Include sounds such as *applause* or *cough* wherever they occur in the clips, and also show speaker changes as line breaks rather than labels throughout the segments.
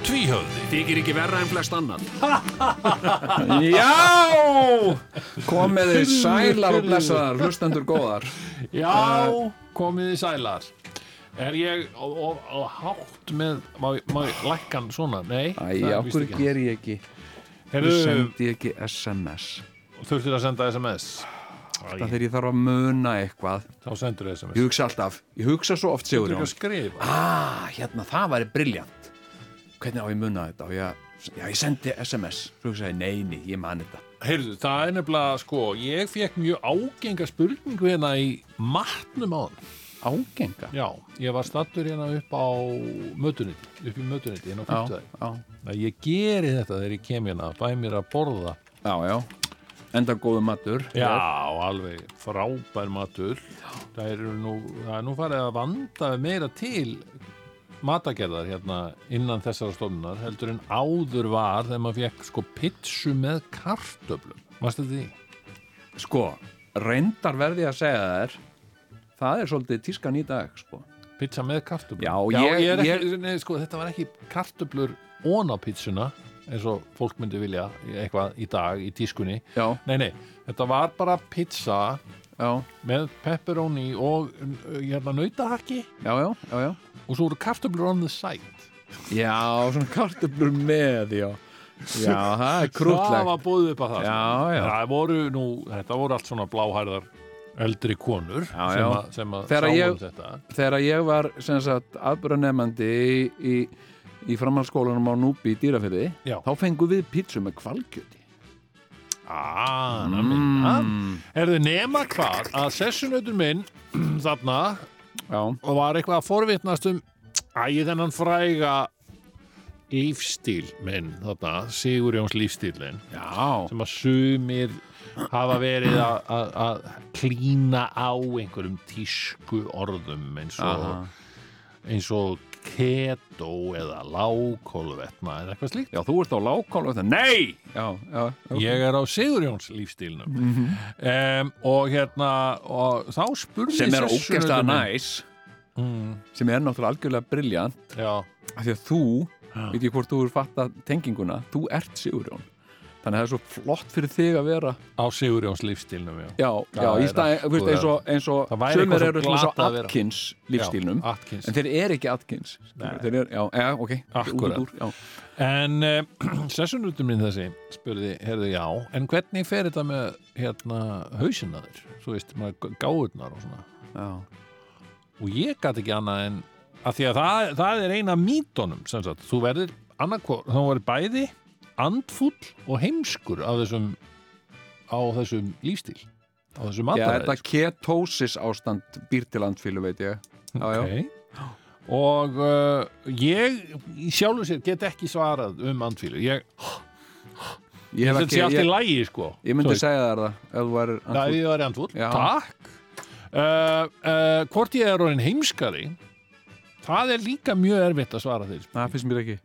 Tvíhöfði
Þykir ekki verra en flest annan
Já! Komið þið sælar og blessaðar, hlustendur góðar.
Já,
Eh,
komið í sælar Er ég og, og, og hátt með Má, má ég lækka hann svona? Nei,
Æ,
það er víst
okkur
ekki.
ger ég ekki, þú
Heyrðu,
sendi ekki SMS.
Þurftir að senda SMS
Það þegar ég þarf að muna eitthvað.
Þá sendur SMS
Ég hugsa alltaf, ég hugsa svo
Þú
oft Sigur
ekki
Jón.
að skrifa
Ah, hérna, það væri briljant. Hvernig á ég muna þetta? Og ég, já, ég sendi SMS. Þú hugsaði, nei, nei, ég man þetta.
Heyrðu, það er nefnilega, sko, ég fekk mjög ágenga spurningu hérna í matnum á hann.
Ágenga.
Já, ég var stattur hérna upp á mötuniti, upp í mötuniti, hérna á
Já,
fyrtaði.
já,
Að ég geri þetta þegar ég kem hérna, fæ mér að borða.
já, já. Enda góðu matur.
Já, alveg frábær matur. Það er nú, það er nú farið að vanda meira til matagerðar hérna innan þessara stofnunar heldur en áður var þegar maður fekk sko pitsu með kartöflum. Varstu þetta því?
Sko, reyndar verði ég að segja þér, það er svolítið tískan í dag, sko.
Pizza með kartöflur
Já,
ég,
ég-
er ekki, Nei, sko, þetta var ekki kartöflur ón á pizzuna eins og fólk myndi vilja eitthvað í dag í tískunni
Já,
nei, nei, þetta var bara pizza
já,
með pepperoni og uh, hérna nautahakki
já, já, já, já.
og svo voru kartöflur on the side
Já, svona kartöflur með, já. Já, það er
það
krútlegt.
var búið upp að það sko.
Já, já.
Það voru nú, þetta voru allt svona bláhærðar eldri konur
Já,
sem
já.
að, sem að
Þegar
sáum
ég-
þetta
Þegar ég var, sem sagt, afbröðnefandi í, í, í framhaldsskólanum á Núpi í dýrafyrði,
Já.
þá fengum við pítsu með kvalkjöti.
Ah, na
Mm.
minna Er þið nema hvað að sessunautur minn *clears throat* þarna
Já,
og var eitthvað að forvitnast um æði þennan fræga lífstíl minn þarna, Sigur Jóns lífstílinn
já,
sem að sumir hafa verið að- að að klína á einhverjum tísku orðum eins og
Aha.
eins og keto eða lágkólvetna eða eitthvað slíkt
já, þú ert á lágkálu þetta. Nei! Já, já, já.
Ég er á Sigurjóns lífstílnum
Mhm.
um, og hérna og þá spurði
Sem er
sessunautur
ógeðslega
minn-
næs,
mm,
sem er náttúrulega algjörlega briljant,
Já,
af því að þú, veit ég hvort þú er fatta tenginguna, þú ert Sigurjón. Þannig að það er svo flott fyrir þig að vera
á Sigurjóns lífstílnum já
Já,
Það
já, í
er
stæð, þú veist,
akkúrat.
eins og, eins og
Það væri eitthvað
sömur
svo
eru svona svo
glatað að vera.
Atkins lífstílnum,
Já, Atkins.
en þeir eru ekki Atkins
Nei.
þeir eru, já, eða, ok, þetta er út
Akkúrat.
úr, já.
En *clears throat* uh, sessunutum minn þessi spurði, heyrðu já, en hvernig fer þetta með hérna hausina þér? Svo veist, maður gáðurnar og svona.
Já.
Og ég gat ekki annað en, að því að það, það er eina mítonum, sem sagt, þú verður annarkvort, þá verður bæði andfull og heimskur á þessum, á þessum lífstíl, á þessum
já, þetta
mataræði.
ketosis ástand býr til andfílu, veit ég já, já,
Og uh, ég í sjálfu sér get ekki svarað um andfílu. Ég,
ég,
ég
hef
þetta sé allt í
ég,
lægi, sko.
ég
Þú
myndi
veist.
segja þær það ef þú væri
Það
andfúll.
við varum andfull
Já.
Takk uh, uh, Hvort ég er orðin heimskari Það er líka mjög erfitt að svara þeir
það finnst mér ekki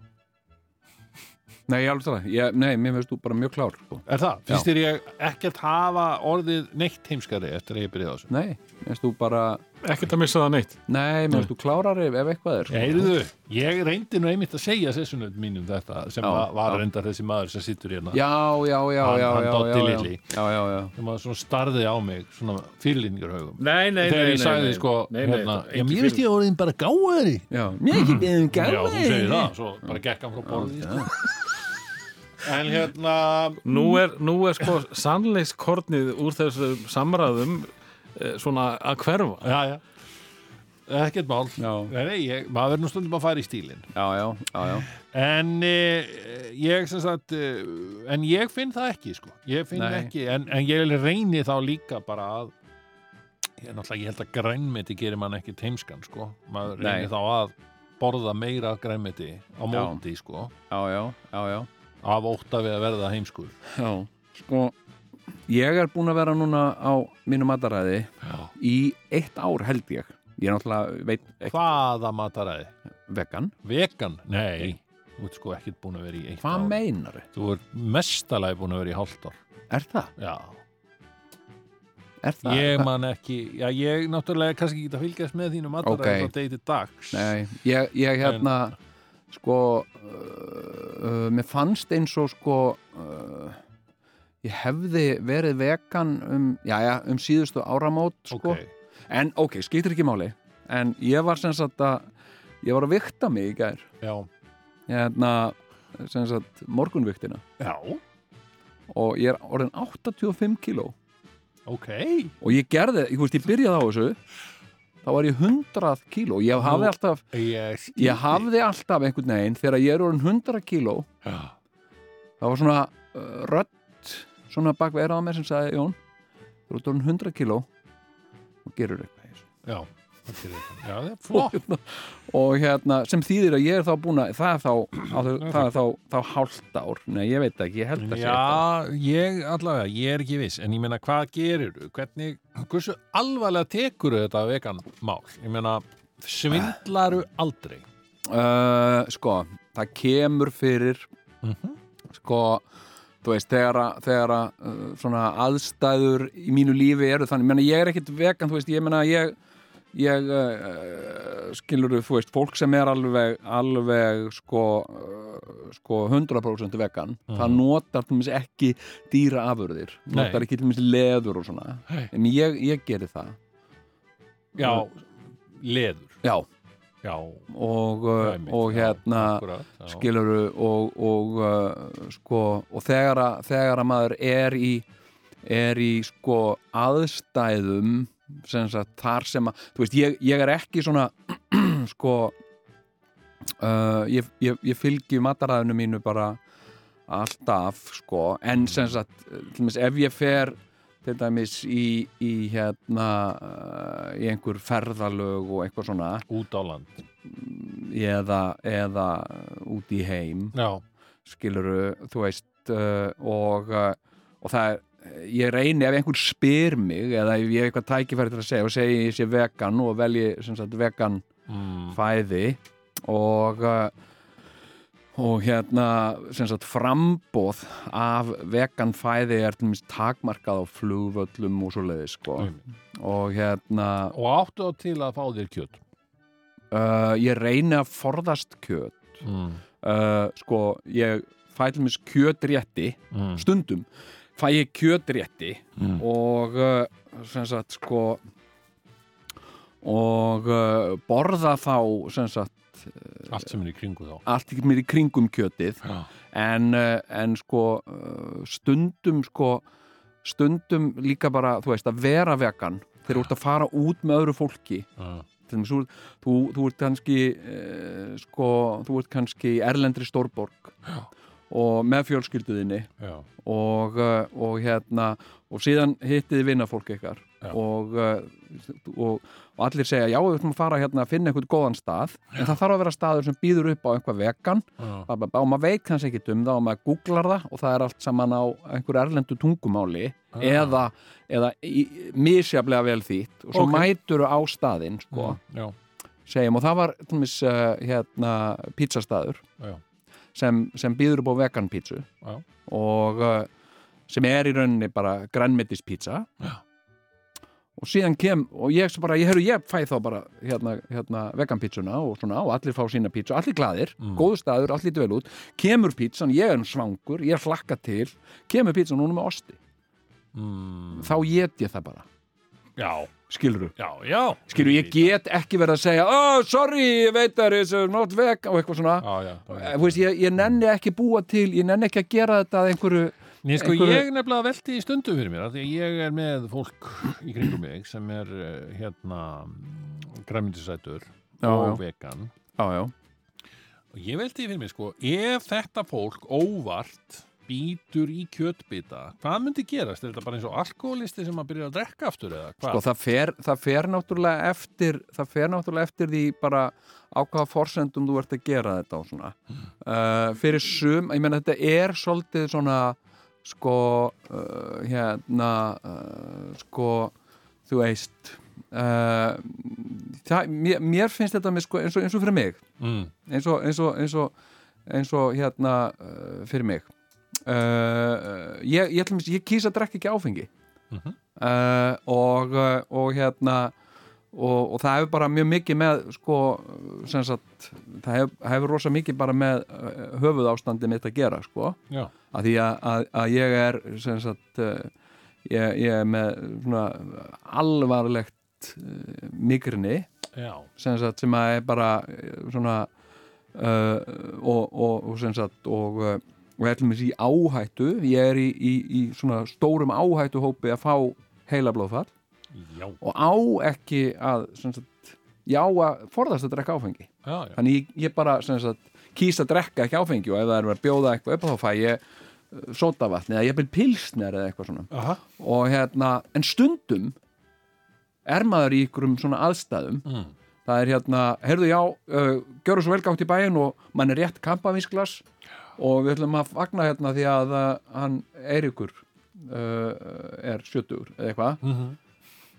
nei, ég alveg það, ég, nei, mér finnst þú bara mjög klár sko.
Er það? Finnst þér ég ekkert hafa orðið neitt heimskari eftir að ég byrjaði á þessu?
nei, mér finnst þú bara
Ekkert að missa það neitt
nei, mér finnst þú klárari ef eitthvað er sko.
Heyrðu, ég reyndi nú einmitt að segja sessunum mínum þetta sem
Já,
var, var
já.
reyndar þessi maður sem sittur hérna
já, já, já,
Hann-
já,
hann
já,
Doddi
já, já.
litli.
já, já, já
sem að svona starði á mig svona fyrirlýningur haugum
Nei, nei,
Þegar ég sagði sko hérna, Já, mér veist ég orðin bara gáðari
Mhm. Já, mér ekki um beðum
Já, þú segir það, svo bara gekk hann frá borðið sko. En hérna
Nú er, nú er sko sannleikskornið úr þessum samræðum eh, svona að hverfa
já, já. ekkert mál
Já.
nei, nei, ég, maður er nú stundum að fara í stílinn
Já, já, já, já.
en e, ég sem sagt e, en ég finn það ekki sko. ég finn
Nei.
ekki, en, en ég reyni þá líka bara að ég, náttúrulega ég held að grænmeti gerir mann ekki teimskan sko. maður
Nei.
reynir þá að borða meira af grænmeti á móti sko,
Já, já, já, já.
af ótta við að verða heimskur
Já, sko, ég er búin að vera núna á mínu mataræði
Já.
í eitt ár held ég ég er náttúrulega veit ekki
Hvaða mataræði?
vegan
Vegan? Nei, þú ert sko ekkert búin að vera í eitt
hvað
ár.
meinar
Þú ert mestalagi búin að vera í hálft ár.
er það?
Já.
Er það?
Ég man ekki, já ég náttúrulega kannski ekki að fylgjast með þínu mataræði
Ókei.
okay. frá degi til dags.
Nei, ég, ég hérna sko uh, uh, mér fannst eins og sko uh, ég hefði verið vegan um, jæja, um síðustu áramót sko.
Ok.
en ok, skiptir ekki máli en ég var sem sagt að ég var að vikta mig í gær
Já.
hérna, sem sagt, morgunviktina
Já.
og ég er orðin 85 kíló
Ok.
og ég gerði, ég, veist, ég byrjaði á þessu þá var ég 100 kíló ég hafði
Nú.
alltaf,
Ég skildi.
ég hafði alltaf einhvern veginn þegar ég er orðin 100 kíló
Já.
það var svona uh, rödd svona bak við erað á mér sem sagði Jón, þú ert orðin 100 kíló og gerur eitthvað í þessu."
Já. það gerir þetta. Já, það er flott.
og hérna, sem þýðir að ég er þá búin að það er
*clears throat*
þá, að, það er þá, þá hálft ár, nei ég veit ekki, ég held að sé eitthvað.
Já, ég allavega, ég er ekki viss, en ég meina hvað gerir þú? Hvernig, hversu alvarlega tekur þetta vegan mál? Ég meina, svindlaru aldrei?
Uh, sko, það kemur fyrir
Mhm.
sko, þú veist, þegar að, þegar að uh, svona aðstæður í mínu lífi eru þannig, ég meina, ég er ekkit vegan, þú veist, ég meina, ég ég uh, skilur þú veist, fólk sem er alveg, alveg sko, uh, sko 100% vegan, það notar til mér ekki dýra afurðir
Mhm. Nei.
notar ekki til mér leður og svona
Nei.
en ég, ég geri það
Já, leður.
já,
Já,
og, uh,
dæmi.
og
Já,
hérna
akkurat, já.
skiluru og, og uh, sko og þegar að, þegar að maður er í er í sko aðstæðum sem sagt þar sem að þú veist ég, ég er ekki svona *clears throat* sko uh, ég, ég, ég fylgi mataræðinu mínu bara alltaf sko en sem sagt til dæmis ef ég fer til dæmis í, í hérna uh, í einhver ferðalög og eitthvað svona
Út á land.
eða, eða út í heim
Já,
skiluru, þú veist uh, og, uh, og það er ég reyni ef einhver spyr mig eða ef ég hef eitthvað tækifæri til að segja og segja ég sé vegan og velji sem sagt vegan
mm,
fæði og uh, og hérna sem sagt frambóð af vegan fæði er til minnst takmarkað á flugvöllum og svo leiði sko
einmitt.
og hérna
og áttu á til að fá þér kjöt.
uh, ég reyni að forðast kjöt
Mm,
uh, sko, ég fæ til mér kjötrétti,
mm,
stundum fæ ég kjötrétti
mm.
og uh, sem sagt sko og uh, borða þá sem sagt
Allt sem er í kringu þá.
allt ekki mér í kringum kjötið
Já,
en, uh, en sko uh, stundum sko stundum líka bara, þú veist, að vera vegan þegar þú ert að fara út með öðru fólki
já,
til dæmis, þú, þú, þú ert kannski eh, sko, þú ert kannski í erlendri stórborg
Já.
og með fjölskylduðinni
já.
og, eh, og hérna og síðan hittiði vinnafólk ykkar
Já.
og, eh, og, og allir segja, já, við ætlum að fara hérna að finna einhvern góðan stað, en það þarf að vera staður sem býður upp á einhvað vegan
já.
bla, bla, bla, og maður veit kannski ekki um það og maður googlar það og það er allt saman á einhverju erlendu tungumáli
Ah.
eða, eða í, misjaflega vel þýtt og svo
Ok. Mm.
mætur á staðinn sko
Já,
segjum og það var tumis, uh, hérna, pizzastaður
já,
sem, sem býður upp á vegan pizzu
já.
og uh, sem er í rauninni bara grænmetis pizza
Já.
og síðan kem og ég sem bara, ég heyrðu, ég fæ þá bara hérna, hérna vegan pizzuna og svona og allir fá sína pizza, allir glaðir,
Mm.
góðu staður allir lítur vel út, kemur pizzan, ég er svangur ég flakka til, kemur pizzan hún er með osti,
Mm,
þá get ég það bara
já,
skiluru
já, já.
Skilur, ég get ekki verið að segja oh, sorry, ég veit það er þessu nátt veg og eitthvað svona
Já, já. já.
Eh, þú veist, ég, ég nenni ekki búa til ég nenni ekki að gera þetta að einhverju
Nei, sko,
einhverju-
ég nefnilega velti í stundu fyrir mér af því að ég er með fólk í kringum mig sem er eh, hérna græmyndisætur
Já,
og
já.
vegan
já, já,
og ég velti fyrir mér sko, ef þetta fólk óvart býtur í kjötbita hvað myndi gerast? Er þetta bara eins og alkoholisti sem að byrja að drekka aftur eða
sko,
hvað?
það fer, það fer náttúrulega eftir það fer náttúrulega eftir því bara á hvaða forsendum þú Eh, ert að gera þetta og svona uh, fyrir sum, ég menn þetta er svolítið svona sko uh, hérna uh, sko þú veist uh, það, mér, mér finnst þetta með, sko, eins, og, eins og fyrir mig
mm.
eins og, eins og, eins og, eins og hérna uh, fyrir mig uh, ég, ég, ég, ég kýsa að drekka ekki áfengi
Mhm.
uh, og, uh, og hérna og, og það hefur bara mjög mikið með sko, sem sagt það hefur, hefur rosa mikið bara með uh, höfuð ástandi mitt að gera sko
Já,
að því að, að, að ég er sem sagt uh, ég, ég er með svona alvarlegt uh, migrini
já,
sem sagt sem að er bara eh, svona uh, og, og, og sem sagt og uh, og ætlum þessi í áhættu ég er í, í, í svona stórum áhættuhópi að fá heilablóðfall
já,
og á ekki að sem sagt, já að forðast að drekka áfengi
já, já.
þannig ég, ég bara sem sagt, kýst að drekka ekki áfengi og ef það er verið að bjóða eitthvað upp þá fæ ég uh, sótavatn eða ég byrð pilsner eða eitthvað svona
Aha.
og hérna, en stundum er maður í ykkurum svona aðstæðum
Mm.
það er hérna, heyrðu já uh, gjöru svo velgátt í bæinn og mann er rétt kampavínsglas og við ætlum að fagna hérna því að uh, hann Eiríkur uh, er 70 eða eitthvað
Mhm.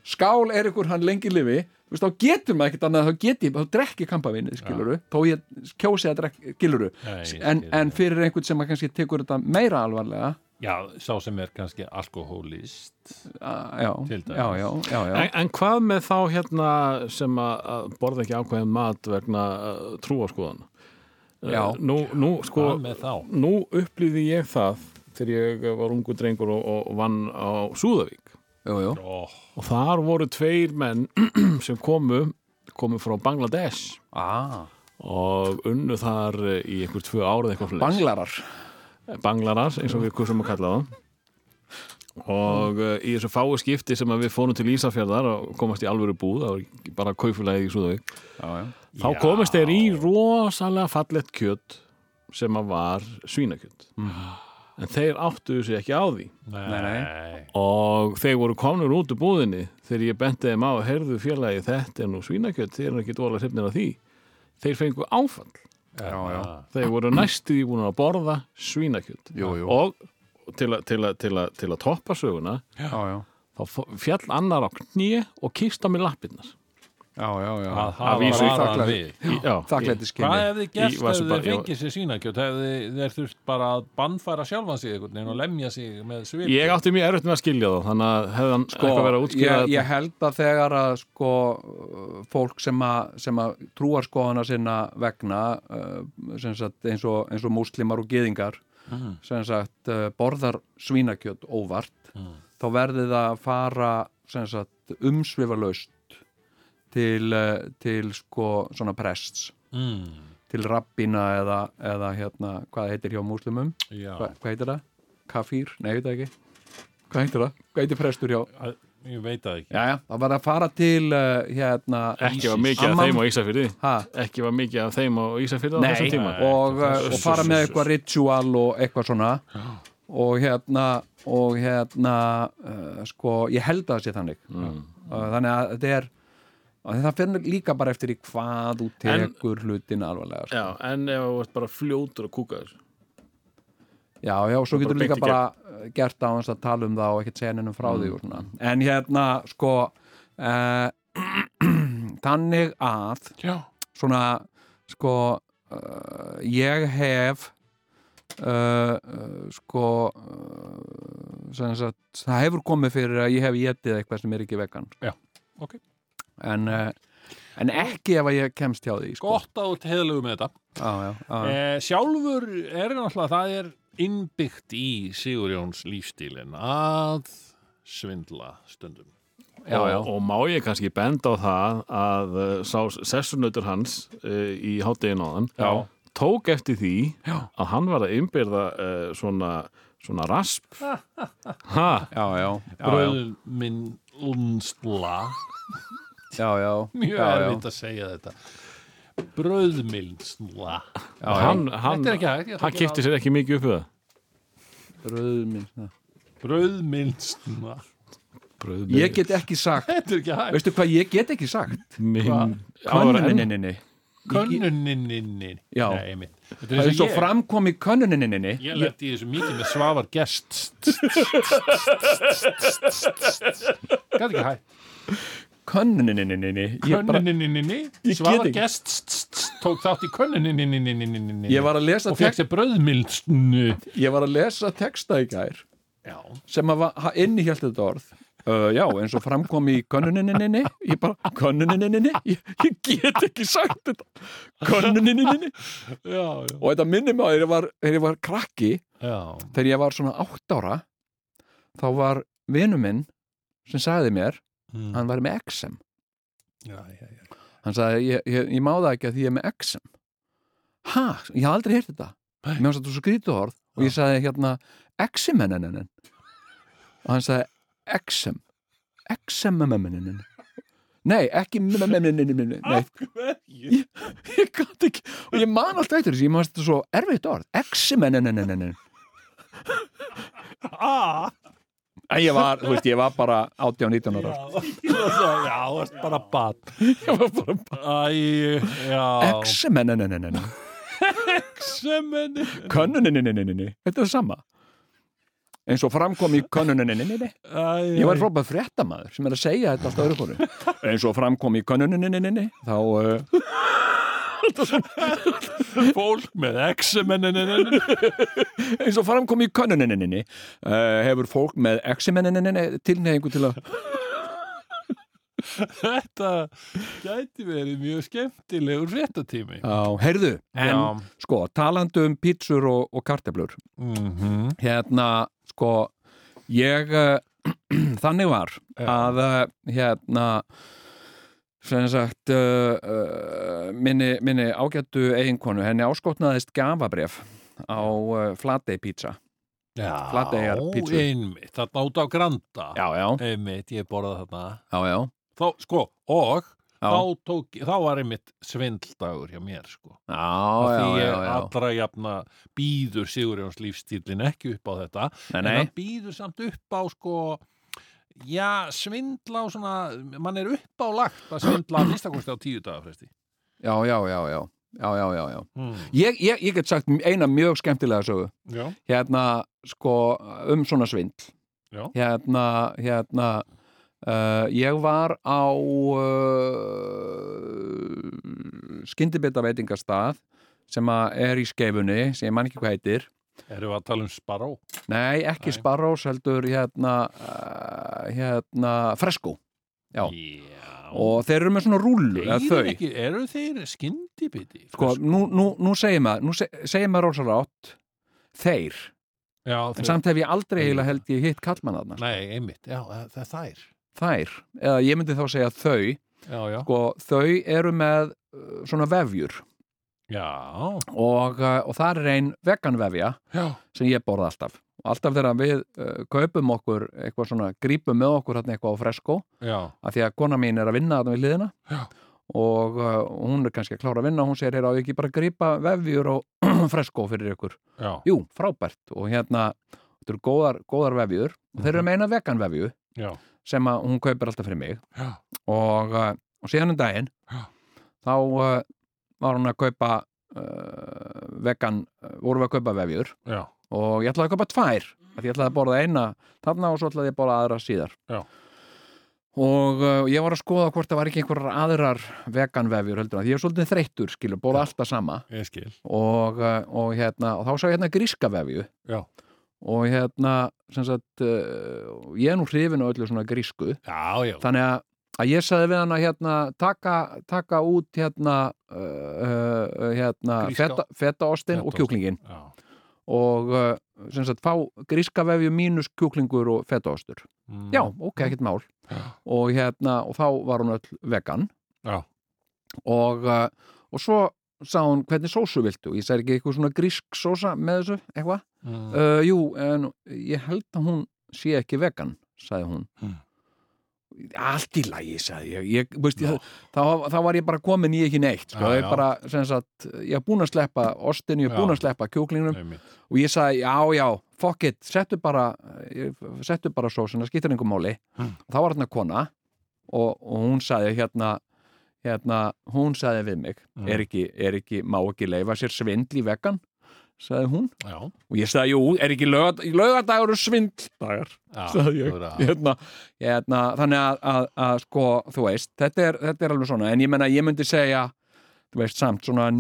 skál Eiríkur hann lengi lifi þú veist, þá getur maður ekkert annað þá get ég, þá drekki kampavinnið, skiluru þó ég kjósi að drekki, skiluru
Nei, ég
en,
skil,
en fyrir einhvern sem að kannski tekur þetta meira alvarlega
Já, sá sem er kannski alkohólist
að- já,
Til dæmis.
já, já, já, já.
En, en hvað með þá hérna sem að, að borða ekki ákveðin mat vegna uh, trúaskoðan?
Já.
Nú, nú, sko,
Hvað með þá?
nú upplýði ég það þegar ég var ungu drengur og, og vann á Súðavík.
Jú, jú.
Oh,
Og þar voru tveir menn *clears throat* sem komu, komu frá Bangladesh
Ah,
og unnu þar eh, í einhver tvö árið eitthvað svoleiðis.
banglarar
Banglaras eins og við kursum að kalla það og uh, í þessu fáu skipti sem að við fórum til Ísafjörðar og komast í alvöru búð, það var ekki bara kaufulagið í Súðavík,
já, já.
þá
Já.
komast þeir í rosalega fallett kjött sem að var svínakjött en þeir áttuðu sig ekki á því
nei,
Nei,
og þeir voru komnur út úr búðinni þegar ég benti þeim á að heyrðu félagi þetta er nú svínakjött, þeir eru ekki dóla hrifnir af því þeir fengu áfall
Já, já,
þeir voru næstu í búin að borða svínakjöld
Jú, jú.
og til, að- til, að- til, að- til að toppa söguna
Já, já.
þá fó- féll annar á kníi og kýst á mér lappirnar
Já, já, já.
að hafa
vísu í
varan
þakklæti.
við
Í- já.
þakklæti
Hvað
skinni
hefði
Í
gerst ef
vasabæ-
þið
já.
fengið sér svínakjöt? Hefði þeir þurft bara að bannfæra sjálfan sig einhvern veginn og lemja sig með svip?
ég átti mjög erfitt með að skilja þá þannig að hefði hann sko, eitthvað verið að útskýra
ég, ég held að þegar að sko uh, fólk sem að, sem að trúar skoðana sinna vegna uh, sem sagt eins og, eins og múslimar og geðingar
Mm,
sem sagt uh, borðar svínakjöt óvart
Mm.
þá verði það að fara sem sagt umsvifalaust til, uh, til sko svona prests
Mm,
til rabbina eða, eða hérna, hvað heitir hjá múslimum
já,
Hva, hvað heitir það? Kafír? Nei, ég veit það ekki hvað heitir það? hvað heitir prestur hjá?
að- ég veit það ekki.
Já, já. það var að fara til uh, hérna
þetta ekki var mikið af
Amman.
þeim á Ísafyrði
ha,
ekki var mikið af þeim á Ísafyrði á
nei,
þessum tíma
Nei.
og,
Nei,
uh, og fara með eitthvað ritual og eitthvað svona og hérna og hérna uh, sko, ég held að það sé þannig mm. þannig að þetta er að það finnir líka bara eftir í hvað þú
En-
tekur hlutin alvarlega sko.
já, en ef þú vart bara fljótur að kúka þessu
já, já, svo getur
bara
líka
beint í
bara uh, gert á hans að tala um það og ekkert segja nefnum frá
Mm.
því og svona. en hérna, sko uh, *clears throat* þannig að
Já.
svona sko uh, ég hef uh, uh, sko uh, sem sagt það hefur komið fyrir að ég hef getið eitthvað sem er ekki vegan
Já, ok.
en, uh, en ekki ef að ég kemst hjá því sko.
Gott át heðlegu með þetta.
já, já, já, já.
Eh, sjálfur er náttúrulega, það er innbyggt í Sigurjóns lífstílin að svindla stundum.
Já, já.
Og, og má ég kannski benda á það að uh, sá sessunautur hans uh, í háttegin áðan
Já.
tók eftir því að hann var að innbyrða uh, svona, svona rasp ha,
Já, já, já,
Bröð minn lúnsla.
já, já,
*laughs* Mjög
já, já,
erfitt að segja þetta. Bröðmilnsla.
hann, hann,
Þetta er ekki hægt. ég ætla
hann
að gera
kipti sér ekki mikið upp við það
bröðminn já.
það. Brauðmylsna.
Bröðmynd,
Ég get ekki sagt
Þetta er ekki hægt.
Veistu hvað ég get ekki sagt?
minn,
Könnuninni
könnuninni
Já.
Nei, einmitt. Þetta er
Það
eins
er svo
og ég,
framkom í könnuninni
ég lett í þessu mikið með svafar gest Gat ekki hætt
Könnuninni Ég bara
Könnuninni
Ég get
Svafar
ekki.
gest tók þátt í könnuninni
Ég var að lesa
og fekk sér bröðmildstnu
ég var að lesa texta í gær
Já,
sem að va- ha- innihjalt þetta orð uh, já, eins og framkom í könnuninni ég bara, könnuninni ég, ég get ekki sagt þetta könnuninni
já, já,
og þetta minnir mig á þegar ég var, þegar ég var krakki
já.
þegar ég var svona átt ára þá var vinu minn sem sagði mér,
Mm.
hann var með XM
já, já, já.
hann sagði, ég, ég, ég má það ekki að því ég er með XM ha, ég haf aldrei heyrt þetta
Nei.
mér fannst þetta svo skrítið orð og ég sagði hérna XM-NNN og hann sagði XM XM-NNN nei, ekki MMNNN nei,
Hverju?
ég gæti ekki og ég man alltaf eitthvað þessu, ég maður þetta svo erfitt orð XMNNNNN
Ah,
En ég var, þú veist, ég var bara 18-19 ára
já, já, varst bara bat
Ég var bara
Æ, já
XMNNNNN
Exemen
Könnuninninninninni, þetta er það sama eins og framkom í könnuninninninni
Æ,
Ég var frábæð fréttamaður sem er að segja þetta alltaf öðru konu *laughs* eins og framkom í könnuninninninni þá uh, *laughs*
fólk með X-Men
eins og framkom í könnuninninninni uh, hefur fólk með XMNNNN tilnefingu til að
Þetta gæti verið mjög skemmtilegur réttatími
á, heyrðu, en
Já.
sko, talandi um pítsur og, og karteblur
mm -hmm.
hérna sko ég eh, *clears throat* þannig var
Já.
að eh, hérna sem sagt uh, uh, minni, minni ágættu eiginkonu henni áskotnaðist gafabref á uh, Flatey pizza
Já,
Flateyjar pítsu.
einmitt, þarna út á Granda
já, já,
Einmitt, ég borða þarna
já, já,
Þá, sko, og
já,
þá, tók, þá var einmitt svindldagur hjá mér, sko
já,
Af
já,
Því
já,
ég
já.
allra jafna býður Sigurjóns lífstílin ekki upp á þetta
Nei,
en
nei,
hann býður samt upp á sko já, svindla á svona mann er upp á lagt að svindla að mistakosti á tíu daga fresti
já, já, já, já, já, já, já, já.
hmm.
Ég, ég, ég get sagt eina mjög skemmtilega sögu
já,
hérna sko um svona svindl
Já.
hérna, hérna uh, ég var á uh, skyndibita veitingastað sem að er í skeifunni sem ég man ekki hvað heitir
erum við að tala um sparó
nei, ekki
Nei.
Sparrows heldur hérna, uh, hérna Fresco Já.
já.
og þeir eru með svona rúlu eða
Þeir
þau
ekki, eru þeir skyndibiti
sko, nú, nú, nú segir maður nú se- segir maður ósar átt þeir,
já,
en
þeir,
samt hef ég aldrei eiginlega held ég hitt kallmannaðna
nei, einmitt, já, það er þær
þær, eða ég myndi þá segja þau
já, já,
sko, þau eru með uh, svona vefjur
já,
og, uh, og það er ein veganvefja
já.
sem ég borða alltaf og alltaf þegar við uh, kaupum okkur eitthvað svona, grípum með okkur þarna eitthvað á fresko
já.
af því að kona mín er að vinna þarna við hliðina
Já.
og uh, hún er kannski að klára að vinna hún segir, heyrðu, á ég ekki bara að grípa vefjur og *clears throat* fresko fyrir ykkur
já.
jú, frábært, og hérna þetta eru góðar, góðar vefjur og þeir eru með eina veganvefju
Mhm. já.
sem að hún kaupir alltaf fyrir mig
já.
og, uh, og síðan um daginn
Já.
þá uh, var hún að kaupa uh, vegan, uh, vorum við að kaupa vefjur
já.
og ég ætlaði að kaupa tvær af því ég ætlaði að borða eina þarna og svo ætlaði ég að borða aðra síðar
Já.
og uh, ég var að skoða hvort það var ekki einhverjar aðrar vegan vefjur heldur að ég er svolítið þreyttur skilur, borða alltaf sama
ég skil
og, uh, og, hérna, og þá sá ég hérna gríska vefju
Já.
og hérna sem sagt, uh, ég er nú hrifin á öllu svona grísku
já, já,
þannig að, að ég sagði við hann að hérna, taka, taka út hérna, uh, uh, hérna
Gríska-
feta, fetaostin og
Fetaost.
kjúklingin
já.
og uh, sem sagt fá gríska vefju mínus kjúklingur og fetaostur
Mm.
já, ok, ekkert mál
Já.
og, hérna, og þá var hún öll vegan
Já.
og, uh, og svo sagði hún hvernig sósu viltu ég sagði ekki eitthvað svona grísk sósa með þessu eitthvað
Mm.
uh, Jú, en ég held að hún sé ekki vegan, sagði hún
Hmm.
Allt í lagi, sagði ég, ég veist,
Já.
ég þá, þá var ég bara komin í ekki neitt sko.
Já,
ég,
já.
bara, sem sagt, ég er búin að sleppa ostinu, ég er
Já.
búin að sleppa kjúklingnum
Einmitt.
og ég sagði, já, já, fuck it settu bara, eh, settu bara sósuna, skiptir einhver máli
Hmm.
þá var hérna kona og, og hún sagði hérna hérna, hún sagði við mig
Mm.
er ekki, er ekki, má ekki leifa sér svindl í vegan, sagði hún
já,
og ég sagði, jú, er ekki lögat, lögadagur og svindldagar,
já
sagði
þú
ég
verður að-
hérna, hérna, þannig að, að, að sko, þú veist, þetta er, þetta er alveg svona, en ég menna, ég myndi segja þú veist, samt svona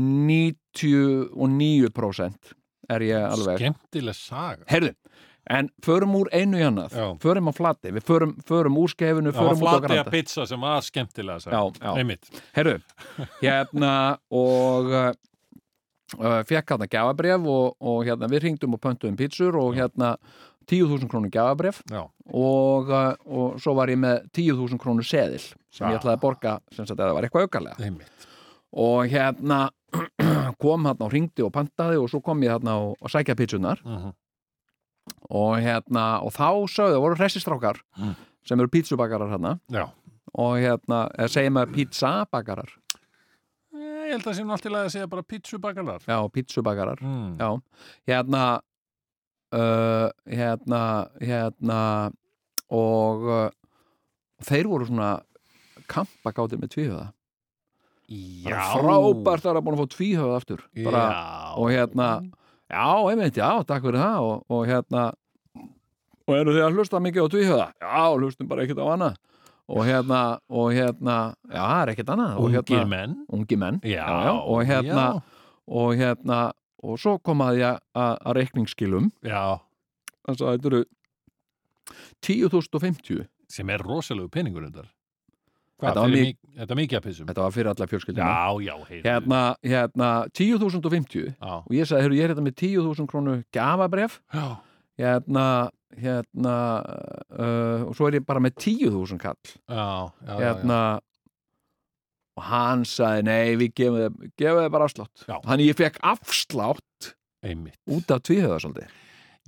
99% er ég alveg
skemmtileg saga
Herðu, en förum úr einu í annað
Já.
Förum á flati, við förum, förum úr skeifinu
það var
Förum út á
flatið að
granda
pizza sem var skemmtilega saga
Já, já.
einmitt
Herðu, hérna og uh, uh, fekk hérna gjafabref og, og hérna við hringdum og pöntuðum pítsur og hérna 10.000 krónu gjafabref
já,
og, uh, og svo var ég með 10.000 krónu seðil sem
Já.
ég ætlaði að borga sem sagt að það var eitthvað aukarlega
einmitt
og hérna *clears throat* kom hérna og hringdi og pantaði og svo kom ég hérna og, og sækja pítsunar
Mhm.
og hérna, og þá sögðu, það voru hressistrákar
Mm.
sem eru pítsubakarar hérna
já,
og hérna, eða segjum að pítsabakarar
Eh, ég held að það sé nú allt í lagi að segja bara pizzubakarar
já, pítsubakarar
mm.
já, hérna uh, hérna hérna og uh, þeir voru svona kampagáttir með tvíhöða
já,
bara frábært að vera búin að fá tvíhöða aftur bara,
já.
og hérna já, einmitt, já, takk fyrir það og, og hérna og eru þið að hlusta mikið á tvíhjöða? Já, hlustum bara ekkert á annað og hérna, og hérna já, það er ekkert annað og
ungir
hérna,
menn
ungi menn
já,
og hérna,
já,
og hérna og svo komaði ég að, að reikningsskilum
já,
þannig að þetta eru 10.050
sem er rosalegu peningur þetta
Þetta var
fyrir
mik-
mik- þetta er mikið að pissum
þetta var fyrir alla fjörskildina
já, já, heyrðu
hérna, hérna, 10.050
já,
og ég sagði, heyrðu, ég er þetta með 10.000 krónu gafabref
já,
hérna, hérna uh, og svo er ég bara með 10.000 kall
já, já, já,
hérna og hann sagði nei við gefum þið, gefum þið bara afslátt
Já.
þannig ég fekk afslátt
já einmitt
út af tvíhöða svolítið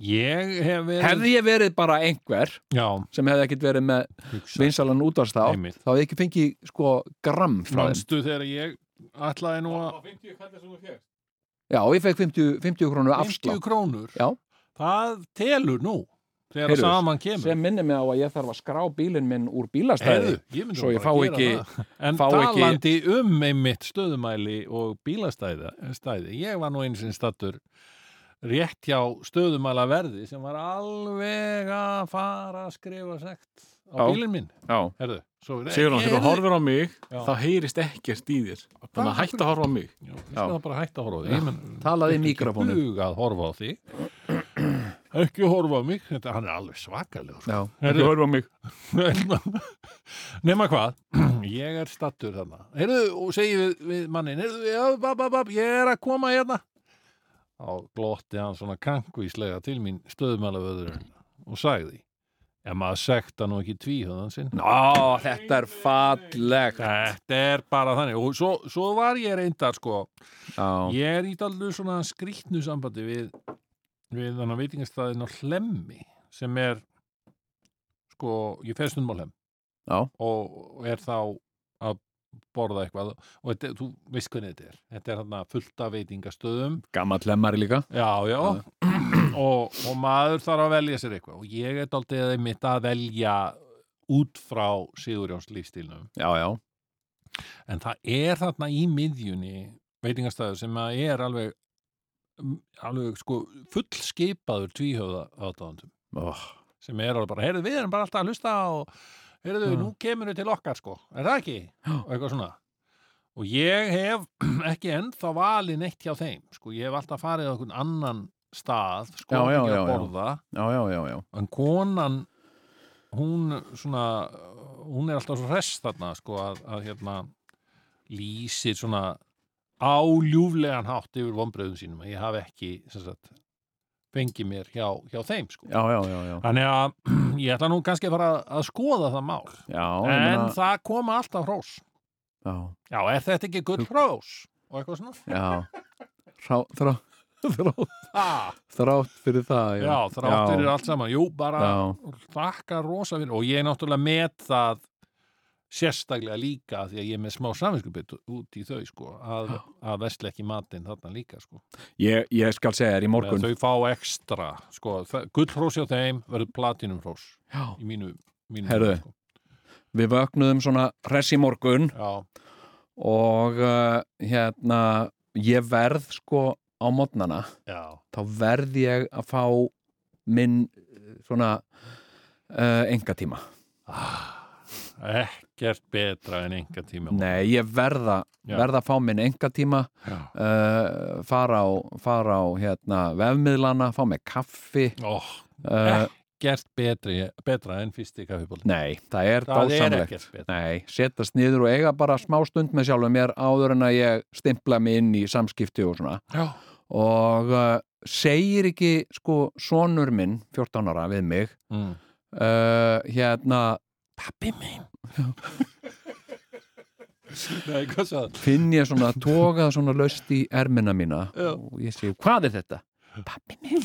ég hef verið
hefði ég verið bara einhver
já,
sem hefði ekkert verið með
hugsa
vinsalan útvarstá
Einmitt.
þá hefði ég ekki fengið sko gram frá þeim
Manstu þegar ég ætlaði nú að
50 kallar sem þú fjögst
já ég fekk 50, 50 krónu
50
afslátt
krónur
Já.
Það telur nú þegar
Heyrðu,
saman kemur
sem minni mig á að ég þarf að skrá bílinn minn úr
Heyrðu,
bílastæði
ég myndi
svo
nú
ég
bara
fá
gera
ekki-
það. *laughs* En
fá ekki-
talandi um einmitt stöðumæli og bílastæði stæði. Ég var nú eins og stattur rétt hjá stöðumæla verði sem var alveg að fara að skrifa sekt á
Já.
bílinn minn
já,
Heyrðu, svo er
Sigur hann, þegar þú
Heyrðu,
horfir á mig
Já.
þá heyrist ekkert í þér þannig að
Hvað?
hætt að horfa á mig
Já, ég skal bara hætta að horfa á því Ég menn-
talaði í
Ekki
mikrofónum
hug að horfa á því *clears throat* Ekki horfa á mig Þetta, Hann er alveg svakalegur
já,
Heyrðu.
horfa á mig
Nefna hvað, ég er stattur þarna Heyrðu, og segi við, við mannin Heyrðu, já, bab, bab, bab, ég er að koma hérna Þá glotti hann svona kankvíslega til mín stöðmælavöðurinn og sagði Ef maður sekta nú ekki tvíhöðan sinn
Ná, þetta er fallegt
Þetta er bara þannig og svo, svo var ég reyndar sko
Já,
Ég er í dallu svona skrýtnu sambandi við, við þannig að veitingastæðin á Hlemmi sem er sko, ég fer stundum á Hlemm
já,
og og er þá að borða eitthvað og þetta, þú veist hvernig þetta er þetta er þarna fullt af veitingastöðum
gammal lemmari
*laughs*
líka
já, já *clears throat* og, og maður þarf að velja sér eitthvað og ég er daldið mitt að velja út frá Sigurjóns lífstílnum
Já, já,
en það er þarna í miðjunni veitingastæður sem að er alveg m- alveg sko fullskipaður tvíhöfða aðdáðandum
oh.
sem er alveg bara, heyrðu við erum bara alltaf að hlusta og heyrðu,
Mm.
nú kemur við til okkar sko er það ekki?
Já.
og eitthvað svona og ég hef *clears throat* ekki ennþá valið neitt hjá þeim sko, ég hef alltaf farið á einhvern annan stað sko,
Já, já,
ekki að
já, já.
borða
já, já, já, já.
en konan hún svona hún er alltaf svo hress þarna sko að, að hérna lýsir svona áljúflegan hátt yfir vonbröðum sínum að ég hafi ekki sem sagt fengið mér hjá, hjá þeim sko
Já, já, já, já.
þannig að *clears throat* ég ætla nú kannski að fara að skoða það mál
Já,
en
ég meina-
það koma alltaf hrós
já,
já, er þetta ekki gull hrós og eitthvað svona
já. Rá, þrá, þrá,
ah,
þrátt fyrir það,
já,
já.
þrátt fyrir allt saman jú, bara
Já,
þakka rosa fyrir og ég náttúrulega met það sérstaklega líka því að ég er með smá samvinskupið út í þau sko að, að vesla ekki matinn þarna líka sko
ég, ég skal segja þér í morgun.
þau fá ekstra sko gullhrós hjá þeim verður platinumhrós
Já.
í mínu, mínu
Herðu.
huga, sko.
Við vöknuðum svona hress í morgun
já,
og uh, hérna ég verð sko á mótnana
já,
þá verð ég að fá minn eh, svona uh, engatíma
ekkert betra en enga tíma
Nei, ég verða,
Já.
verða að fá minn engatíma
já.
uh, fara á, fara á hérna, vefmiðlana, fá mig kaffi
Ó,
uh,
Oh, Eh. ekkert betri, betra en fyrst í kaffibóli
Nei, það er
það er
dásamlegt
ekkert betra
Nei, setast niður og eiga bara smá stund með sjálfum mér áður en að ég stimpla mig inn í samskipti og svona
já,
og uh, segir ekki sko sonur minn, 14 ára við mig
mm.
uh, hérna,
pappi minn Nei, hvað svo
finn ég svona tókað svona löst í ermina mína
Já.
og ég segi, hvað er þetta? Pappi
*laughs*
minn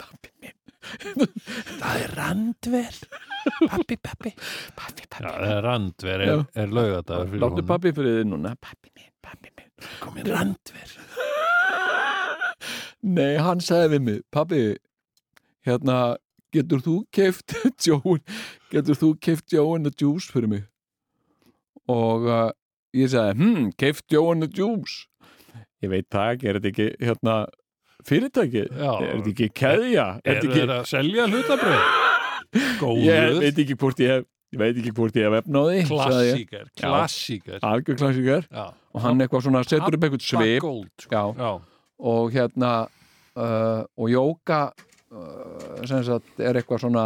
Pappi minn Það er randver Pappi, pappi Pappi,
Já,
pappi
það er randver, er,
Já.
er laugadagur fyrir
Láttu
honum.
pappi fyrir þið núna Pappi minn, pappi minn
komin randver
Nei, hann sagði við mig, pabbi, hérna, getur þú *laughs* keift Joan, getur þú keift Joan a Juice fyrir mig? Og uh, ég sagði, hm, keift Joan a Juice? Ég veit það ekki, er þetta ekki, hérna, fyrirtæki?
Já.
Er þetta ekki keðja?
Er
þetta ekki,
það að selja hlutabröð?
*laughs* ég
Góður,
veit ekki hvort ég hef, ég veit ekki hvort ég hef efnaði.
klassíkar, klassíkar
Algjör klassíkar. Og hann eitthvað svona, setur upp eitthvað svip.
Gold
Já,
Já,
og hérna uh, og jóka uh, sem sagt er eitthvað svona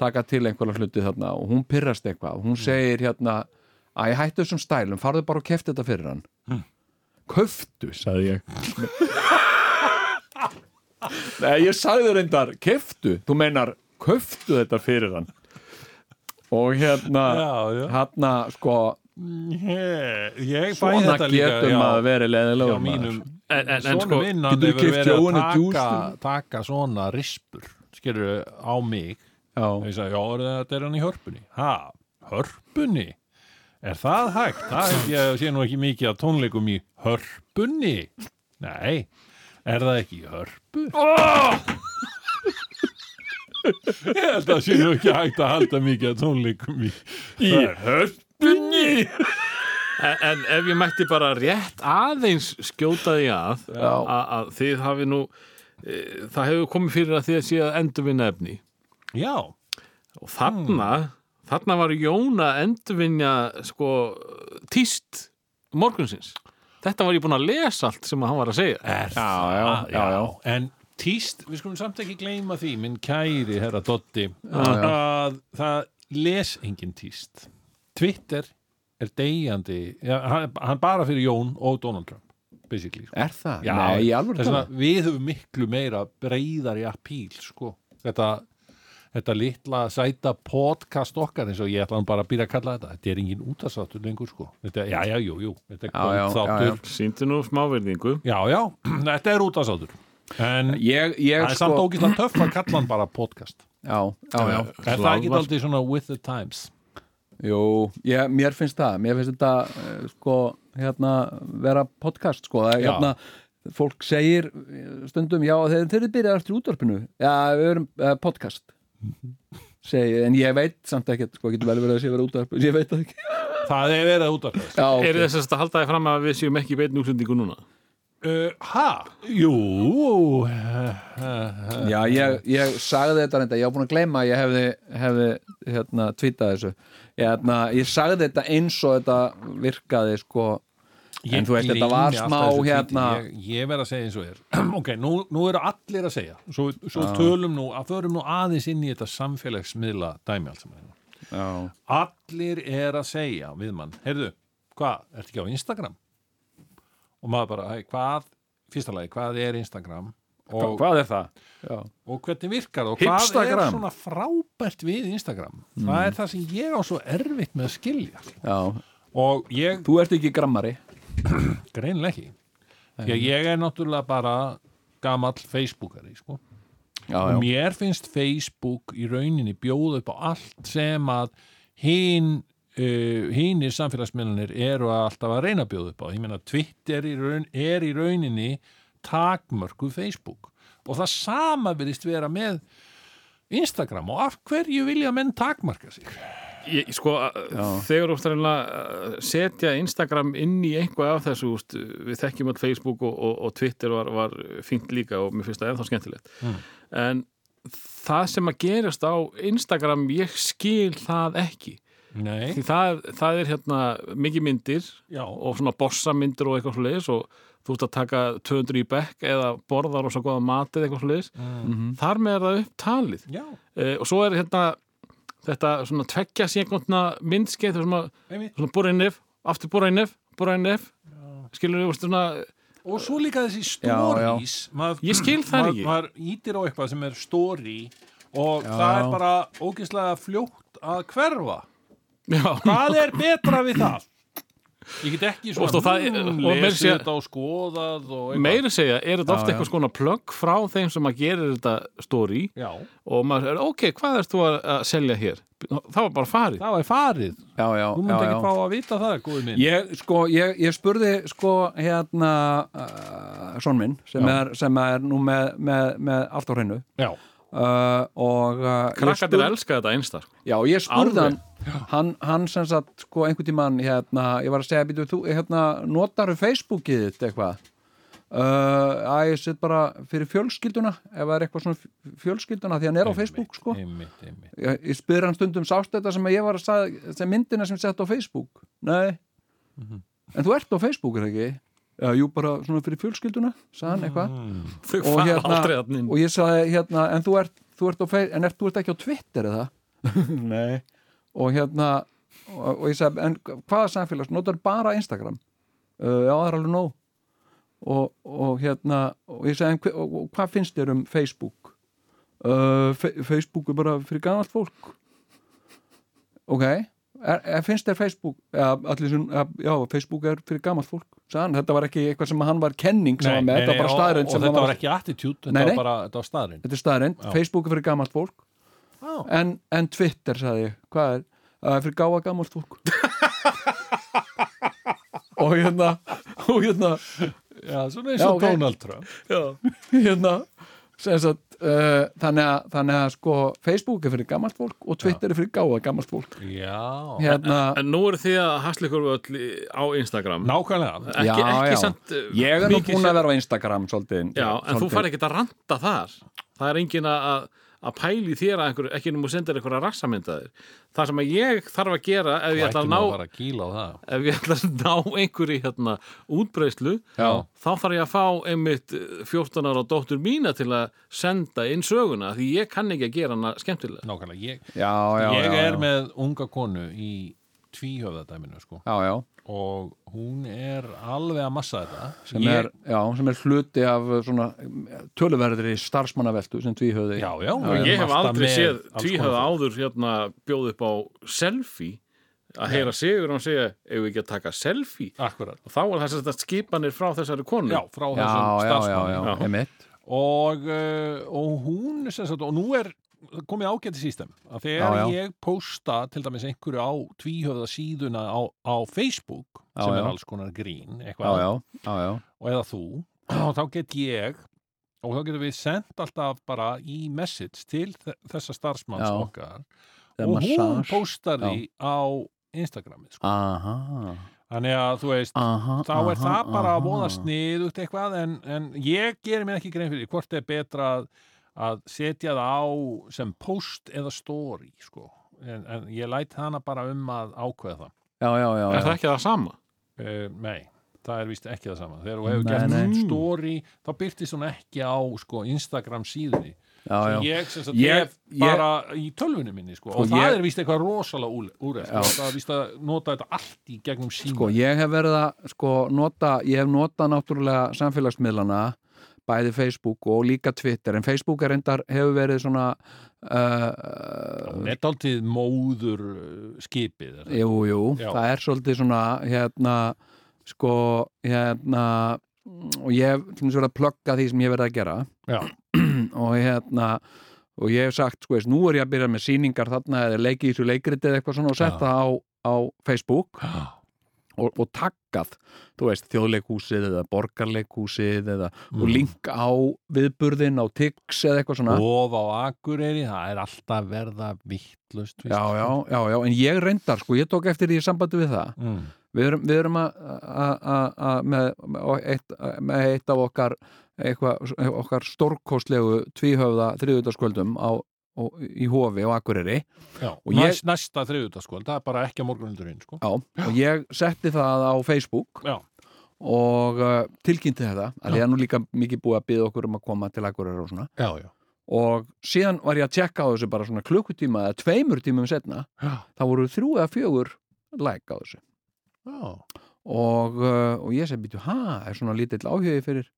taka til einhverja hluti þarna og hún pyrrast eitthvað, hún segir hérna að ég hættu þessum stælum, farðu bara og kefti þetta fyrir hann köftu, sagði *laughs* ég Nei, ég sagði reyndar keftu, þú meinar köftu þetta fyrir hann og hérna
já, já.
hérna sko
Ég, ég fæ
svona
þetta líka
getum
já,
að vera
Já,
leðilegur
mínum
En- en- en
Svona
sko,
minn, hann
geturðu
hefur
keypt
verið að
Jóhannu
taka,
djús til
taka svona rispur skilur á mig og
já,
ég sagði, já, er það- þetta er hann í hörpunni ha, hörpunni er það hægt? það held ég að sé nú ekki mikið af tónleikum í hörpunni nei, er það ekki í hörpu? ég held að það sé nú ekki hægt að halda mikið af tónleikum í
Í
hörpunni
En, en ef ég mætti bara rétt aðeins skjóta því að,
Já.
að, að þið hafi nú, e, það hefur komið fyrir að þið sé að endurvinna efni.
já,
Og þarna,
Hmm.
þarna var Jón að endurvinna sko tíst morgunsins. Þetta var ég búin að lesa allt sem hann var að segja.
er
já, já,
það
já, já.
Ah, en tíst, við skulum samt ekki gleyma því minn kæri herra Dotti
já.
að það les engin tíst Twitter er deyjandi já, hann, hann bara fyrir Jón og Donald Trump basically sko.
Er það? Nei, í alvöru
þess vegna
talað?
við höfum miklu meira breyðari appíl sko. þetta, þetta litla sæta podcast okkar eins og ég ætla nú bara að byrja að kalla þetta þetta er engin útastáttur lengur sko. þetta, já, já, jú, jú, þetta er
Já, já, já, já.
kvöldþáttur
Sýndi nú smáverðingu.
já, já, *clears throat* þetta er útastáttur en
Ég, ég
Það er
sko
samt ógislega töff að kalla hann bara podcast
Já, já, já
Er það ekki aldrei svona with the times?
Jú, ég, mér finnst það, mér finnst þetta eh, sko, hérna, vera podcast sko, það er
Já.
hérna fólk segir eh, stundum, já, þeir, þeir eru byrjað eftir útvarpinu, já, við erum uh, podcast segi, en ég veit samt ekkert, sko, getur vel verið að sé vera útvarpinu ég veit það ekki
Það er verið að útvarpast
já,
Er
okay.
þess að halda þið fram að við séum ekki í beinni útlendingu núna?
uh, Ha? Jú
já, ég, ég sagði þetta reynda, ég á búin að gleyma að ég hefði, hefði hérna, tvítað þessu ég, hérna, ég sagði þetta eins og þetta virkaði, sko
Ég
En þú veist, þetta
gleymi
var
alltaf
smá,
þessu tweeti.
hérna-
Ég, ég verð að segja eins og er *clears throat* Ok, nú, nú eru allir að segja Svo, svo
Ah.
tölum nú, að förum nú aðeins inn í þetta samfélagsmiðla dæmi alls saman.
já,
Allir er að segja við mann Heyrðu, hvað, ertu ekki á Instagram? Og maður bara, "Hæ, hvað Fyrsta lagi, hvað er Instagram? Og
hvað er það? já
og hvernig virkar það og hvað
Hipstagram.
er svona frábært við Instagram það er það sem ég á svo erfitt með að skilja
Já,
og ég
þú ert ekki grammari
greinlega ekki því að ég er náttúrulega bara gamall Facebookari sko.
já,
og mér finnst Facebook í rauninni bjóða upp á allt sem að hinn Uh, hinnir samfélagsmiðlanir eru að alltaf að reyna að bjóða upp á. Ég meina Twitter í raun, er í rauninni takmörku Facebook og það sama verðist vera með Instagram og af hverju vilja menn takmarka sig
ég, sko,
Já.
þegar þú ert að reyna að setja Instagram inn í einhvað af þessu, úst, við þekkjum all Facebook og, og, og Twitter var, var fínt líka og mér finnst það ennþá skemmtilegt en það sem að gerast á Instagram, ég skil það ekki,
Nei,
*laughs*
því það, það er hérna mikið myndir
já,
og svona bossamyndir og eitthvað svoleiðis og þú ert að taka 200 í bekk eða borðar og svo góða matið eitthvað svoleiðis
Mm.
þar með er það upptalið
já,
uh, og svo er hérna þetta svona tveggja sekundna myndskeið þar sem að
einmitt
svona búra inn nef, aftur búra inn nef, búra inn nef skilur þú veist svona
Og svo líka þessi
Já, já.
stories Maður,
Ég skil það
maður-
ekki.
Maður ítir á eitthvað sem er story og
Já,
það er
já.
bara ógeðslega fljótt að hverfa
já,
Hvað er betra við það? Ég get ekki svona
Og svo það-
mm,
og meira
lesið
segja-
þetta og skoðað og eitthvað.
meira segja er þetta
Já,
ofta
já.
eitthvað skona plögg frá þeim sem að gera þetta story
Já,
og maður er ok, hvað erst þú að, að selja hér það var bara farið
það er farið
já,
Þú
já, já,
myndi
já.
ekki fá að vita það, góði minn
Ég, sko, ég, ég spurði sko hérna uh, son minn sem
Já.
er, sem er nú með, með, með allt á hreinu
Já,
uh, og uh, ég
krakkandir
spurði-
spurði... elska þetta einstar
Já, ég spurði
Alveg?
hann, hann hann sem sagt, sko, einhvern tímann hérna, ég var að segja, býtu, þú, hérna notaru Facebookið þitt eitthvað uh, að ég set bara fyrir fjölskylduna, ef það er eitthvað svona f- fjölskylduna, því hann er á Facebook, sko
einmitt, einmitt.
ég, ég spyr hann stundum sást þetta sem að ég var að sagði, sem myndina sem sett á Facebook nei en þú ert á Facebook, er það ekki? Já, jú, bara svona fyrir fjölskylduna, sagði hann eitthvað
þau
og, hérna-
fara aldrei hann inn
og ég sagði hérna en þú ert, þú ert, á, Fe- en er, þú ert ekki á Twitter
*laughs*
eða? Nei og hérna og, og ég sagði en hvaða samfélags, notar bara Instagram uh, já það er alveg nóg og, og hérna og ég sagði en, hve- og, og, hvað finnst þér um Facebook uh, fe Facebook er bara fyrir gamalt fólk ok Er, er, finnst þér Facebook ja, allir, sem- ja, já, Facebook er fyrir gamalt fólk sagði hann, þetta var ekki eitthvað sem hann var kenning sem var með, þetta var bara
og-
staðurinn
Og þetta var ekki attitude, þetta
Nei, nei.
var bara þetta var staðurinn
þetta er staðrind,
Já.
Facebook er fyrir gamalt fólk en, en Twitter, sagði ég, hvað er það er fyrir gáa gamalt
*laughs*
fólk og hérna og hérna,
Já, svona eins
Já,
og
ok.
Donald Trump
hérna sem sagt, uh, þannig, að, þannig að sko Facebook er fyrir gamalt fólk og Twitter er fyrir gáa gamalt fólk
Já,
hérna,
en nú eru þið að hasla ykkur öll í- á Instagram
nákvæmlega
ekki,
Já,
ekki
já.
samt uh,
ég er nú
mikið
búin
sem-
að vera á Instagram svolítið,
Já, en þú
svolítið.
fari ekkert að ranta þar það er engin að, að pæli þér að einhver, ekki nú sendir einhverja rassamyndaðir það sem að ég þarf að gera ef ég ætla að
ættum að
ná,
fara að kýla á það
ef ég ætla að ná einhverju hérna útbreyslu
Já.
þá þarf ég að fá einmitt eh, 14 ára dóttur mína til að senda inn söguna því ég kann ekki að gera hana skemmtilega
Nákvæmlega, ég,
já, já,
ég
já,
er
já.
með unga konu í tvíhöfðadæminu sko.
já, já,
og hún er alveg að massa þetta
sem, er, já, sem er hluti af svona mm, töluverðri starfsmannaveltu sem tvíhöði
Já, já,
og
við
ég
erum
hef
alltaf
aldrei
með
séð
alls
tvíhöða
konar
áður hérna bjóð upp á selfie að heyra sigur og segja ef við ekki að taka selfie
fólk. Akkúrat.
og þá er það sem þetta skipanir frá þessari konu
Já, frá
já,
þessum
já, já, já,
starfsmann
Já.
einmitt
og, uh, og hún sem sagt, og nú er komið ágæti sístem að þegar
Já, já.
ég posta til dæmis einhverju á tvíhöfða síðuna á, á Facebook
Já,
sem
já.
er alls konar grín
já,
eitthvað,
já, já, já,
og eða þú *clears throat* og þá get ég og þá getum við sendt alltaf bara í message til þe- þessa starfsmanns
Já.
okkar
Eða
og hún
massage.
postar því á Instagramið sko.
aha,
þannig að þú veist
aha
þá er það bara að voða sniðugt eitthvað en, en ég gerir mér ekki grein fyrir því hvort er betra að, að setja það á sem post eða story sko. en, en ég læt hana bara um að ákveða það
já, já, já,
er
já.
það ekki það sama?
uh, nei, það er víst ekki það sama þegar þú hefur
Nei,
gert
nei.
story þá byrtist hún ekki á sko, Instagram síðunni
já, já.
sem ég sem sagt
Ég-
hef
ég-
bara í tölvunni minni sko.
Sko,
og það
ég-
er víst eitthvað rosalega úr, úr
Já.
það er víst að nota þetta allt í gegnum síma
sko, ég hef verið að sko, nota, ég hef notað náttúrulega samfélagsmiðlana bæði Facebook og líka Twitter en Facebook er endar, hefur verið svona uh,
Hún er dálítið móður uh, skipið er það?
jú, jú,
Já.
það er svolítið svona hérna, sko hérna, mm, og ég hef til dæmis verið að plugga því sem ég hef verið að gera
Já.
*clears throat* og hérna og ég hef sagt, sko veist, nú er ég að byrja með sýningar þarna eða leiki í þessu leikriti eða eitthvað svona og
Já.
setta á, á Facebook
Já.
og, og taggað, þú veist, þjóðleikhúsið eða borgarleikhúsið eða,
Mm.
og link á viðburðin á TIX eða eitthvað svona
Of á Akureyri, það er alltaf að verða vittlust
já, já, já, já, en ég reyndar sko, ég tók eftir því í sambandi við það
Mm.
við erum, við erum að að- að- að- með, með eitt, með eitt af okkar eitthvað, okkar stórkostlegu tvíhöfða þriðutaskvöldum á, á, í hofi á Akureyri
Já,
Og ég-
næst, næsta þriðutaskvöld, það er bara ekki að morgunundurinn, sko.
Já, og ég setti það á Facebook
Já.
og uh, tilkynnti þetta að ég er nú líka mikið búið að byggja okkur um að koma til Akureyri og svona
Já, já.
og síðan var ég að tjekka á þessu bara svona klukkutíma eða tveimur tímum setna
Já,
þá voru þrjú eða fjögur like á þessu
já.
og, uh, og ég segi býtu, ha, er svona lítill áhugi fyrir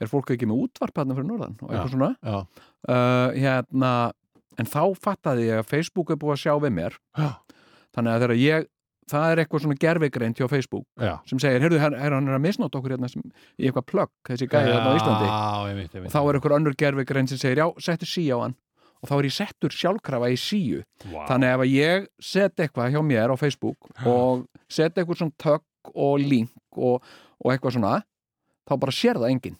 er fólk ekki með útvarp hérna fyrir norðan og eitthvað svona
já.
uh, hérna, en þá fattaði ég að Facebook er búið að sjá við mér
Já.
þannig að þegar ég, það er eitthvað svona gerfigreind hjá Facebook
já.
sem segir, heyrðu, her, her, hann er að misnátt okkur hérna sem, í eitthvað plögg, þessi gæði hérna á Íslandi
Já, ég veit, ég veit.
og þá er eitthvað önnur gerfigrein sem segir, já, settu sí á hann og þá er ég settur sjálfkrafa í síu
Vá.
þannig ef að ég set eitthvað hjá mér á Facebook og set eitthvað svona tökk og link og, og eitthvað svona þá bara sér það enginn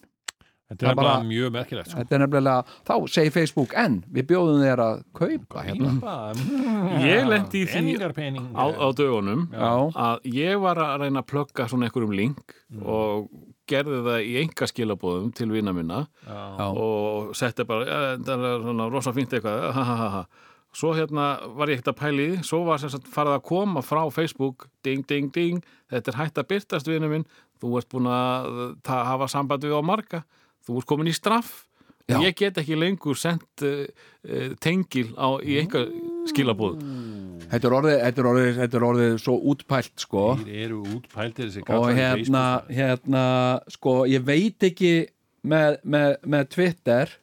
Þetta er
það bara-
bara mjög merkilegt, sko.
þetta er nefnilega, þá segir Facebook en við bjóðum þér að kaupa hérna
*laughs* Hérna.
Ég lenti í því-
Peningar, peningar.
á, á dögunum
já,
að ég var að reyna að plugga svona einhverjum link
Mm.
Mm.
og gerði það í enga skilabóðum til vina minna
Já.
já,
og setti bara, ja, það er svona rosa fínt eitthvað, *laughs* ha ha ha ha svo hérna var ég ekkert að pæli því svo var sem sagt farið að koma frá Facebook ding ding ding, þetta er hægt að byrtast vinu minn, þú ert búin að ta- hafa samband við á marga þú ert komin í straff
Já.
ég get ekki lengur sendt uh, uh, tengil á, í einhver skilabóð
þetta er orðið, þetta er orðið, þetta er orðið svo útpælt sko
Þeir eru útpæltir þessi
og
kallar í
hérna,
Facebook.
hérna sko, ég veit ekki með, með, með Twitter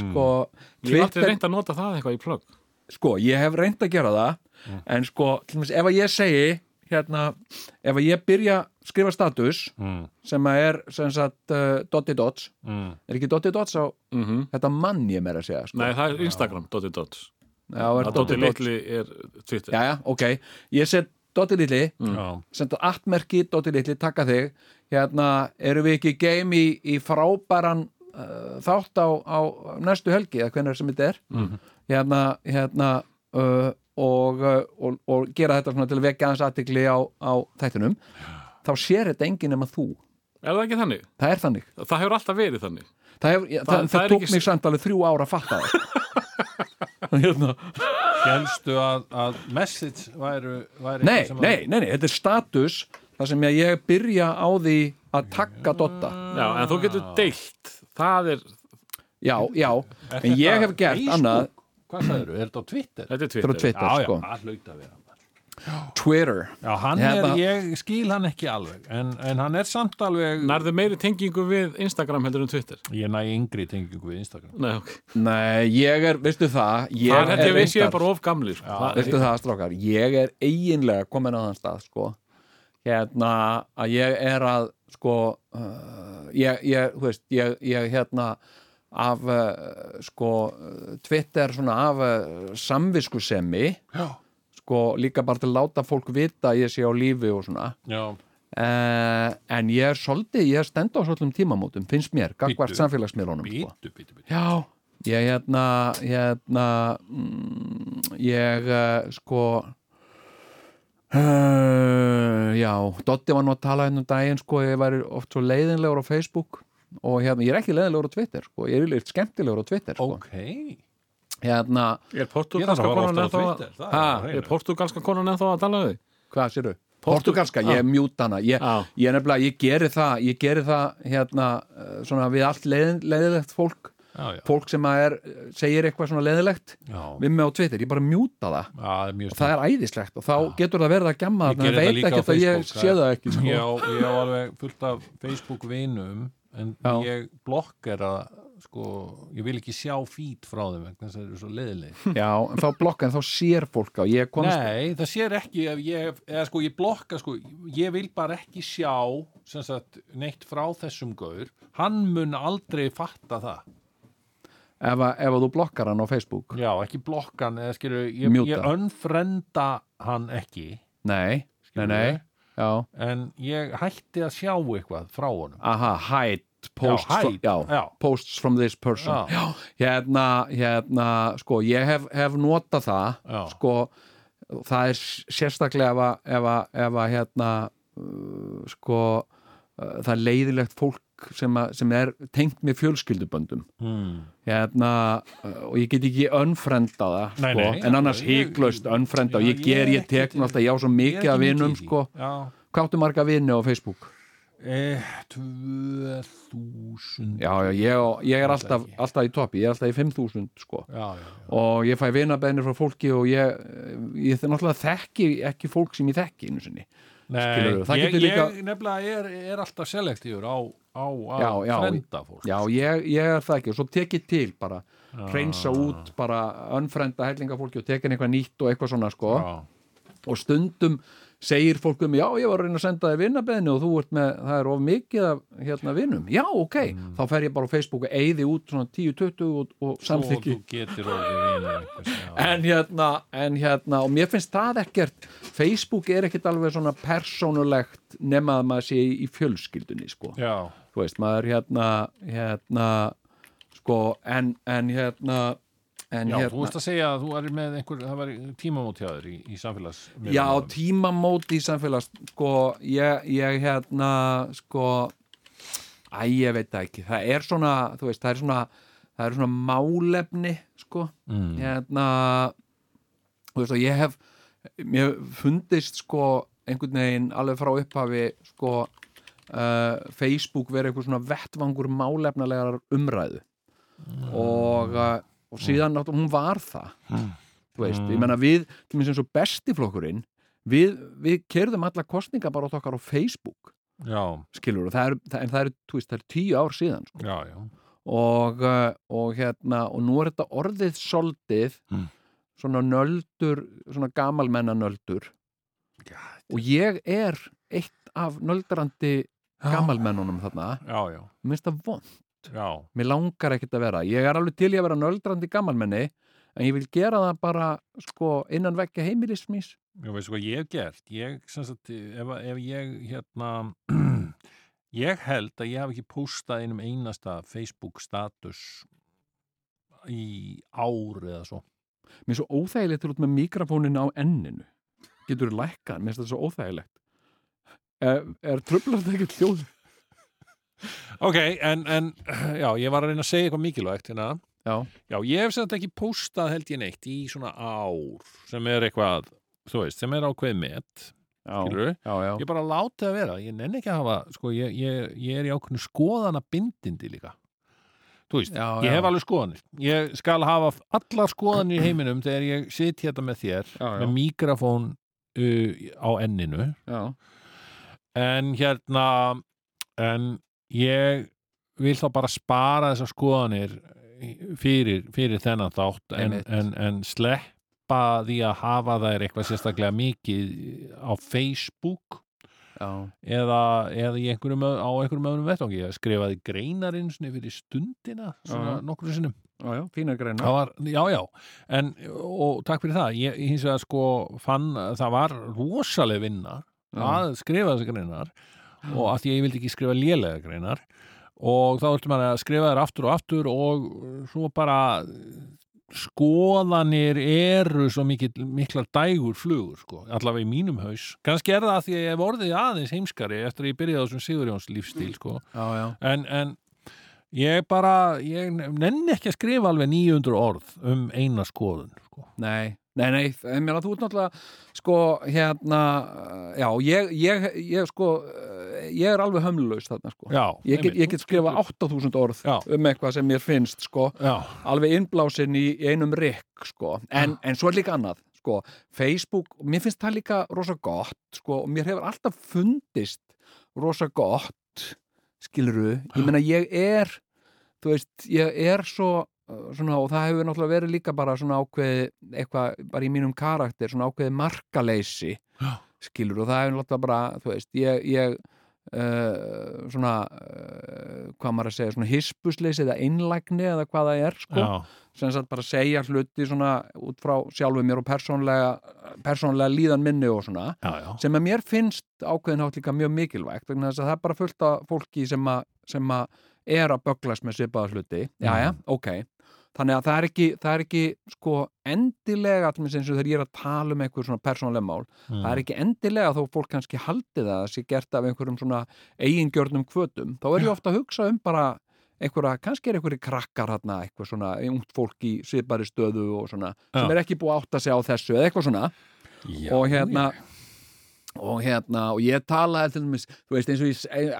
sko,
ég hef aldrei
Twitter,
reynd að nota það eitthvað í plugg
sko, ég hef reynd að gera það en sko, til dæmis, ef að ég segi hérna, ef að ég byrja að skrifa status
Mm,
sem að er sem sagt uh, dotti dots,
mm.
er ekki dotti dots á
mm -hmm.
þetta mann ég meira að segja sko.
Nei, það er Instagram, Dotty Dots
Já, er
Dotty
dotti dots,
Litli er Twitter
já, já, ok ég set dotti litli
Já.
senda aftmerki, Dóti Lilli, takka þig hérna, erum við ekki game í, í frábæran uh, þátt á, á næstu helgi eða hvernig sem þetta er hérna, hérna uh, og, uh, og, og gera þetta svona til að vekja aðeins aðtikli á, á þættinum þá sér þetta enginn nema þú
Er það ekki þannig?
það er þannig
Það hefur alltaf verið þannig
það, hef, það,
það
það,
er
tók
ekki-
mig samt alveg þrjú ára að fatta það hérna
Hélstu að, að message væru, væri
Nei,
eitthvað sem að-
nei, nei, nei, þetta er status þar sem ég- ég byrja á því að takka Dotta
Já, en þú getur deilt Það er,
Já, já,
Er
en
þetta
ég hef gert
Facebook?
annað
Hvað sagður, er þetta á Twitter?
þetta er
Þetta er
Twitter
á Twitter,
já,
sko
já, það hlaut að vera
Twitter
Já, hann er,
Hérna-
ég skil hann ekki alveg en, en hann er samt alveg
Nærðu meiri tengingu við Instagram heldur en Twitter
Ég næ yngri tengingu við Instagram
Nei, ok
Nei, ég er, veistu það Ég
Það er þetta
er
við séum
reyndar-
bara of gamli sko. Það-
Veistu það, strákar, ég er eiginlega komin á þann stað, sko Hérna, að ég er að sko, uh, ég, ég, þú veist ég, ég hérna af, uh, sko uh, Twitter svona af uh, samviskusemi
Já,
sko, líka bara til að láta fólk vita að ég sé á lífi og svona
já,
uh, en ég er svolítið, ég er stend á svolítum tímamótum, finnst mér, gagvart
Bíddu.
samfélagsmiðlunum sko.
bítu, bítu, bítu
Já, ég hérna, hérna, mm, ég uh, sko, uh, já, Dotti var nú að tala hérna um daginn, sko, ég væri oft svo leiðinlegur á Facebook og hérna, ég er ekki leiðinlegur á Twitter, sko, ég er yfirleitt skemmtilegur á Twitter, sko,
Ok, ég
hérna,
Er
er það að
portugalska
fara ofta á
konan ennþá að-
Twitter það
Ha,
er á hreinu.
Er portugalska konan ennþá að tala við?
hvað sérðu?
Portu-
Portugalska, ég
Já.
mjúta hana, ég,
Já.
ég nefnilega, ég geri það, ég geri það, hérna, eh, svona við allt leiðin, leiðilegt fólk,
Já, já,
fólk sem að er, segir eitthvað svona leiðilegt,
já,
við mig á Twitter, ég bara mjúta það.
Já, það er mjög
og það er æðislegt og þá getur það verið að gemma
Ég
þarna en
geri þetta
veit
líka
ekki
á
að ég
Facebook,
sé það ekki sko.
Ég á, ég á alveg fullt af Facebook vinum en
Já.
ég blokkera sko, ég vil ekki sjá feed frá þeim vegna þess að þeir eru svo leiðileg
já, en þá blokka, en þá sér fólk á ég komst,
Nei, það sér ekki ef ég, eða sko ég blokka sko, ég vil bara ekki sjá sem sagt neitt frá þessum gaur, hann mun aldrei fatta það.
ef, að, ef að þú blokkar hann á Facebook
Já, ekki blokkan eða skilur, ég,
Mjúta.
ég önfrenda hann ekki
nei, nei, nei já,
en ég hætti að sjá eitthvað frá honum
aha, hide posts,
Já,
fr-
hide,
já,
já.
posts from this person
Já.
hérna, hérna sko, ég hef, hef notað það
Já.
sko, það er s- sérstaklega ef að, ef að, ef að hérna uh, sko uh, það er leiðilegt fólk sem, að, sem er tengt með fjölskylduböndum
hmm.
hérna, uh, og ég get ekki önfrenda það
Nei,
sko,
nei,
en annars
já, ég-
hygglust önfrenda og
Já,
ég ger,
ég
ég
get-
tek náttúrulega, ég á svo
Ég er
mikið
ekki
af
mikið í
vinum
því.
sko,
já,
hvað áttu marga vini á Facebook?
Eh, 2000
Já, já, ég, á- ég er
Ég veit
alltaf,
ekki.
alltaf í toppi, ég er alltaf í 5000 sko
já, já, já.
og ég fæ vinabæðinir frá fólki og ég, eh, ég þe- náttúrulega þekki ekki fólk sem ég þekki einu sinni
Nei,
Skilurðu, það
ég,
getur líka-
ég nefnilega er, er alltaf selektífur á, á að
Já, já.
frenda fólk sko.
Já, ég, ég er það ekki og svo tek ég til bara hreinsa út bara önfrenda hellinga fólki og tekin eitthvað nýtt og eitthvað svona sko
Já,
og stundum segir fólk um já, ég var að reyna að senda þér vinnabeðinu og þú ert með, það er of mikið af hérna vinnum, já, ok, þá fer ég bara á Facebook og eyði út svona 10-20 og,
Mm. svo
og
þú
samþykki
getur orðið vinur einhvers, já.
en hérna, en hérna og mér finnst það ekkert, Facebook er ekkert alveg svona persónulegt nema að maður sé í, í fjölskyldunni sko,
já,
þú veist, maður hérna hérna, sko en, en hérna en
já, þú
hérna,
veist að segja að þú er með einhver, það var tímamótjáður í, í samfélags
Já, tímamót í samfélags sko, ég, ég hérna sko æ, ég veit það ekki, það er svona þú veist, það er svona, það er svona málefni sko,
Mm.
hérna þú veist, og ég hef mér hef fundist sko einhvern veginn alveg frá upphafi sko uh, Facebook verið eitthvað svona vettvangur málefnalegar umræðu og, uh, og síðan náttúrulega hún var það þú veist, ég menna við til mér sem svo bestiflokkurinn við, við kerðum alla kostninga bara átt okkar á Facebook
já,
skilur, það er, það, en það er, þú veist, það er tíu ár síðan sko.
já, já.
og, uh, og hérna, og nú er þetta orðið soldið
Mm.
svona nöldur, svona gamalmenna nöldur og ég er eitt af nöldrandi gamalmennunum þarna,
já, já,
mér finnst það vond
já,
mér langar ekkert að vera, ég er alveg til í að vera nöldrandi gamalmenni, en ég vil gera það bara, sko, innan vekja heimilismís
já, veistu hvað ég hef gert ég, sem sagt, ef, að- ef ég hérna *clears throat* ég held að ég hef ekki postað einum einasta Facebook status í ár eða svo
mér er svo óþægilegt til út með mikrofónin á enninu getur þú lækkað, mér finnst þetta svo óþægilegt er, er tröflar þetta ekkert hljóð
ok, en, en *clears throat* já, ég var að reyna að segja eitthvað mikilvægt hérna.
já,
já, ég hef sem sagt ekki postað held ég neitt í svona ár sem er eitthvað, þú veist, sem er ákveð met,
já,
skilur
já, já.
ég bara láti að vera, ég nenni ekki að hafa sko, ég, ég, ég er í ákveðnu skoðana bindindi líka þú veist,
Já,
ég
já.
hef alveg skoðanir ég skal hafa allar skoðanir í heiminum þegar ég sit hérna með þér
Já, já.
með mikrofón uh, á enninu
já.
en hérna en ég vil þá bara spara þessar skoðanir eh, fyrir, fyrir þennan þátt en,
Einmitt.
en, en sleppa því að hafa þær eitthvað sérstaklega mikið á Facebook
já.
eða, eða í einhverjum, ö- á einhverjum öðrum vettvangi ég skrifaði greinar einu sinni fyrir stundina svona
Já.
nokkrum sinnum
já, já. fínar greina
það var, já, já, en og takk fyrir það, ég hins vegar sko fann að það var rosaleg vinna
já,
að skrifa þessi greinar og að því að ég vildi ekki skrifa lélega greinar og þá viltum maður að skrifa þér aftur og aftur og uh, svo bara uh, skoðanir eru svo mikil, miklar dægur flugur sko, allavega í mínum haus kannski er það að því að ég hef orðið aðeins heimskari eftir að ég byrjaði á þessum Sigurjóns lífstíl sko.
já, já.
en, en ég bara ég nenni ekki að skrifa alveg 900 orð um eina skoðun sko.
Nei, nei, nei, ég meina þú ert náttúrulega sko hérna uh, já, ég, ég, ég sko uh, ég er alveg hömlulaus þarna sko
já,
ég get,
einmitt.
ég get skrifa 8000 orð
Já.
um eitthvað sem mér finnst sko
já,
alveg innblásin í í einum rikk sko. en, en svo er líka annað sko. Facebook, mér finnst það líka rosa gott sko, og mér hefur alltaf fundist rosa gott skiluru, ég meina ég er þú veist, ég er svo uh, svona, og það hefur náttúrulega verið líka bara svona ákveði, eitthvað, bara í mínum karakter svona ákveði markaleysi
Já.
skilur, og það hefur náttúrulega bara þú veist, ég, ég uh, svona uh, hvað maður að segja, svona hispusleysi eða einlægni eða hvað það er, sko
já,
sem sagt bara segja hluti svona út frá sjálfu mér og persónlega persónlega líðan minni og svona
já, já,
sem að mér finnst ákveðin hátt líka mjög mikilvægt vegna þess að það er bara fullt af fólki sem að, sem að er að böglast með svipaða hluti já, já, ok þannig að það er ekki, það er ekki sko endilega allmest eins og þegar ég er að tala um einhver svona persónlega mál það
Mm.
er ekki endilega þó fólk kannski haldið að það sé gert af einhverjum svona eigingjörnum kvötum þá er ég ofta að hugsa um bara einhverja, kannski er einhverju krakkar hérna eitthvað svona, ungt fólk í svipari stöðu og svona, sem
Já.
er ekki búið að átta sig á þessu eða eitthvað svona
Mm. já,
og hérna og hérna, og ég tala til dæmis, þú veist, eins og ég s- ein-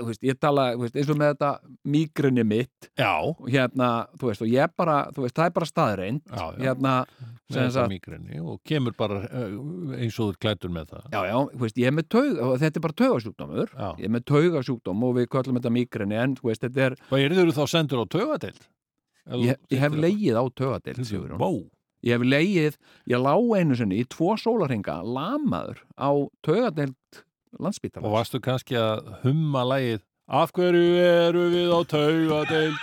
þú veist, ég tala, þú veist, eins og með þetta mýgrunni mitt
já,
og hérna, þú veist, og ég bara þú veist, það er bara staðreind
já, já.
hérna,
með
sem
þetta
sagt-
migrini og kemur bara eh, eins og þú klætur með það
já, já, þú veist, ég er með taug og þetta er bara taugasjúkdómur
já.
ég er með taugasjúkdóm og við köllum þetta mýgrinni en þú veist, þetta er,
og eru þú þá sendur á taugadeild Ef þú
ég, ég hef
situr-
leigið á taugadeild Sigurjón.
Vá,
ég hef leigið, ég lá einu sinni í tvo sólarhinga, lamaður á taugadeild
og
landsbítalans
varstu kannski að humma lægið Af hverju eru við á taugadeild?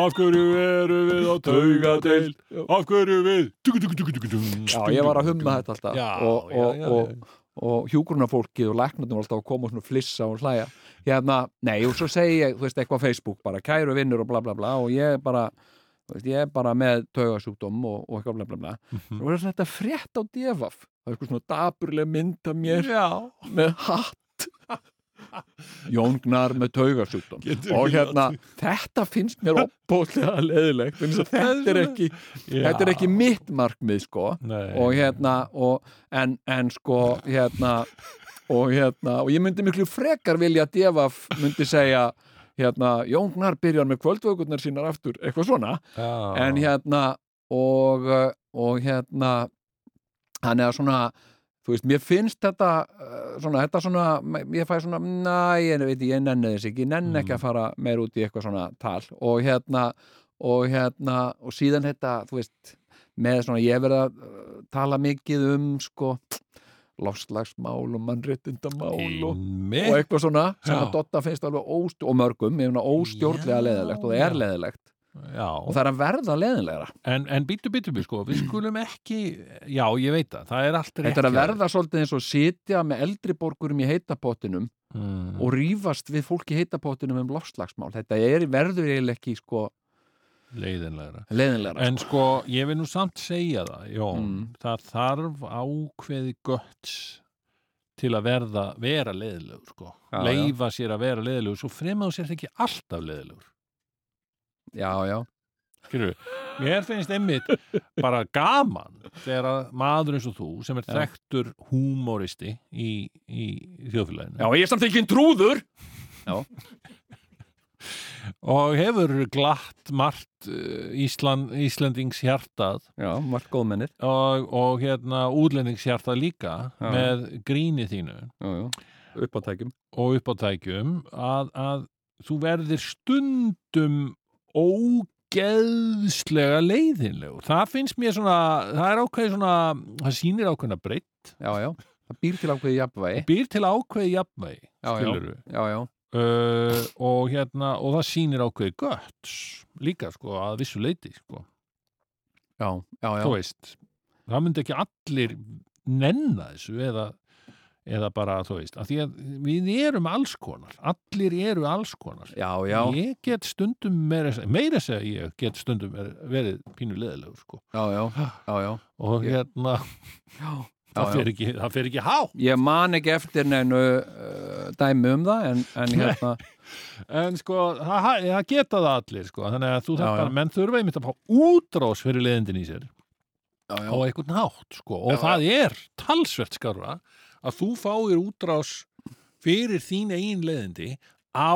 Af hverju eru við á taugadeild? Af hverju við?
já, ég var að humma þetta alltaf
Já,
og,
já,
og,
já,
og, og hjúgrunafólkið og læknarnir voru alltaf að koma og svona flissa og hlæja hérna, nei, og svo segi ég, þú veist, eitthvað á Facebook bara, kæru vinnur og bla bla bla og ég er bara, þú veist, ég er bara með taugasjúkdóm og, og eitthvað bla bla bla
Mhm.
og það er þetta frétt á devaf það er eitthvað svona daburlega mynd af mér
Já,
með hatt Jóngnar með taugasjúkdóm
Getur
og
ekki
hérna, þetta finnst mér opbóðlega leðilegt
*laughs*
vegna þess að þetta er ekki,
já.
þetta er ekki mitt markmið sko
Nei.
og hérna og, en, en sko hérna og hérna, og ég myndi miklu frekar vilja að Devaf myndi segja hérna, Jóngnar byrjar með kvöldvögurnar sínar aftur, eitthvað svona
Já.
en hérna og, uh, og hérna hann er svona þú veist, mér finnst þetta uh, svona, þetta svona, m- ég fæ svona næ, ég veit, ég nenni þess ekki, ég nenni
Mm.
ekki að fara meir út í eitthvað svona tal og hérna, og hérna og síðan þetta, þú veist með svona, ég hef verið að uh, tala mikið um, sko lofslagsmál og mannréttindamál og, og
Einmitt.
eitthvað svona sem
Já.
að Dotta finnst alveg óstjórn og mörgum, ég finna óstjórnlega
Já,
leðilegt og það er
já.
leðilegt
Já.
og það er að verða leðilegra
En, en býtu, býtu, býtu, sko, við skulum ekki, já, ég veit það, það er allt rétt.
Þetta er að
hjá
verða svolítið eins og sitja með eldri borgurum í heitapottinum
þér. Mm.
og rífast við fólk í heitapottinum um lofslagsmál. Þetta er, verður eiginlega ekki sko
leiðinlegra.
leðinlega.
En sko, ég vil nú samt segja það, Jón,
Mm.
það þarf ákveði gött til að verða, vera leiðilegur, sko.
Já,
Leifa sér að vera leiðilegur, svo fremur þú sér ekki alltaf leiðilegur.
Já, já.
Skilur við? Mér finnst einmitt bara gaman þegar að maður eins og þú, sem er
Já.
þekktur húmóristi í, í þjóðfélaginu.
Já, ég er samt ekki trúður.
og hefur glatt margt uh, Ísland, Íslendings hjartað
Já, margt góðmennir.
og, og hérna útlendings hjartað líka
Já.
með gríni þínu
Já, já. Uppátækjum.
og uppátækjum að, að þú verðir stundum ógeðslega leiðinlegur. Það finnst mér svona, það er ákveð svona, það sýnir ákveðna breytt,
Já, já. Það býr til ákveði jafnvægi.
býr til ákveði jafnvægi,
Já, já.
skilur við.
Já, já.
Uh, og hérna, og það sýnir ákveði gött líka, sko, að vissu leiti, sko.
Já, já, já.
þú veist, það myndi ekki allir nenna þessu eða, eða bara, þú veist, að því að við erum alls konar, allir eru alls konar.
Já, já.
Ég get stundum meira, meira segja ég get stundum verið, verið pínu leðilegur, sko.
Já, já. Já, já.
Og
Ég-
hérna, það
Já, já.
fer ekki, það fer ekki hátt.
Ég man ekki eftir neinu uh, dæmi um það, en, en hérna,
En sko, það, það geta það allir, sko. Þannig að þú
Já,
þarf
já.
bara, menn þurfa einmitt að fá útrás fyrir leðindin í sér.
já, já.
á einhvern hátt sko. og
Já,
það er talsvert skarra að þú fáir útrás fyrir þín eigin leiðindi á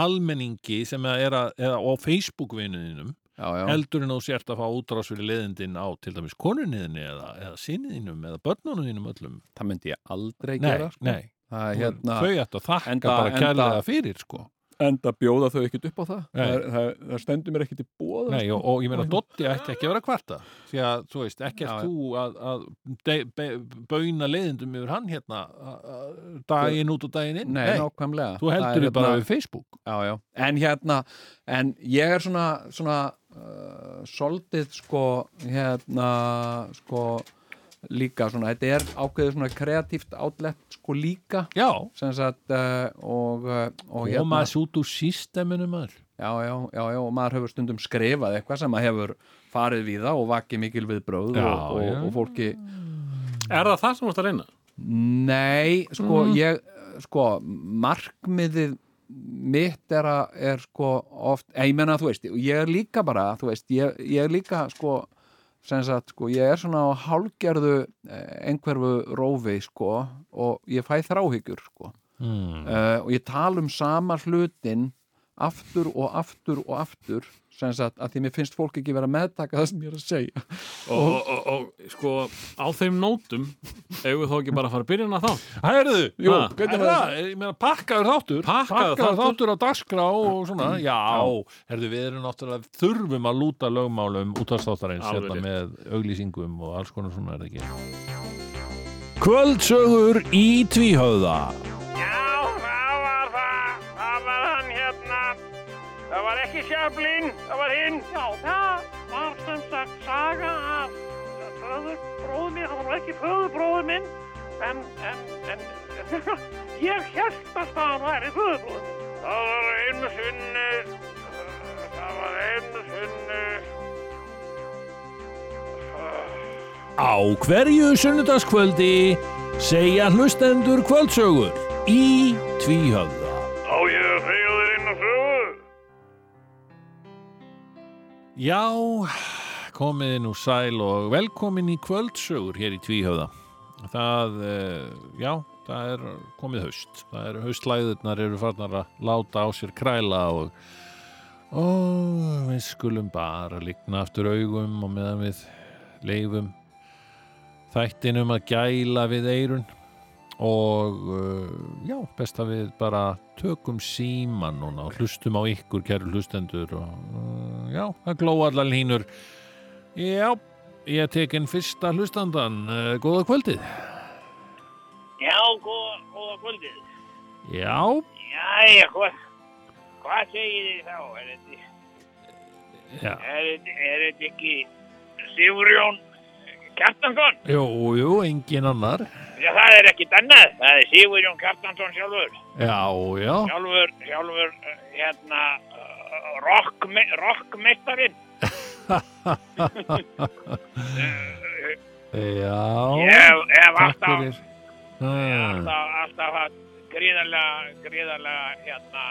almenningi sem að er að, eða á Facebook-vinuðinum
já, já.
heldur en þú sért að fá útrás fyrir leiðindin á til dæmis konunniðinni eða, eða sinniðinum eða börnunniðinum öllum
Það myndi ég aldrei
Nei,
gera. sko.
nei,
Það er
hérna,
hérna.
þau ættu að þakka
Enda-
bara
enda-
kærlega fyrir sko.
enda bjóða þau ekkert upp á það
Nei.
það, er- það, það stendur mér ekkert í bóð
Nei, og, og ég meina Dotti ætti ekki að vera að kvarta því að, þú veist,
Já,
ekkert
já.
þú að, að de, be, bauna leiðindum yfir hann hérna a- a- daginn út og daginn inn
Nei, nákvæmlega
þú
Það er hérna-
heldur þið bara við Facebook
já, já. en hérna, en ég er svona svona uh, soldið sko hérna sko líka svona, þetta er ákveðið svona kreatíft átlegt sko líka
Já,
sem sagt uh, og, uh, og
og maður sút úr sísteminu maður
já, já, já, já, og maður hefur stundum skrifað eitthvað sem maður hefur farið við það og vakið mikil við bröð
Já,
og, og,
já.
og fólki
Er það það sem þú ert að reyna?
Nei, sko ég, sko, markmiðið mitt er að, er sko oft, eh, ég menna, þú veist, ég er líka bara, þú veist, ég, ég er líka, sko, sem sagt, sko, ég er svona á hálgerðu einhverfu rófi, sko, og ég fæ þráhyggjur, sko,
mm.
uh, og ég tala um sama hlutin aftur og aftur og aftur, sem sagt, að því mér finnst fólk ekki vera að meðtaka það sem ég er að segja.
Og, og, og, og sko, á þeim nótum eigum við þó ekki bara að fara að byrja hana þá
Herðu, jú,
Ha,
hvernig er það? Ég meina, pakkaður þáttur
Pakkaður
þáttur á dagskrá og svona Já, herðu, við erum náttúrulega þurfum að lúta lögmálum útastáttarins
Alveg
hérna
rétt.
með auglýsingum og alls konar svona er það ekki Kvöldsögur í tvíhöða
Já, það var það. Það var hann hérna. Það var ekki Sjöflin, það var hinn. Já, það var sem sagt saga af föðurbróðu minn. Það var nú ekki föðurbróðu minn, en, en, en, *laughs* ég held að það væri föðurbróðu minn. Það var einu sinni, það var einu sinni.
Á hverju sunnudagskvöldi segja hlustendur kvöldsögur í tvíhöða
Á ég að segja þér inn á sögu?
Já, komiði nú sæl og velkomin í kvöldsögur hér í Tvíhöfða. Það, eh, já, það er komið haust. Það eru haustlæðurnar eru farnar að láta á sér kræla og ó, við skulum bara líkna aftur augum og meðan við leifum þættinum að gæla við eirun og uh, já, best að við bara tökum síman núna og hlustum á ykkur kæru hlustendur og uh, já, það glóa allar línur Já, ég tek inn fyrsta hlustandan uh, Góða kvöldið
Já, góða, góða kvöldið.
Já,
Jæja, hvað, hvað segir þið þá? Er þetta,
já,
er þetta, er þetta ekki Sigurjón Kjartansson?
jú, jú, engin annar
Já, það er ekkit annað. Það er Sigurjón Kjartansson sjálfur.
Já, já,
Sjálfur, sjálfur, eh, hérna, eh, rockme, rockmeistarin.
já
Ég hef
Takk
alltaf,
fyrir Hmm,
alltaf, alltaf haft gríðarlega, gríðarlega, hérna,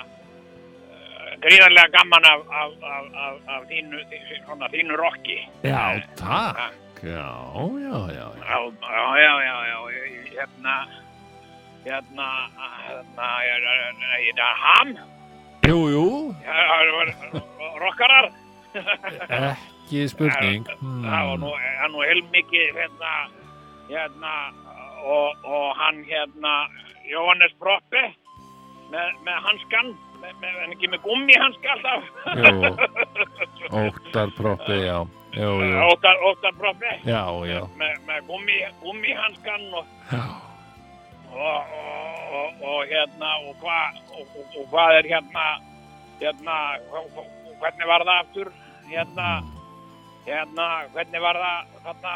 eh, gríðarlega gaman af, af, af, af, af þínu, þínu- svona þínu rocki.
Já, takk Já, já, já, já
Já, já, já, já, já, ég- hérna, hérna, hérna, hérna, hérna, hérna, ham,
Jú, jú,
rockarar,
ekki spurning Hmm.
það var nú, hann nú heilmikið, hérna, hérna, og, og hann, hérna, Jóhannes Proppi, með, með hanskan, með, með, en ekki með gummi hanska alltaf,
Jú, óttar proppi, já Jú, jú,
óttar, óttar Proppi,
já, já
með, með gummi, gummi hanskan og,
Já,
og, og, og, og hérna og hvað og, og, og hvað er hérna hérna hva- hva- hvernig var það aftur hérna hérna hvernig var það hérna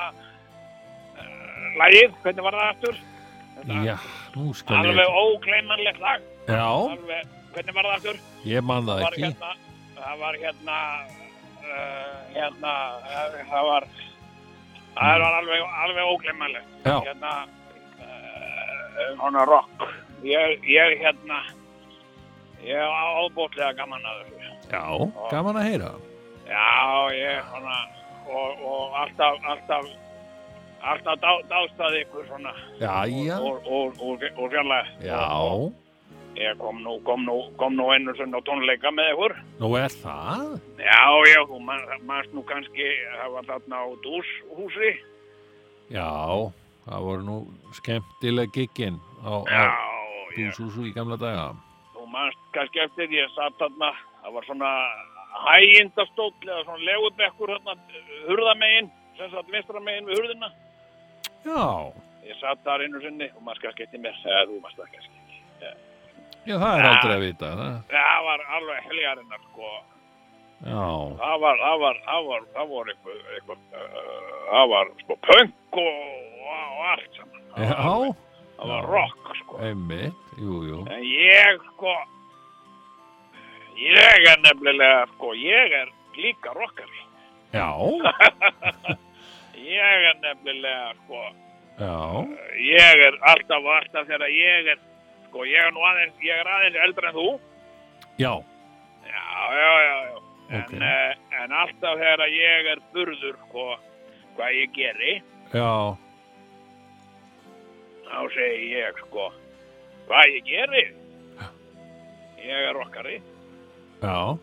uh, lagið hvernig var það aftur Þetta-
já, nú skal
alveg
ég
ógleymanlegt lag
Já,
alveg, hvernig var það aftur
ég man það
það var
ekki
hérna það var hérna uh, hérna uh, það var það var alveg, alveg ógleymanlegt
Já,
hérna uh, svona rock ég, ég hérna ég á ábútlega gaman að þessu
já, gaman að heyra
já ég svona og, og alltaf alltaf alltaf dá, dástað ykkur svona
Já, já,
úr, úr, úr, úr fjarlæð
já
ég kom nú kom nú kom nú einu sinni á tónleika með ykkur
Nú er það
já já þú man- manst nú kannski það var þarna á dúshúsi
Já, það voru nú skemmtileg giggin á,
já
á
ég
Búsúsú í gamla daga
Þú manst kannski eftir, ég satt þarna, það var svona hægindastóll eða svona legubekkur þarna, hurðamegin, sem satt vinstramegin við hurðina.
Já,
Ég satt þar einu sinni, þú manst kannski eftir mér, eða þú manst það kannski. ekki.
já, það er aldrei að vita það.
Það var alveg helgarinnar, sko.
já,
það var, það var, það var, það var eitthvað, eitthvað, uh, það var sko punk og, og allt saman. Það var
já,
alveg- Það var
Já.
rock, sko.
einmitt, jú, jú,
En ég, sko, ég er nefnilega, sko, ég er líka rockari.
já,
Ég er nefnilega, sko,
já,
ég er alltaf og alltaf þegar ég er, sko, ég er nú aðeins, ég er aðeins eldri en þú.
já,
Já, já, já, já. En,
Ok.
eh, en alltaf þegar ég er burður, sko, hvað ég geri,
já,
þá segi ég, sko, hvað ég geri? Ég er rockari.
já,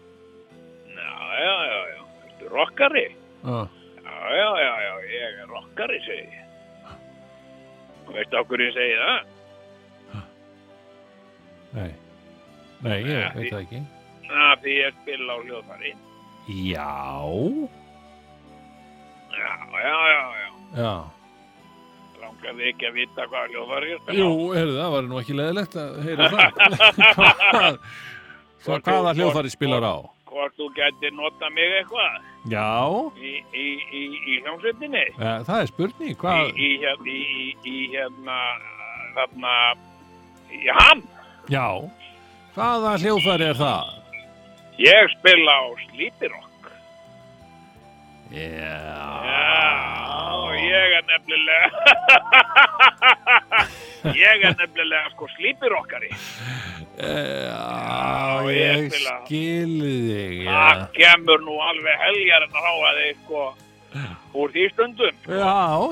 Já, já, já, já, ertu rockari?
já,
Já, já, já, já, ég er rockari, segi ég. Veistu af hverju ég segi það?
nei, nei, ég veit það ekki,
Na, því ég spila á hljóðfari.
já,
Já, já, já, já.
já,
Langaði ekki að vita hvað hljóðfari ég spila
jú,
á.
heyrðu, það var nú ekki leðilegt að heyra
*laughs*
það, svo hvaða hljóðfari spilar á,
Hvort þú gæti nota mig eitthvað
já,
í, í, í, í hljómsveitinni?
eh, það er spurning,
í,
hvað,
í, hér- í, í, í hérna þarna í ham
já, hvaða hljóðfari er það,
ég spila á Slítirokk
já,
já, ég er
*laughs*
nefnilega ég er nefnilega sko Slítirokkari
já,
ég
Eh, ég
spila.
skil þig, já,
það kemur nú alveg heljar en að ráða þig sko úr því stundum sko,
já,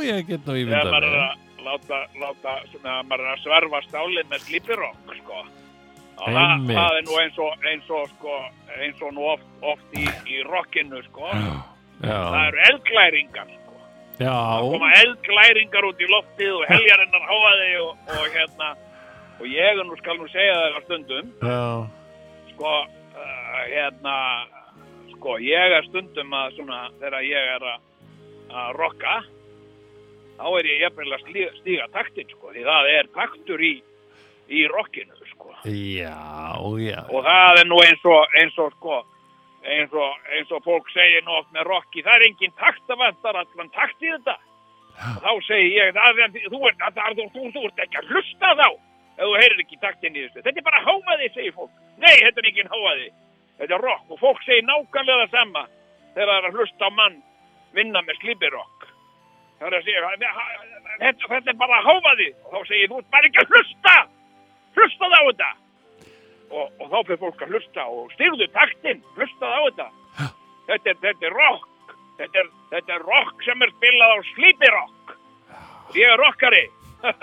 ég get nú
þegar
ímyndað
maður er
mér,
að láta, láta svona, maður er að sverfa stálið með Slítirokk sko Og það,
Einmitt.
það er nú eins og, eins og, sko, eins og nú oft, oft í, í rockinu, sko. Það
já,
eru eldglæringar sko.
já,
Koma eldglæringar út í loftið og heljarinnar háa þig og, og hérna og ég er nú skal nú segja það eitthvað stundum
já,
sko uh, hérna sko ég er stundum að svona þegar ég er að, að rocka þá er ég jafnvel að stíga, stíga taktin sko því það er taktur í í rockinu sko
Já, já,
og það er nú eins og eins og sko eins og, eins og fólk segir nú oft með rocki það er engin taktavantar allan takt í þetta og þá segir ég það er, þú, ert, það er, þú, þú, þú ert ekki að hlusta þá ef þú heyrir ekki taktin í þessu þetta er bara hámaði segir fólk nei þetta er engin hámaði þetta er rock og fólk segir nákvæmlega það sama þegar það er að hlusta á mann vinna með slibirokk það er að segja þetta, þetta er bara hámaði og þá segir þú ert bara ekki að hlusta hlusta þá þetta og, og þá fyrir fólk að hlusta og styrðu taktinn, hlustaði á þetta þetta er, þetta er rock þetta er, þetta er rock sem er spilað á slítirokk ég er
*laughs*
rockari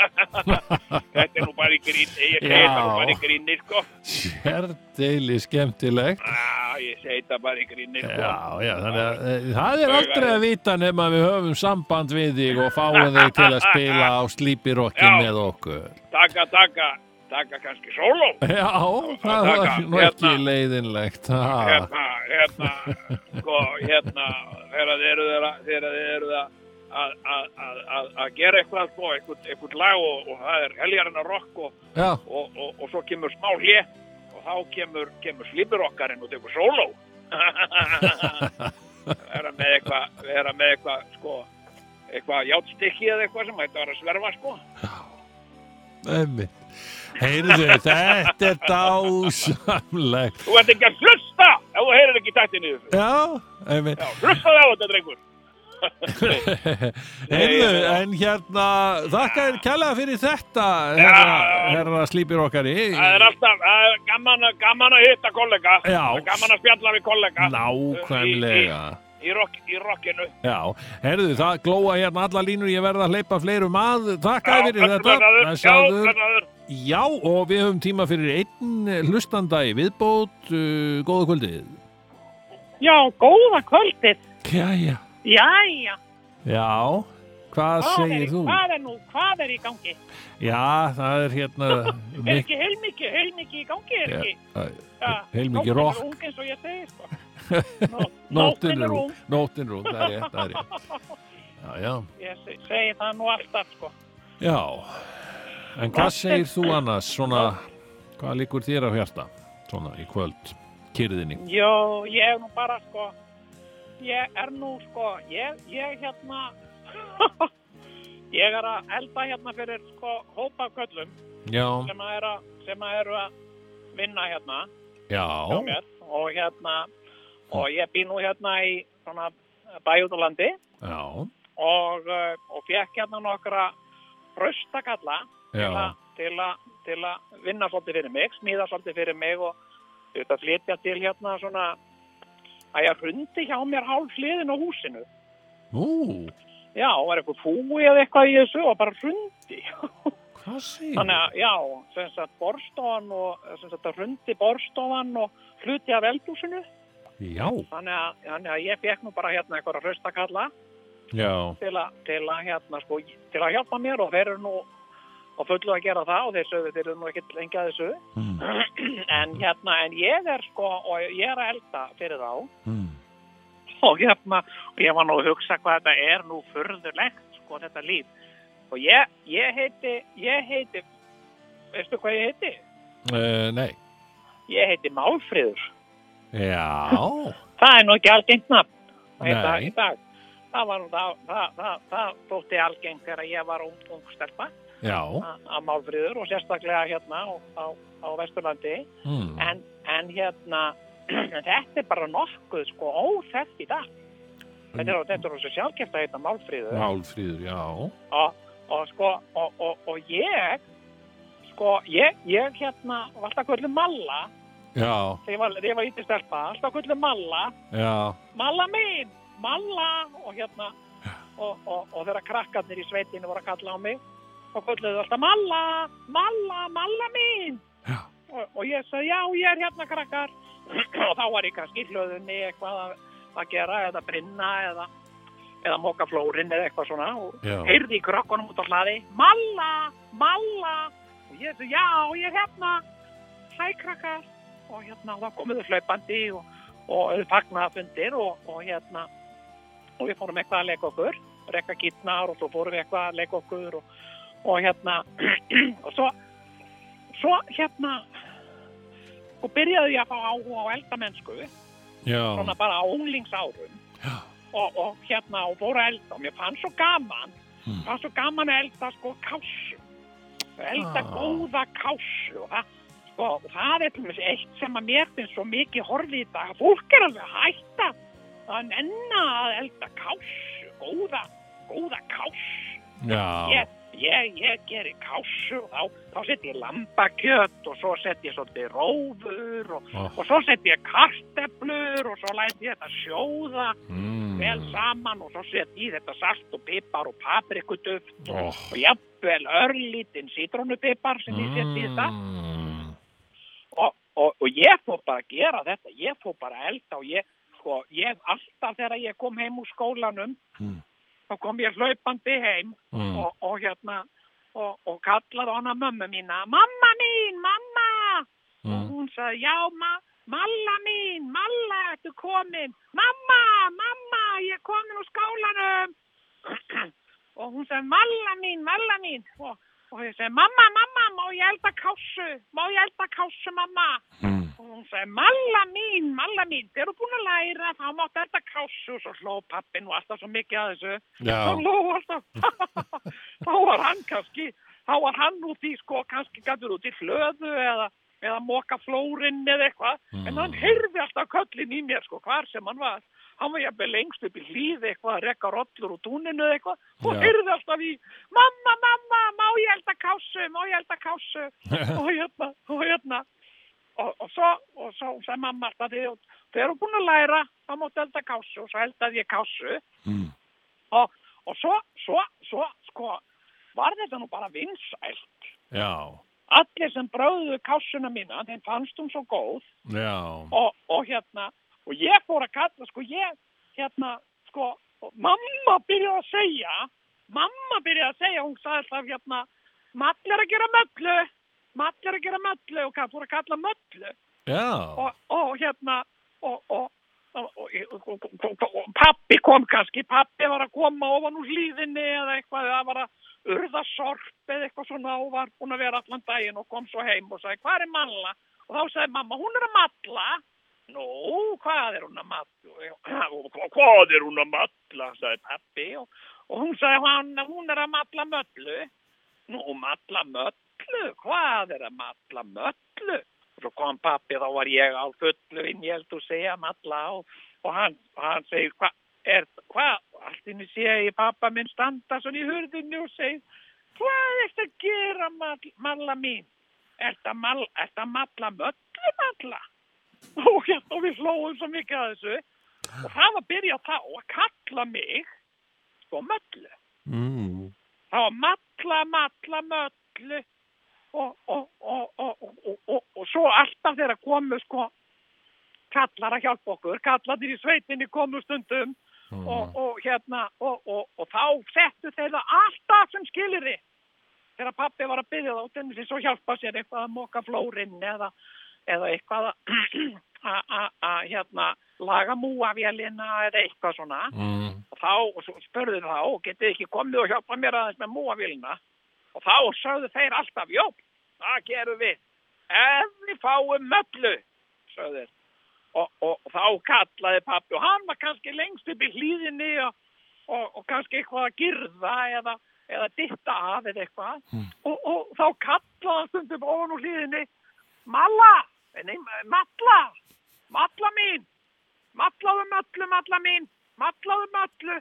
þetta er nú bara í grín ég segi
Já.
þetta nú bara í gríni sko
sérdeili skemmtilegt
ah, ég segi þetta bara í gríni sko
Já, já, þannig að eh, það er aldrei að vita nema við höfum samband við þig og fáum þig til að spila á slípirokkin
Já.
með okkur
taka, taka, taka kannski sóló
Já, það
taka,
var nú ekki
hérna.
leiðinlegt ha.
hérna, hérna sko, hérna þegar þið eru þeirra þegar þið eru það að, að, að, að, að gera eitthvað sko, eitthvað, eitthvað lag og, og það er heljarinn að rock og
Já,
og, og, og svo kemur smá hlje og þá kemur, kemur slípirokkarinn og tekur sóló vera með eitthvað vera með eitthvað sko eitthvað játstykki eða eitthvað sem hætti að vera að sverfa sko
emmi Heyrðu, þetta er dásamlegt
þú ert ekki að hlusta ef þú heyrir ekki tættin í þessu
Já, emmi
Já, hlusta þá þetta drengur
Heyrðu, en hérna þakka þér kærlega fyrir þetta herra,
Já.
herra slípir okkar í
það er alltaf það er gaman, að- gaman að hitta kollega
Já.
Það er gaman að spjalla við kollega
Nákvæmlega
í, rock, í rockinu
Já, herðu, það glóa hérna alla línur ég verða að hleypa fleirum að Takk
Já,
að fyrir
blessaður,
þetta
blessaður.
Blessaður.
Já, blessaður.
Já, og við höfum tíma fyrir einn eh, hlustanda í viðbót uh, Góða kvöldið
Já, góða kvöldið.
Jæja
Jæja.
Já,
Hvað er,
hvað segir
í-
þú?
hvað er nú, hvað er í gangi?
Já, það er hérna
Er ekki heilmikið, heilmikið í gangi, er
Já,
ekki?
æ,
Ja,
heilmikið
nóttin er
rock.
ung eins og ég segi,
*laughs*
sko. Nó-
Nóttin
er
rú
ung.
Nóttin rú, það er rétt, það er rétt Já, já
Ég se- segi það nú alltaf, sko.
Já, en hvað segir þú annars svona, hvað líkur þér á hjarta svona í kvöld? kyrðinni
Jó, ég er nú bara sko Ég er nú sko Ég, ég hérna *laughs* Ég er að elda hérna fyrir sko hópa af köllum
Já,
sem að, er að, sem að eru að vinna hérna hjá
já,
mér og hérna og ég bý nú hérna í svona bæ út á landi
já,
og, uh, og fekk hérna nokkra hraustakalla til
já,
að- til að- til að vinna svolítið fyrir mig, smíða svolítið fyrir mig og þetta flytja til hérna svona að ég hrundi hjá mér hálf hliðin á húsinu.
nú,
Já, var eitthvað fúi eða eitthvað í þessu og bara hrundi.
hvað segir
Þannig að, já, sem sagt, borstofan og, sem sagt, að hrundi borstofan og hluti af eldúsinu.
Já,
Þannig að, þannig að ég fekk nú bara hérna eitthvað hraustakalla
já,
til að, til að hérna, sko, til að hjálpa mér og þeir eru nú og fullu að gera það og þeir sögðu þeir eru nú ekkert lengi að þessu.
mm,
en hérna, en ég er sko og ég er að elda fyrir þá
mm,
og hérna, og ég var nú að hugsa hvað þetta er nú furðulegt sko þetta líf og ég, ég heiti, ég heiti veistu hvað ég heiti?
uh, nei,
Ég heiti Málfríður
já,
það er nú ekki algengt nafn að heita
Nei.
það í dag það var nú það, það, það, það þótti algengt þegar ég var ung, ung stelpa
já,
að að Málfríður og sérstaklega hérna á, á, á Vesturlandi
mm,
en, en hérna *clears throat* en þetta er bara nokkuð sko óþekkt í dag þetta er, þetta er svo sjálfgeft að heita málfríður
Málfríður, já,
og, og sko og, og, og ég sko ég, ég hérna var alltaf kvöldu malla
já,
þegar ég var, þegar ég var ítið stelpa alltaf kvöldu malla,
já,
malla mín malla og hérna og, og, og þegar krakkarnir í sveitinu voru að kalla á mig þá kvölduðu alltaf malla, malla, malla mín
já,
og, og ég sagði já, ég er hérna krakkar *clears throat* og þá var ég kannski í hlöðunni eitthvað að, að gera eða brinna eða, eða móka flórin eða eitthvað svona og
já,
heyrði í krökkunum út á hlaði Malla, Malla og ég sagði já, ég er hérna hæ krakkar og hérna og þá komuðu hlaupandi og, og auðvitað fagnafundir og, og hérna og við fórum eitthvað að leika okkur rekka gittnar og svo fórum við eitthvað að leika okkur og, og hérna *clears throat* og svo svo hérna og byrjaði ég að fá áhuga á eldamennsku
já,
svona bara á unglingsárum
Já.
og, og hérna og fór að elda og mér fann svo gaman
Mm.
fann svo gaman að elda sko kásu elda
Ah.
góða kásu og það sko, og það er til dæmis eitt sem að mér finnst svo mikið horfið í dag fólk er alveg að hætta að nenna að elda kásu góða, góða kásu
já,
ég, ég, ég geri kásu og þá, þá setjum ég lambakjöt og svo setjum ég svolítið rófur og,
Ó.
og svo setjum ég karteblur og svo læt ég þetta sjóða
mm,
vel saman og svo setjum ég í þetta salt og pipar og paprikuduft
Ó.
og, og jafnvel örlítinn sítrónupipar sem ég setjum í þetta
Mm,
og, og, og ég fór bara að gera þetta, ég fór bara að elda og ég, sko, ég alltaf þegar ég kom heim úr skólanum,
Mm.
þá kom ég hlaupandi heim
Mm.
og, og hérna, og, og kallaði hana mömmu mína, mamma mín, mamma, og
mm,
hún sagði, já, ma, malla mín, malla, ertu komin, mamma, mamma, ég er komin úr skólanum, *clears throat* og hún sagði, malla mín, malla mín, og, og ég segi, mamma, mamma, má ég elda kásu, má ég elda kásu, mamma,
mm,
og hún sagði, Malla mín, Malla mín, þið eru búin að læra, þá máttu þetta kásu og svo hló pappin og alltaf svo mikið að þessu.
Já.
Þá hló alltaf, *laughs* þá var hann kannski, þá var hann út í sko, kannski gætur út í hlöðu eða, eða moka flórin eða eitthvað. En
Mm.
hann heyrði alltaf köllin í mér sko, hvar sem hann var. Hann var jafnvel lengst upp í hlíð eitthvað, að rekka rollur úr túninu eða eitthvað. Og
Já.
heyrði alltaf í, mamma, mamma, má ég elda kásu, má ég elda kásu.
*laughs*
og hérna, og hérna og, og svo, og svo sagði mamma alltaf þið, þið eru búin að læra þá máttu elda kásu og svo eldaði ég kásu
Mm.
og, og svo, svo, svo sko, var þetta nú bara vinsælt
já,
allir sem bröðuðu kásuna mína þeim fannst hún svo góð
já,
og, og hérna, og ég fór að kalla sko, ég, hérna sko, og mamma byrjaði að segja mamma byrjaði að segja hún sagði alltaf hérna, mallar að gera möllu mallar að gera möllu og hvað fór að kalla möllu
já,
og, og hérna og, og, og, og, og, og, og, og pappi kom kannski, pappi var að koma ofan úr hlýðinni eða eitthvað eða var að urða sorp eða eitthvað svona og var búin að vera allan daginn og kom svo heim og sagði hvað er malla og þá sagði mamma hún er að malla Nú, hvað er hún að matla? Hvað er hún að matla, sagði pappi og, og hún sagði hann, hún er að matla möllu. Nú, matla möllu, hvað er að matla möllu? Svo kom pappi, þá var ég á fullu inn, ég held þú segja, matla og, og hann, og hann segir, hvað er, hvað? Allt inni sé ég pappa minn standa svona í hurðinni og segir, hvað er þetta að gera, mal, malla mín? Er þetta mal, er þetta matla möllu, matla? *laughs* og hérna og við hlóðum svo mikið að þessu og það var að byrja þá að kalla mig sko möllu
Mm.
það var matla, matla, möllu og, og, og, og, og, og, og, og svo alltaf þeirra komu sko kallar að hjálpa okkur, kallarnir í sveitinni komu stundum og, og hérna og, og, og þá settu þeirra alltaf sem skilirri þegar pappi var að byrja þá til þess að hjálpa sér eitthvað að moka flórinn eða, eða eitthvað að- *clears throat* að að- að, hérna laga múavélina eða eitthvað svona
Mm.
og þá og svo spurðu þá "Ó, getið þið ekki komið og hjálpa mér aðeins með múavélina og þá sögðu þeir alltaf jó, það gerum við ef við fáum möllu sögðu þeir og, og, og þá kallaði pappi og hann var kannski lengst upp í hlýðinni og, og, og kannski eitthvað að girða eða, eða ditta af eða eitthvað og, og þá kallaði hann stundum ofan úr hlýðinni Malla, nei, Malla Malla mín matlaðu möllu, malla mín, matlaðu möllu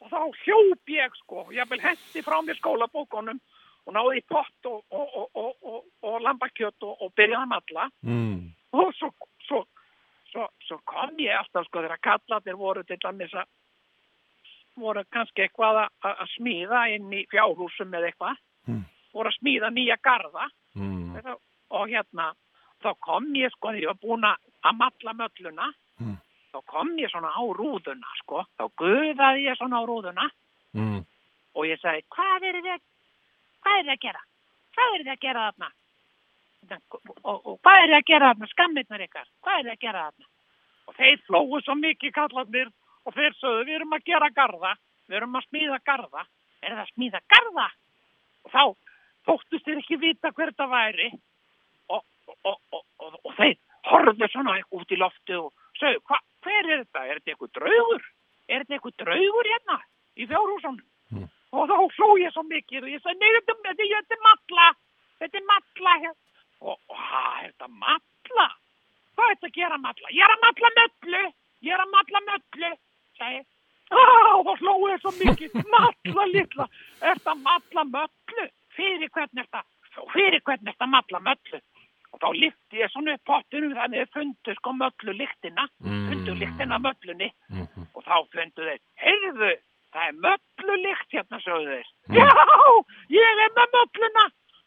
og þá hljóp ég sko, ég vil hendi frá mér skólabókunum og náði í pott og, og, og, og, og, og lambakjött og, og byrjaði að matla
Mm.
og svo, svo, svo, svo kom ég alltaf sko þegar kallarnir voru til dæmis að voru kannski eitthvað að- að að smíða inn í fjárhúsum eða eitthvað voru að smíða nýja garða
Mm.
Þetta- og hérna þá kom ég sko þegar ég var búin að að matla mölluna
Mm.
þá kom ég svona á rúðuna sko þá guðaði ég svona á rúðuna
Mm.
og ég sagði hvað eru þið hvað eru þið að gera hvað eru þið að gera þarna Hérna, og, og, og hvað eru þið að gera þarna skammirnar ykkar hvað eru þið að gera þarna og þeir flóu svo mikið kallarnir og þeir sögðu við erum að gera garða við erum að smíða garða er það að smíða garða og þá þóttust þeir ekki vita hver þetta væri og, og, og, og, og, og þeir horfðu svona út í loftu og sögðu hva, hver er þetta er þetta eitthvað draugur er þetta eitthvað draugur hérna í fjárhúsunum og þá hló ég svo mikið og ég sagði, nei, þetta, þetta, þetta er matla, þetta er matla hér. Og, og hvað er þetta matla? Hvað er þetta að gera matla? Ég er að matla möllu, ég er að matla möllu, sagði ég. Á, þá hló ég svo mikið, matla litla, er þetta matla möllu? Fyrir hvern er þetta, fyrir hvern er þetta matla möllu? Og þá lyfti ég svona upp pottinum þannig að þau fundu sko möllu lyktina, fundu lyktina af möllunni og þá fundu þeir, heyrðu, það er möllulykt hérna, sögðu þeir.
Mm.
Já, ég er með mölluna.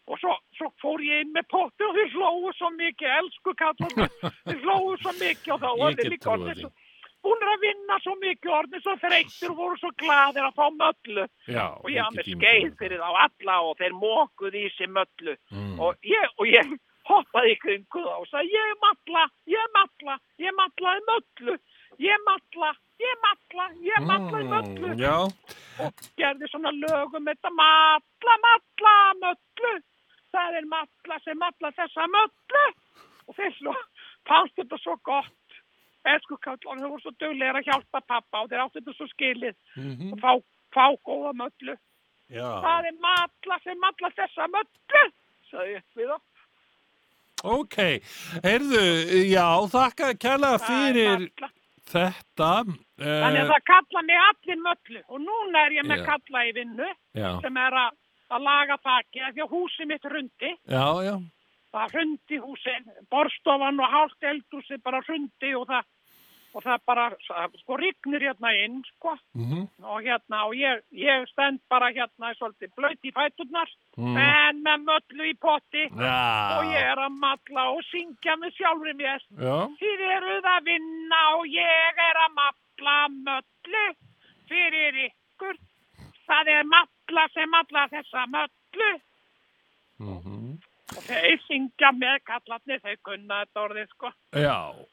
Og svo, svo fór ég inn með potti og þeir hlóðu svo mikið, elsku kallarnir, þeir hlóðu svo mikið og þá
Ég
var
get
þeir líka
trúað
orðið
því.
svo, búnir að vinna svo mikið orðið svo þreytir og voru svo gladir að fá möllu
Já,
og ég hafði með
get
skeið
ímyndað mér
fyrir þá alla og þeir mókuð í sig möllu
Mm.
og, ég, og ég hoppaði í kringu þá og sagði ég matla, ég matla, ég matlaði möllu, ég matla, ég matla, ég matlaði möllu
Mm, Já,
og gerði svona lögum þetta matla, matla, möllu það er matla sem matla þessa möllu og þeir svo fannst þetta svo gott Esku kallar, þau voru svo duglegir að hjálpa pappa og þeir áttu þetta svo skilið og fá, fá góða möllu
Mhm. já.
það er matla sem matla þessa möllu sagði ég við þá
Ok, heyrðu, já, þakka kærlega
Það er
fyrir
matla.
þetta.
þannig
Uh,
að það kalla mig allir möllu og núna er ég með
Já.
kalla í vinnu
já,
sem er að, að laga þakki af því að húsið mitt hrundi
já, já.
það hrundi húsin, borstofan og hálft eldhúsið bara hrundi og það, og það bara það, sko rignir hérna inn sko
Mhm.
og hérna og ég, ég stend bara hérna svolítið blöyt í fæturnar en með möllu í potti og ég
Mhm. Já,
er að matla og syngja með sjálfri mér
já,
Þið eruð að vinna og ég er að matla möllu fyrir ykkur. Það er matla sem matla þessa möllu.
Mhm.
Og þeir syngja með kallarnir, þeir kunna þetta orðið sko.
já.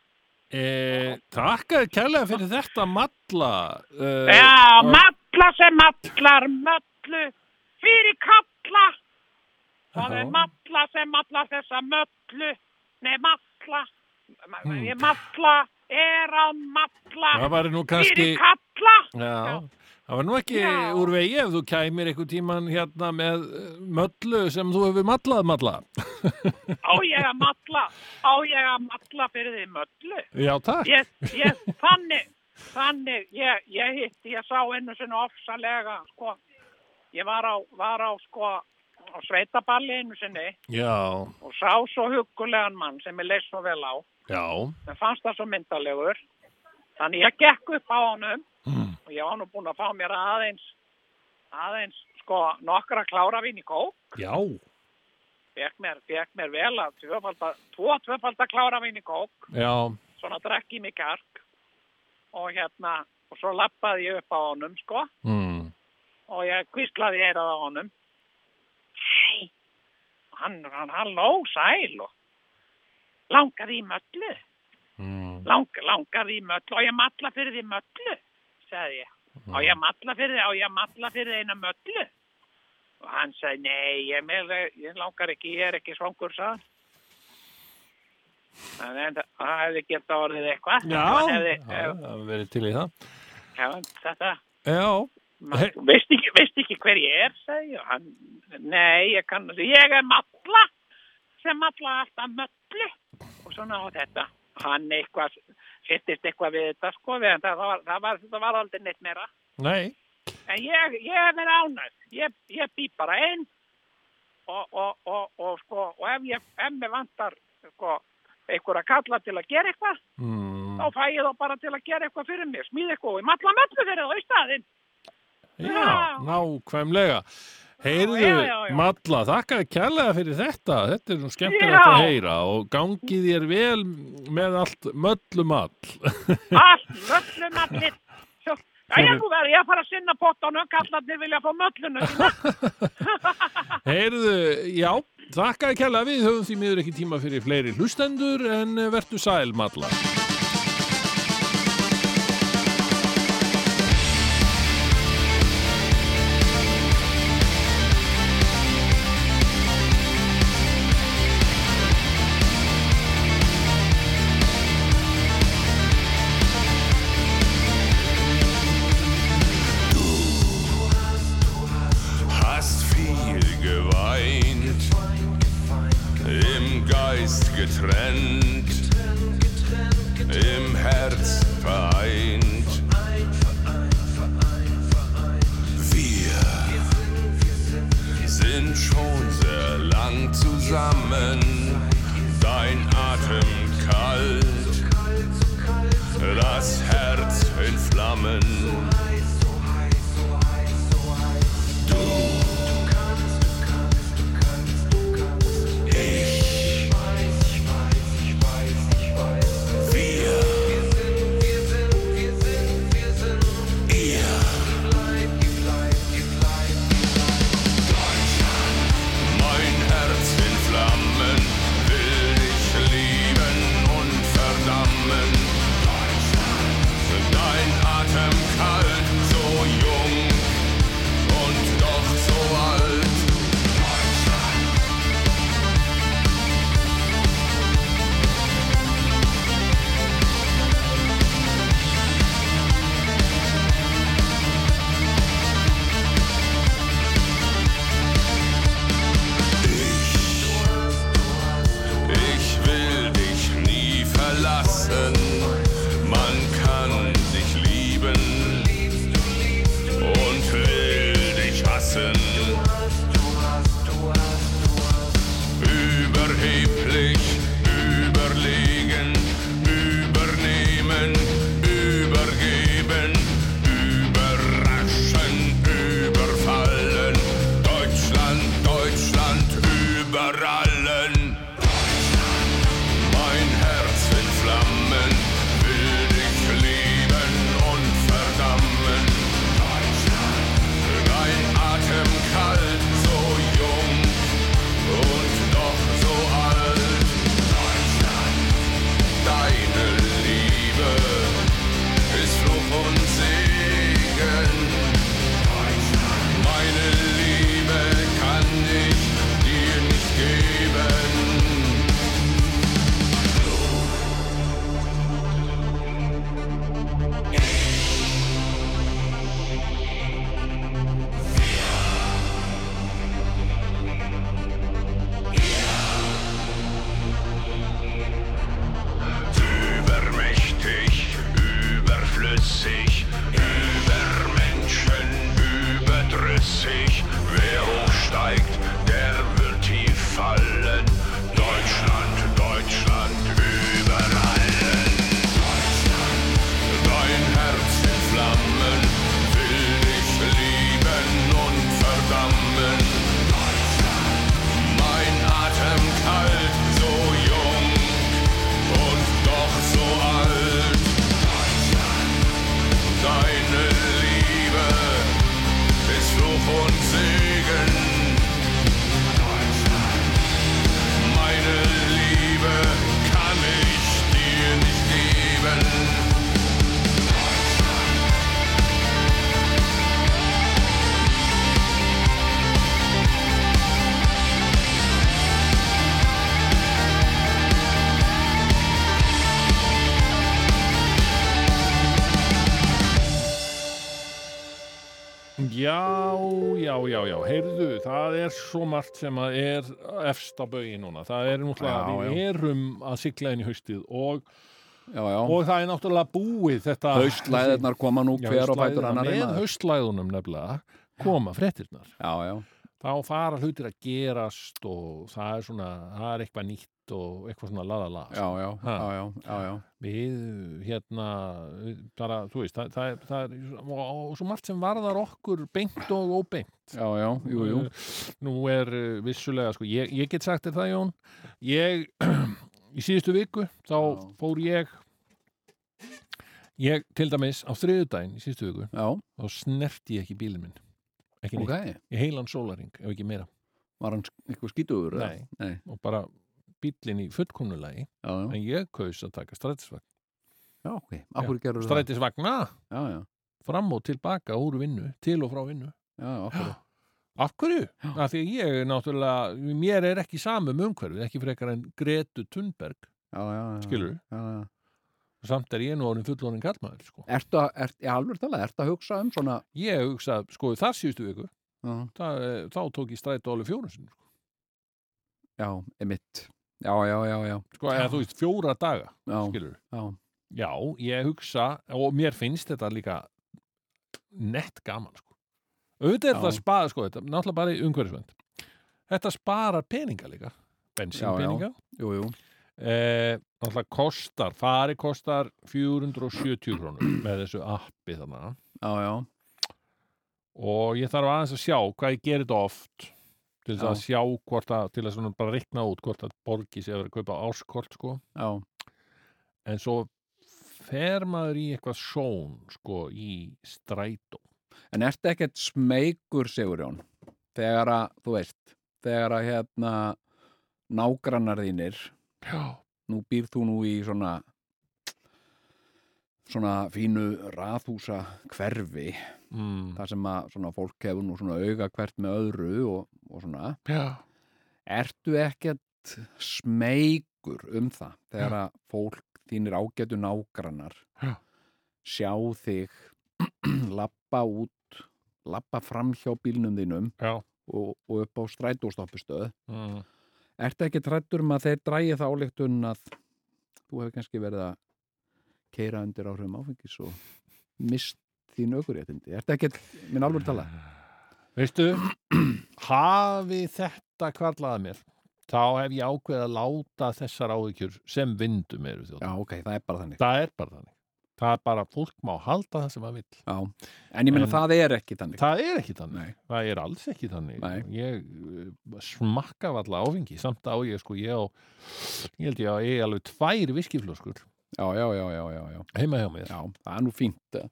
Eh, Takka kærlega fyrir þetta matla. Uh,
Já, matla sem matlar möllu fyrir kalla. Það er matla sem matla þessa möllu. Nei, matla. ma- ég mafla, er að mafla
Hmm. Það væri nú
fyrir
kannski...
kalla
Já, það var nú ekki
Já.
úr vegi ef þú kæmir einhver tíman hérna með eh, möllu sem þú hefur mallað malla.
á ég að mafla á ég að mafla fyrir þið möllu
Já, takk.
ég, ég, þannig, þannig, ég, ég hitti, ég sá einu sinni ofsalega, sko, ég var á, var á, sko, á sveitaballi einu sinni
Já,
og sá svo hugulegan mann sem ég leist svo vel á,
já,
en fannst það svo myndalegur, þannig ég gekk upp á honum
Mm.
og ég var nú búin að fá mér aðeins, aðeins, sko, nokkra klára vín í kók,
já,
fekk mér, fekk mér vel að tvöfalda, tvo tvöfalda klára vín í kók,
já,
svona drakk í mig kark og hérna og svo lappaði ég upp á honum sko
mm.
og ég kvíslaði eirað á honum Hæ hann, hann, halló, sæl og langaði í möllu
Mm.
Lang, langaði í möllu og ég matla fyrir því möllu sagði ég og ég matla fyrir því og ég matla fyrir því eina möllu og hann sagði nei, ég, mér, ég langar ekki, ég er ekki svangur sagði hann en það það hefði geta orðið eitthvað
Já,
Hann
já,
hefði,
það hefur verið til í það.
Já, þetta,
Já, Hey.
maður, veist, ekki, veist ekki hver ég er, segi ég, og hann, nei, ég kann, ég er matla, sem matla alltaf möllu, og svona á þetta, hann eitthvað, sittist eitthvað við þetta, sko, við, það, var, það, var, það var aldrei neitt meira,
nei,
en ég, ég er verið ánægð, ég, ég bý bara einn, og, og, og, og, sko, og ef ég, ef mér vantar, sko, einhver að kalla til að gera eitthvað,
mm.
þá fæ ég þá bara til að gera eitthvað fyrir mig, smíð eitthvað og ég matla möllu fyrir þá í staðinn.
já, nákvæmlega.
Já,
Heyrðu,
já, já.
Malla, þakka þér kærlega fyrir þetta. Þetta er nú skemmtilegt
Já.
að heyra og gangi þér vel með allt möllumall.
Allt, möllum
*laughs*
allir. Svo- Jæja, nú verður ég að fara að sinna pottanum, kallarnir vilja fá möllunum sína.
Heyrðu, já, þakka þér kærlega. Við höfum því miður ekki tíma fyrir fleiri hlustendur en eh, vertu sæl, Malla.
hast viel geweint, im Geist getrennt, im Herz vereint. Wir sind schon sehr lang zusammen, dein Atem kalt, das Herz in Flammen. Mein Herz in Flammen will dich lieben und verdammen. Dein Atem kalt, so jung und doch so alt. Ich will dich nie verlassen. Man kann sich lieben und will dich hassen. Überheblich, überlegen, übernehmen, übergeben, überraschen, überfallen. Deutschland, Deutschland, überallen. Mein Herz in Flammen will dich lieben und verdammen. Dein Atem kalt, so jung und doch so alt. Deine Liebe ist Fluch und Segen. Meine Liebe kann ich dir nicht geben.
Já, já, já, já, heyrðu, það er svo margt sem að er efst á bögi núna. Það er nútlega
Já,
að við erum að sigla inn í haustið og,
já, já.
og það er náttúrulega búið þetta...
haustlæðirnar koma nú
Já,
hver og fætur
haustlæðina.
annar
Með haustlæðunum nefnilega koma fréttirnar.
já, já,
Þá fara hlutir að gerast og það er svona, það er eitthvað nýtt og eitthvað svona laðala.
já, já,
Ha.
já, já, já, já.
við hérna við bara, þú veist, það, það, er- það er og, og svo margt sem varðar okkur beint og óbeint
Já, já, jú, jú.
nú er uh, vissulega, sko, ég, ég get sagt þér það Jón ég *clears throat* í síðustu viku, þá
Já.
fór ég ég til dæmis á þriðudaginn í síðustu viku,
Já,
þá snerti ég ekki bílinn minn ekki
ok.
neitt, í heilan sólaring ef ekki meira,
Var hann sk- eitthvað skítuður? eða?
Nei.
Nei.
og bara bílinn í fullkomnulegi,
Já, já,
en ég kaus að taka strætisvagn
já, ok. Akkur gerur það?
strætisvagna
Já, já,
fram og tilbaka úr vinnu, til og frá vinnu.
já,
*gasps*
akkur.
Af hverju? Af því að ég er náttúrulega, mér er ekki samum umhverfið, ekki frekar en Gretu Thunberg,
Já, já, já.
skilur við?
Já, já.
Samt er ég nú orðin fullorinn kallmaður, sko.
Ertu að, ert, í alveg talað, ertu að hugsa um svona,
Ég hugsa, sko, í þar síðustu viku,
já,
það, eh, þá tók ég strætó alveg fjórum sinni, sko.
já, emitt. Já, já, já, já,
sko eða þú veist, fjóra daga,
já,
skilur við?
já,
Já, ég hugsa, og mér finnst þetta líka nett gaman, sko. Auðvitað er
Já.
þetta að spara, sko, þetta, náttúrulega bara í umhverfisvend. Þetta sparar peninga líka, bensínpeninga.
jú, jú.
Eh, náttúrulega kostar, fari kostar 470 krónur með þessu appi þannig
Já, já,
og ég þarf aðeins að sjá hvað ég gerir þetta oft til þess
Já.
að sjá hvort að, til að svona bara reikna út hvort að borgi sig að vera að kaupa áskort sko,
já,
en svo fer maður í eitthvað sjón sko í strætó
En ertu ekkert smeykur, Sigurjón, þegar að, þú veist, þegar að hérna nágrannar þínir,
Já,
nú býr þú nú í svona svona fínu raðhúsa hverfi,
mm.
þar sem að svona fólk hefur nú svona auga hvert með öðru og, og svona,
Já.
ertu ekkert smeykur um það þegar að fólk þínir ágætu nágrannar
Já.
sjá þig *clears throat* lappa út lappa fram hjá bílnum þínum
Já.
og, og upp á strætóstoppustöð
Mm.
ertu ekki trættur um að þeir drægi þá áleiktun að þú hefur kannski verið að keira undir áhrifum áfengis og mist þín aukuréttindi ertu ekki, minn alveg tala
Veistu, hafi þetta kvarlaði mér þá hef ég ákveðið að láta þessar áhyggjur sem vindum eru þjótt
já ok, það er bara þannig
það er bara þannig það er bara að fólk má halda það sem það vill
já. en ég meina
En-
það er ekki þannig
það er ekki þannig,
Nei.
það er alls ekki þannig
Nei.
ég uh, smakka valla áfengi samt á ég sko ég, á, ég held ég að ég alveg tvær viskiflöskur
já, já, já, já, já, já.
heima hjá mér
Já, það er nú fínt, eh,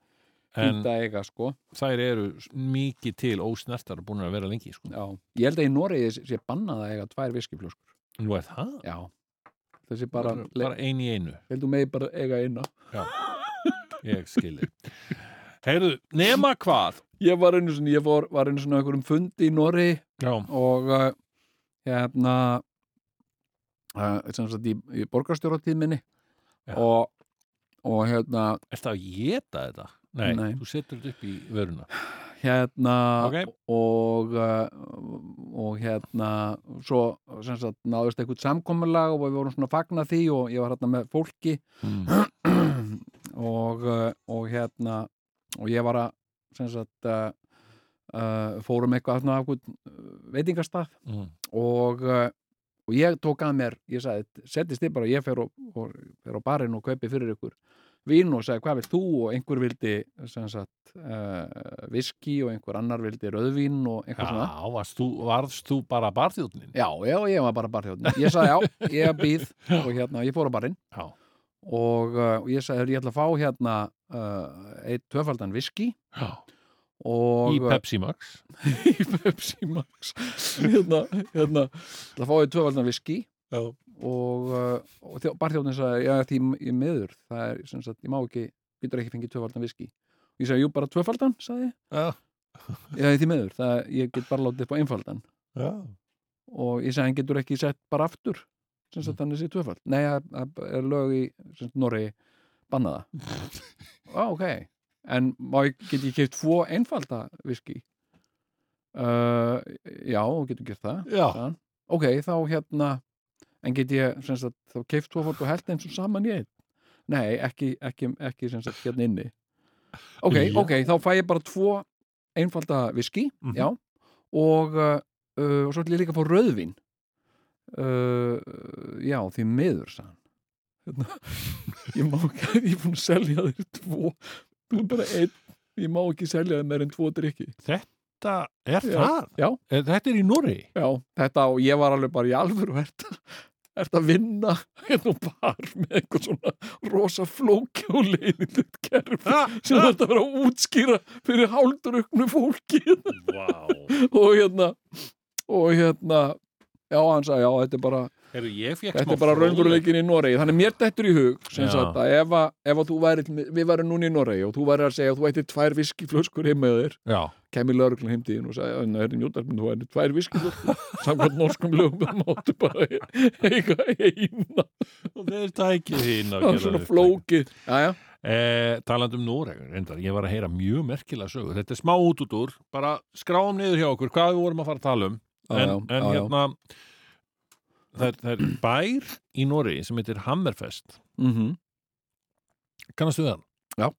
en
fínt að eiga sko
þær eru s- mikið til ósnertar og búin að vera lengi sko.
já. Ég held að í Noregi sé bannað að eiga tvær viskiflöskur
nú er það
Já, þessi bara,
bara,
bara
bara ein í einu
Ég held að megi bara eiga eina
ég skilji *laughs* heyrðu, nema hvað
Ég var einu sinni, ég fór, var einu sinni á einhverjum fundi í Noregi
já,
og uh, hérna uh, sem sagt í, í borgarstjóratíminni
Já.
og, og hérna
er það að geta þetta? Nei,
Nei.
þú setur þetta upp í vöruna
hérna
Ok.
og uh, og hérna svo sem sagt náðist eitthvað samkomulag og við vorum svona að fagna því og ég var hérna með fólki
mm.
*clears throat* og, uh, og hérna og ég var að sem sagt uh, uh, fórum eitthvað þarna á einhvern veitingastaf
Mm.
og, uh, og ég tók að mér ég sagði, settist þið bara og ég fer, og, og, fer á barinn og kaupi fyrir ykkur vín og sagði, hvað vil þú og einhver vildi sem sagt uh, viski og einhver annar vildi rauðvín og
Já,
eitthvað svona
varst þú, varst þú bara barþjóðnin?
Já, já, ég var bara barþjóðn Ég sagði já, ég
*laughs*
býð og hérna, ég fór á barinn
Já.
og, uh, og ég sagði, "Heyrðu, ég ætla að fá hérna uh, eitt tvöfaldan viski
Já.
og uh,
Í Pepsi Max
í Pepsi Max hérna, hérna það fáið tvöfaldna viski
Já.
og, uh, og þjó, barþjóðin sagði, já því ég meður það er sem sagt, ég má ekki, getur ekki fengið tvöfaldna viski og ég sagði, jú bara tvöfaldan, sagði ég.
Já.
já því meður, það ég get bara látið upp á einfaldan
Já.
og ég sagði, hann getur ekki sett bara aftur
Mm.
sem sagt, hann er sér tvöfald nei, það- það er lög í sem sagt, Noregi
*laughs*
bannaða á, ok, en má ég, get ég keitt tvo einfalda viski Uh, já, þú getur gert það
Já,
Já. ok, þá hérna en get ég, sem sagt, þá keift tvo fót og held eins og saman í einn nei, ekki, ekki, ekki sem sagt, hérna inni ok,
Já.
ok, þá fæ ég bara tvo einfalda viski,
Mhm.
já og, uh, uh, og svo ætlum ég líka að fá rauðvin uh, já, því miður sann hérna, ég má ekki ég er búin að selja þér tvo þú er bara einn, ég má ekki selja þér meir en tvo drikki
þetta er
Já.
það
Já.
Er- Eh, Þetta er í Norri
Já, þetta og ég var alveg bara í alvöru ert, ert að vinna hérna og bar með eitthvað svona rosa flóki og leiðinlut kerf sem þetta verið að útskýra fyrir hálfdruknu fólki
Vá
*laughs* og hérna og hérna já, hann sagði, já, þetta er bara
Heru, ég fékk
þetta
smá
er bara
fróðleik.
raunveruleikin í Noregi þannig mér dettur í hug sem
Já.
sagt að ef, að, ef að þú væri, við væri núna í Noregi og þú væri að segja að þú ættir tvær viskiflöskur heim með þér
Já,
kemur lauruglun heim til þín og sagði að hérna Jóndarsmynd, þú erum tvær *laughs* viskiflöskur samkvæmt norskum lögum það máttu bara e- eiga eina
*laughs* og þeir tækið hinn að
það
gera
er svona
þetta.
flókið já, já,
Eh, talandi um Noregur, reyndar, ég var að heyra mjög merkilega sögur, þetta er smá út út úr bara skráum niður hjá okkur, hvað við vorum að fara að tala um
já,
en,
já,
en
já, já.
hérna það er, það er bær í Noregi sem heitir Hammerfest
Mhm.
kannast við hann?
Já.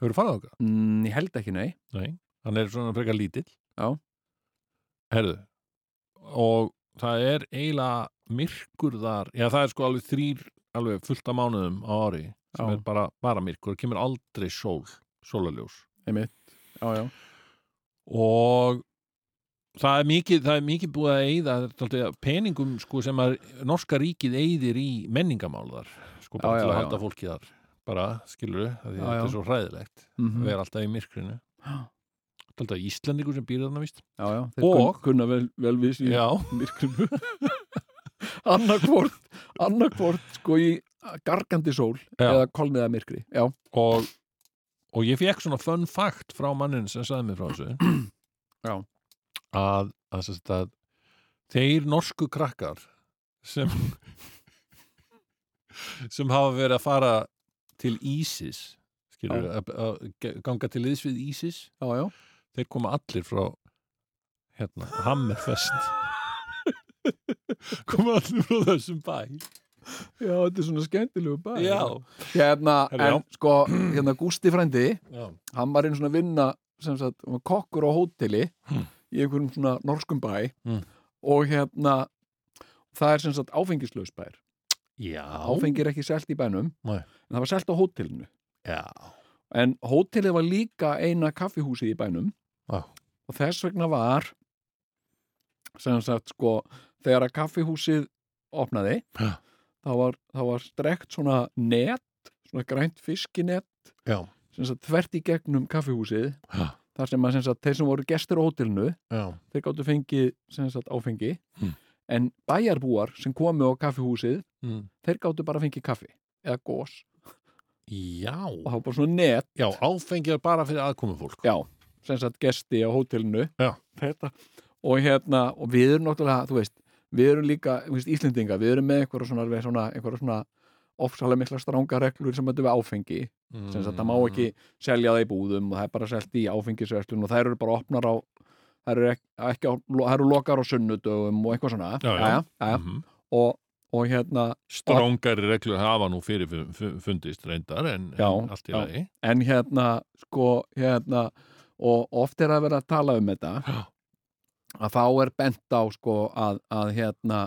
Hefur farið okkar?
Mm, ég held ekki, nei
Hann er svona frekar lítill
Já.
Herðu og það er eiginlega myrkur þar, já það er sko alveg þrýr alveg fullt af mánuðum á ári sem er
Já.
bara, bara myrkur, það kemur aldrei sól, sólaljós
einmitt, já, já,
og það er mikið, það er mikið búið að eyða tóltið, peningum sko, sem að norska ríkið eyðir í menningamál þar sko, bara
Já,
til
já,
að
já.
halda fólki þar bara, skilur það því
Já,
þetta
já.
er svo hræðilegt
Mhm.
að vera alltaf í myrkrinu tóltið, Íslandingur sem býr þarna vist
já, já. þeir kun-
Og-
kunna vel, vel við sín
já,
myrkrinu *laughs* annarkvort annarkvort sko í gargandi sól
Já.
eða kolniða myrkri já,
og, og ég fekk svona fun fact frá mannin sem sagði mér frá þessu
*clears throat* Já.
að, að, sem sagt að þeir norsku krakkar sem *laughs* sem hafa verið að fara til ISIS skilur, að, að ge- ganga til liðs við ISIS
já, já,
þeir koma allir frá hérna, Hammerfest *laughs* koma allir frá þessum bæ
já, þetta er svona skemmtilegu bæ
já,
hérna,
Herra, já.
en sko hérna Gústi frændi,
já.
hann var einn svona að vinna sem sagt, hann var kokkur á hóteli
Hmm.
í einhverjum svona norskum bæ
Hmm.
og hérna það er sem sagt áfengislaus bær
já.
áfengi er ekki selt í bænum
Nei.
en það var selt á hótelinu
já.
en hótelið var líka eina kaffihúsið í bænum
Já.
og þess vegna var sem sagt sko þegar að kaffihúsið opnaði
Já.
þá var, þá var strekt svona net svona grænt fiskinet
Já.
sem sagt þvert í gegnum kaffihúsið
Já.
þar sem að sem sagt, þeir sem voru gestir á hótelinu
já
þeir gáttu fengið sem sagt áfengi
Hmm.
en bæjarbúar sem komu á kaffihúsið
mm.
þeir gáttu bara fengið kaffi eða gós
Já,
og það var bara svona net
já áfengi er bara fyrir aðkomu fólk
já, sem sagt gesti á hótelinu
Já.
Þetta. og hérna og við erum náttúrulega, þú veist við erum líka, þú veist, Íslendinga, við erum með einhverja svona, alveg svona, einhverja svona ofsalega mikla stranga reglur sem þetta við áfengi sem sagt, það má ekki selja það í búðum og það er bara selt í áfengisverslun og þær eru bara opnar á þær eru, ekki, ekki á, lo- þær eru lokar á sunnudögum og eitthvað svona
Já, já.
Jæja, jæja.
Mhm.
Og, og hérna,
Strongari reglur hafa nú fyrir fu- fu- fundist reyndar en,
Já,
en allt í
já.
lagi
en hérna sko hérna og oft er að vera að tala um þetta
Já.
að þá er bent á sko að, að hérna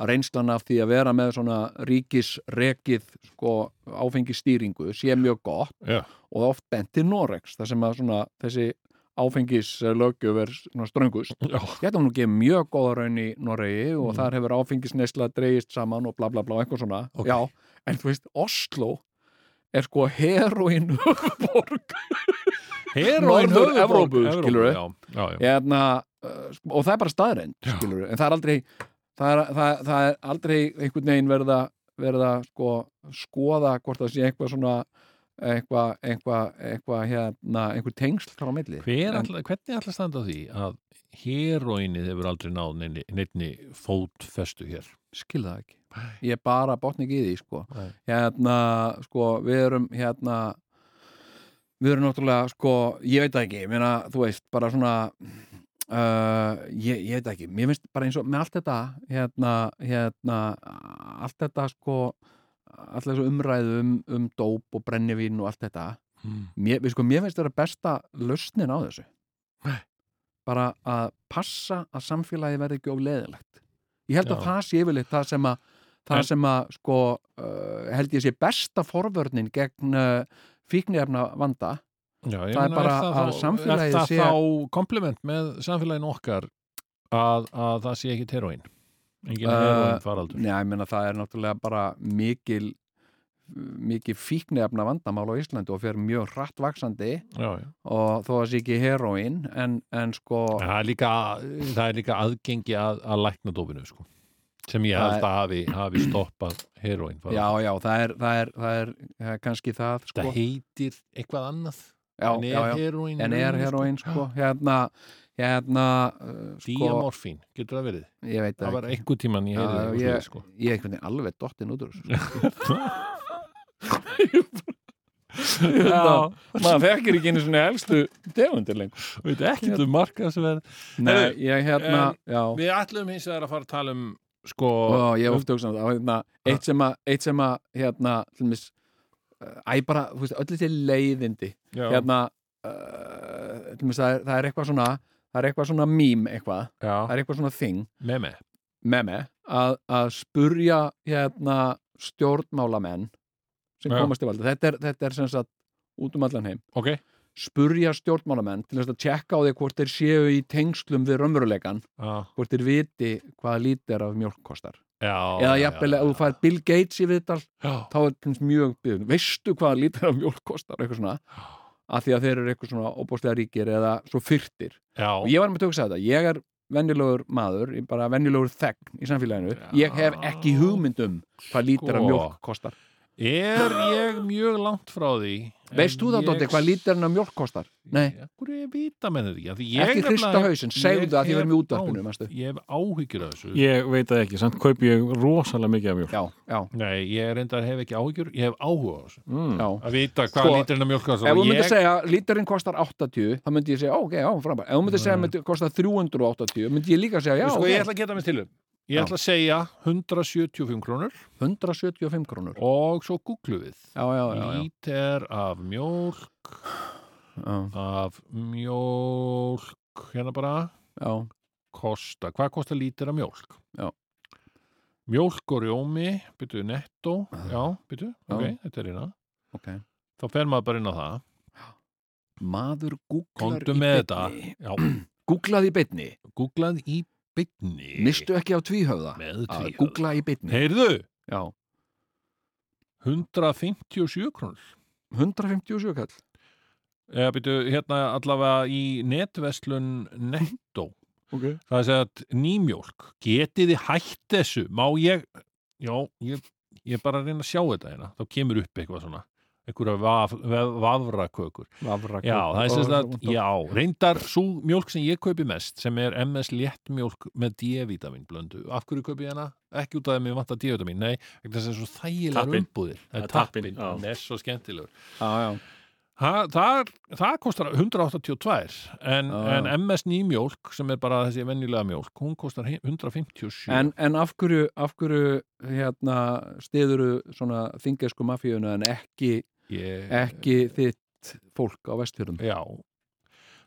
að reynslan af því að vera með svona ríkisrekið sko áfengistýringu sé mjög gott
Já.
og það er oft bent til Norex þar sem að svona þessi áfengislöggjöf er svona ströngust
Já, Mm.
þetta var nú gefið mjög góða raun í Noregi og þar hefur áfengisneisla dreigist saman og bla bla bla og eitthvað svona
Ok.
já, en þú veist, Oslo er sko heroin *laughs* borg
Heroin
Norður-
höfuðborg
Evrópu, skilurðu.
Já, já, já,
hérna, uh, sko, og það er bara staðreind
Já.
skilur, en það er aldrei það er, það, það er aldrei einhvern veginn verða verða sko skoða hvort það sé eitthvað svona eitthvað, eitthvað, eitthvað hérna, einhver tengsl þar á milli
Hver
En-
ætla, Hvernig ætla að standa á því að heroinið hefur aldrei náð neinni, neinni fótfestu hér
skil það ekki ég bara botni ekki í því sko.
Nei.
hérna sko við erum hérna við erum náttúrulega sko ég veit það ekki, ég meina þú veist bara svona uh, ég, ég veit ekki, mér finnst bara eins og með allt þetta hérna, hérna allt þetta sko allt þessu umræðu um, um dóp og brennivín og allt þetta
Mm.
mér, við sko, mér finnst þetta besta lausnin á þessu bara að passa að samfélagi verði ekki of leðilegt ég held að
Já.
það sé yfirleitt það sem að það
En-
sem að sko uh, held ég sé besta forvörnin gegn uh, fíknefna vanda
Já, ég
Það er
meina,
bara
það
að
þá-
samfélagið
er það
sé-
þá kompliment með samfélaginu okkar að, að það sé ekki teróin engin
Uh,
uh, heroin faraldur
Já, ég meina það er náttúrulega bara mikil mikið fíknefna vandamál á Íslandi og fyrir mjög hratt vaksandi
já, já.
og þó að sé ekki heroín en, en sko
En Það, er líka, það er líka aðgengi að, að lækna dófinu sko. sem ég
Það
held að hafi, hafi stoppað heroin
já, já, það er, það er, það er, það er kannski það sko.
það heitir eitthvað annað
já,
en
já,
er
já.
heroin
en er heroín sko hérna, hérna uh, sko,
díamorfín, getur það verið
ég veit
það
það
var einhvern tíman ég
Já,
heyrði eitthvað
ég-
svoleiðis, sko.
ekki ég er einhvern veginn alveg dottinn út úr þessu sko.
*laughs* Hérna.
Já,
maður fekkir ekki einu svona helstu degundir lengur
veit ekki þú markaðsverð
Nei, ég hérna,
en-
já
við ætlum hins vegar að fara að tala um sko
og ég hef oft hugsað um það og hérna, eitt sem að, eitt sem að hérna, til mis æ bara, þú veist, öll þessi leiðindi
já,
hérna uh, til mis, það, er, það er eitthvað svona það er eitthvað svona mím eitthvað það
já,
er eitthvað svona þing
með með
með mig að, að spurja hérna stjórnmálamenn sem
Já.
komast í valdi þetta er, þetta er sem sagt út um allan heim
ok,
spurja stjórnmálamenn til þess að tjekka á því hvort þeir séu í tengslum við raunveruleikan
já,
hvort þeir viti hvaða lítir af mjólk kostar
já
eða
já,
jafnvel
já,
að þú fær Bill Gates í viðtal
já,
þá er það mjög byggðun veistu hvaða lítur af mjólk kostar eitthvað svona að því að þeir eru eitthvað svona opóslega ríkir eða svo fyrtir og
já,
ég var með tökst að þetta, ég er venjulegur maður, ég er bara venjulegur þegn í samfélaginu,
Já.
ég hef ekki hugmyndum hvað lítur af
Sko.
mjólk kostar
er ég mjög langt frá því
veist þú þá, Dótti, hvað lítur af mjólk kostar? Nei,
hvað er ég vita með þetta ekki
ekki hrista hausinn, segðu það að því verðum í útvarpinu, mæstu
ég hef áhyggjur af þessu
ég veit það ekki, samt kaupi ég rosalega mikið af mjólk.
Já, já,
nei, ég reyndar hef ekki áhyggjur, ég hef áhuga á þessu
Mm.
já
að vita hvað
Sko,
sko, líturinn af mjólkast
Ef þú myndir segja, líturinn kostar 80, þá myndi ég segja, ó, ok, já, frábær. Ef þú myndir segja, myndi kostar 380, myndi Mm. ég líka segja, já,
sko,
ok,
ég ætla að geta mig til um ég
Já.
ætla að segja 175 krónur
175 krónur.
og svo googlu við
Já, já, já, já.
lítur af mjólk
já,
af mjólk hérna bara
já.
kosta, hvað kostar lítur af mjólk?
Já.
Mjólk og rjómi, byrju netto, já, byrju,
Já.
ok, þetta er hérna.
ok.
Þá fer maður bara inn á það,
Maður googlar
komdu
í
með þetta,
beinni.
já,
Googlað í beinni.
googlað í byggni.
Mistu ekki á tvíhöfða.
Með
Að
tvíhöfða.
Googla í beinni.
Heyrðu,
Já.
157 krónur.
157 kall.
Eða byrju, hérna allavega í netverslun netto.
Ok.
Það er segjað nýmjólk, getið þið hætt þessu, má ég, já, ég, ég er bara að reyna að sjá þetta hérna, þá kemur upp eitthvað svona, einhverja vaf, vaf, vafrakökur.
Vafra.
Já, það er sérst að,
Og-
já, reyndar svo mjólk sem ég kaupi mest, sem er MS léttmjólk með D-vitamin blöndu. Af hverju kaupi ég hana? Ekki út af því að mér vantar D-vitamin, nei, vegna þess að það er svo þægilegar
Tappinn.
umbúðir. Það
Það
er
er tappinn,
tappin,
já.
hann er svo skemmtilegur.
Já, já.
Ha, það, það kostar 182 en,
Já, já.
en MS nýmjólk sem er bara þessi venjulega mjólk hún kostar hi- 157
En, en af hverju, af hverju, hérna, stiðuru svona þingesku mafíuna en ekki,
ég,
ekki þitt fólk á vestfjörðum?
já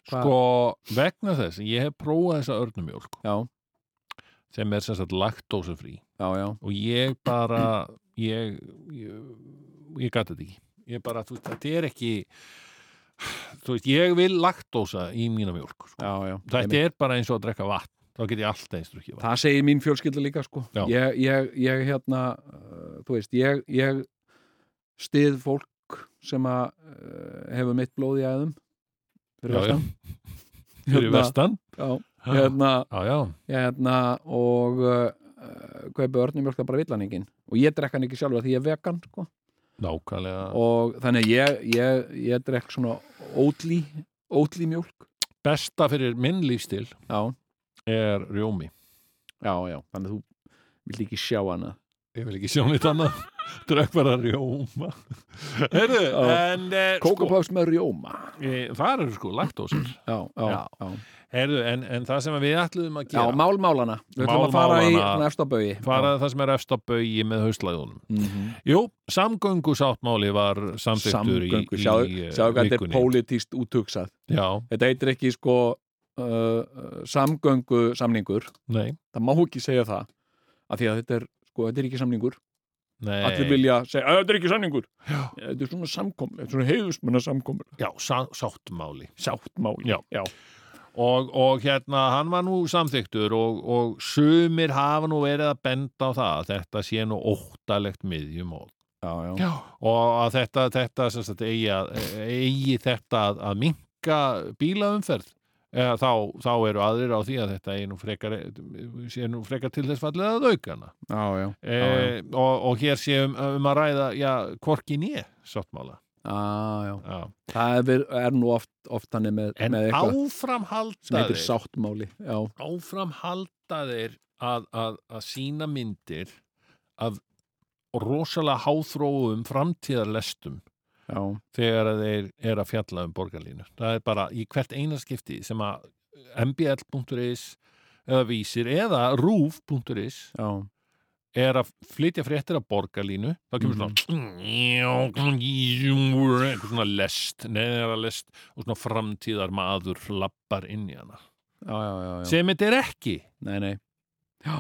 Hva-
sko vegna þess að ég hef prófað þessa örnumjólk
Já,
sem er sem sagt laktósufrí
já, já.
og ég bara ég, ég, ég gæti þetta ekki ég bara, þú veist, þetta er ekki þú veist, ég vil laktósa í mína mjólk sko.
Já, já.
þetta er bara eins og að drekka vatn þá get ég alltaf eins og ekki vatn
Það segir mín fjölskylda líka sko
Já.
ég, ég, ég hérna uh, þú veist, ég, ég stið fólk sem að uh, hefur mitt blóð í æðum fyrir
Já, já.
vestan
*laughs* fyrir vestan
já, hérna,
já, já,
hérna og uh, kaupi örnumjólk það bara villaningin og ég drekk hann ekki sjálfur af því ég er vegan sko.
nákvæmlega
og þannig að ég, ég, ég drekk svona ótlí, ótlí mjólk
besta fyrir minn lífstil
já,
er rjómi
já, já, þannig að þú vill ekki sjá hana
ég vil ekki sjá nýtt annað *laughs* drakk bara rjóma *laughs* Heyrðu, en eh, sko,
Kókapás með rjóma
eh, það eru sko laktósir
Já, já,
Já.
já
Heyrðu, en, en það sem við ætluðum að
Já,
gera
málmálana Við ætlum að fara í
Málmálana.
næsta Mhm. bögi
fara það sem er efst á baugi með hauslæðunum Jú, samgöngu sáttmáli var samþyktur í,
Samgöngu,
í
sjáðu
eh,
sjáðu hvað þetta er
vikunni
pólitíst útugsað
Já,
Þetta heitir ekki sko uh, uh, samgöngu samningur
nei,
Það má ekki segja það af því að þetta er, sko, þetta er ekki samningur
nei
Allir vilja segja, "Æ, þetta er ekki samningur já. Þetta er svona samkomur, þetta er svona heiðusmunna samkomur
Já, sá, sáttmáli
Sáttmáli
Já.
já,
og, og hérna, hann var nú samþyktur og, og sumir hafa nú verið að benda á það að þetta sé nú óttalegt miðjumót
já, já.
og að þetta, þetta sem sagt, eigi, að, eigi þetta að, að minka bílaumferð eða, þá, þá eru aðrir á því að þetta eigi nú frekar, sé nú frekar til þess fallið að aukana
já, já.
e,
Já,
og, og hér sé um, um að ræða já, hvorki nýja sáttmála
Já, já.
já.
Það er, er nú oft, oft hann með,
en
með eitthvað sem heitir
áframhaldaðir
sáttmáli Já,
áframhaldaðir að, að, að sína myndir af rosalega háþróum framtíðarlestum
já,
þegar að þeir eru að fjalla um borgarlínu. Það er bara í hvert einaskipti sem að mbl.is eða vísir eða rúf.is
já
er að flytja fréttir af borgarlínu þá kemur
Mhm.
*sniffs* svona eitthvað svona lest neðara lest og svona framtíðar maður lappar inn í hana
Já, já, já, já.
sem þetta er ekki
Nei, nei Já,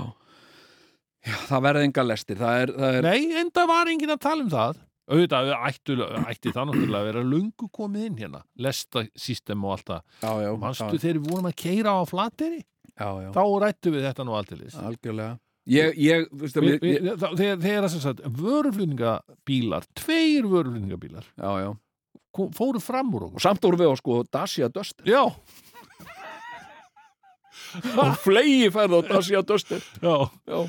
já það verði enga lestir Það er, það er
Nei, enda var enginn að tala um það auðvitað ættu, ætti það náttúrulega að vera lungu komið inn hérna, lesta system og allt það,
Já, já,
manstu
já,
þegar við vorum að keira á flateri,
já, já.
þá rættu við þetta nú alltilis
Algjörlega Ég, ég, þú veist að
Við-
mér- ég,
við- þá- þegar þegar að sem sagt vöruflutningabílar, tveir vöruflutningabílar
Já, já
ko- fóru fram úr okkur
Og samt voru við á sko Dacia Duster
Já,
Og flegi færð á Dacia Duster
já,
Já,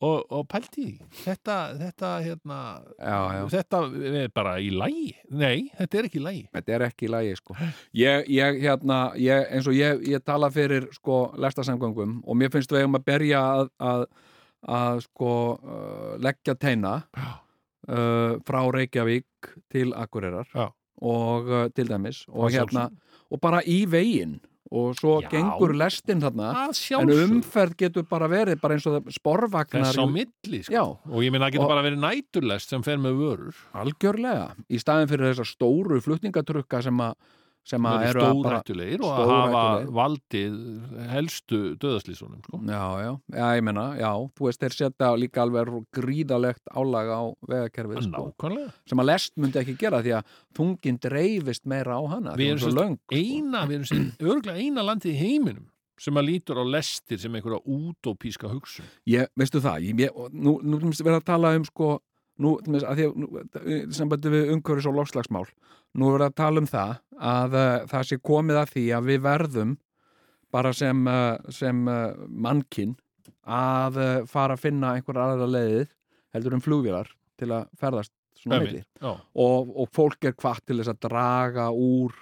og, og pælti í því. þetta, þetta hérna
já, já
þetta er bara í lægi Nei, þetta er ekki í lægi
Þetta er ekki í lagi, sko. Ég, ég hérna, ég, eins og ég, ég tala fyrir, sko, lestasamgöngum og mér finnst við eigum að berja að, að, að sko, uh, leggja teina uh, frá Reykjavík til Akureyrar
Já.
og uh, til dæmis og
Að
hérna, og bara í veginn og svo
Já.
gengur lestin þarna
Að
en
sjálfsögðu
umferð getur bara verið bara eins og það sporvagnar
þess á milli sko.
Já.
og ég minna að geta
Og-
bara verið næturlest sem fer með vörur
algjörlega í staðin fyrir þessar stóru flutningatrukka sem að sem
sem
að
eru
eru að bara
stórættulegir og að hafa
stórhættulegir.
valdið helstu döðaslýsunum sko.
Já, já, já, ég meina, já, þú veist, þeir setja líka alveg gríðalegt álag á vegakerfið, sko,
nákvæmlega
sem að lest myndi ekki gera því að þungin dreifist meira á hana,
Við erum
því hún er
sem
svo
sagt
löng, sko.
eina, við erum sem örgulega eina landið í heiminum sem að lítur á lestir sem einhverja útópíska hugsun
Ég, veistu það, ég, ég, nú, nú erum við að tala um, sko, nú, til dæmis, að því að, nú, sambandi við umhverfis og lofslagsmál, nú erum við að tala um það að uh, það sé komið að því að við verðum bara sem, uh, sem uh, mannkinn að uh, fara að finna einhverja aðra leiðir heldur um flugvélar til að ferðast svona
Einmitt.
milli.
Já,
og, og fólk er kvart til þess að draga úr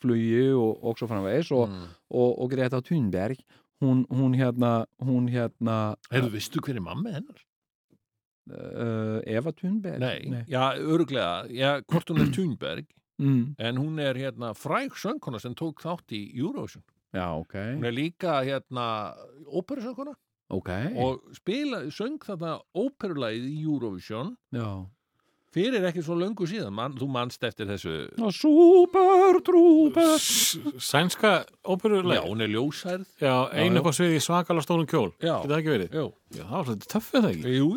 flugi og, og svo framvegis og,
Mm.
og, og Greta Thunberg hún, hún hérna, hún hérna
hefur vistu hverju mammi hennar?
uh, Eva Thunberg
Eh, Nei, já, örgulega já, hvort
*clears throat*
hún er Thunberg
Mm.
en hún er hérna fræg söngkona sem tók þátt í Eurovision
Já, ok,
hún er líka hérna óperusöngkona
ok
og spila, söng þarna óperulæð í Eurovision
Já.
fyrir ekki svo löngu síðan Man, þú manst eftir þessu
Super Trooper
S-
já,
Sænska óperulega
hún er ljósærð já.
Já, einu upp á sviði í svakalega stórum kjól
Já.
Getur það ekki verið?
Jú.
Já, það var svolítið töffið það ekki
Jú,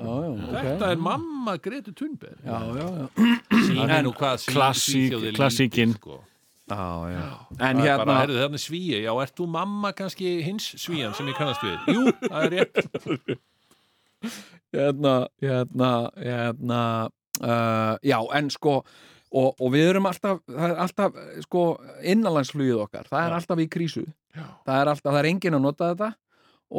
Já, já, ok
þetta er mamma Gretu Thunberg
Já, já, já.
sína nú hvað sí-
Klassík-
Svíþjóð er lítið,
klassíkin.
sko.
Já, já. En
það er
hérna
bara, herðu þarna svíi, já, ert þú mamma kannski hins svíjan sem ég kannast við jú, það er rétt
hérna, hérna, hérna uh, já, en sko og, og við erum alltaf, það er alltaf eh, sko, innanlandsflugið okkar það er
Já.
alltaf í krísu það er, alltaf, það er engin að nota þetta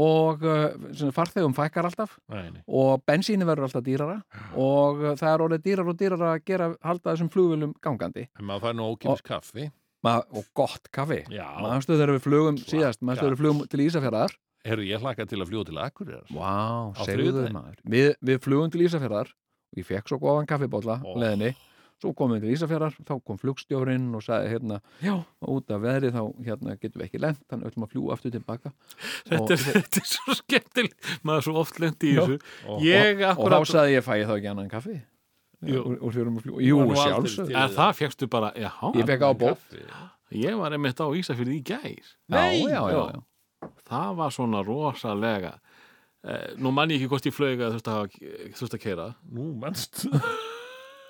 og uh, sem farþegum fækkar alltaf
Nei, nei.
og bensíni verður alltaf dýrara og uh, það er orðið dýrar og dýrar að gera halda þessum flugvölum gangandi
en maður fær nú ókipis kaffi
Ma, og gott kaffi
já,
mannstu þegar við flugum síðast mannstu þegar við flugum til Ísafjörðar
herru, ég hlakka til að fljóða til Akureyrar
Vá,
Á
segðu
þriðjudaginn?
maður við, við flugum til Ísafjörðar ég fekk svo góðan kaffibólla
Ó.
oh. leðinni svo komum við til Ísafjörðar, þá kom flugstjórinn og sagði hérna, já, út af veðri þá hérna getum við ekki lent, þannig öllum að fljúa aftur tilbaka
Þetta er,
og,
þetta er svo skemmtileg maður er svo oft lendi í
Já.
þessu
Og-
og
ég
þá
akkurat,
sagði ég, fæ ég þá ekki annan kaffi
Jú.
úr, úr fjórum og fljúa, jú,
Það var nú aldrei
sjálfsög
til.
en það fegstu bara já,
ég fekk á bók,
ég var einmitt á Ísafjörði í gær
já, já, já, já.
það var svona rosalega eh, nú mann ég ekki hvort ég flög að þurfti að, þurfti að keira
Nú,
*laughs*
mennst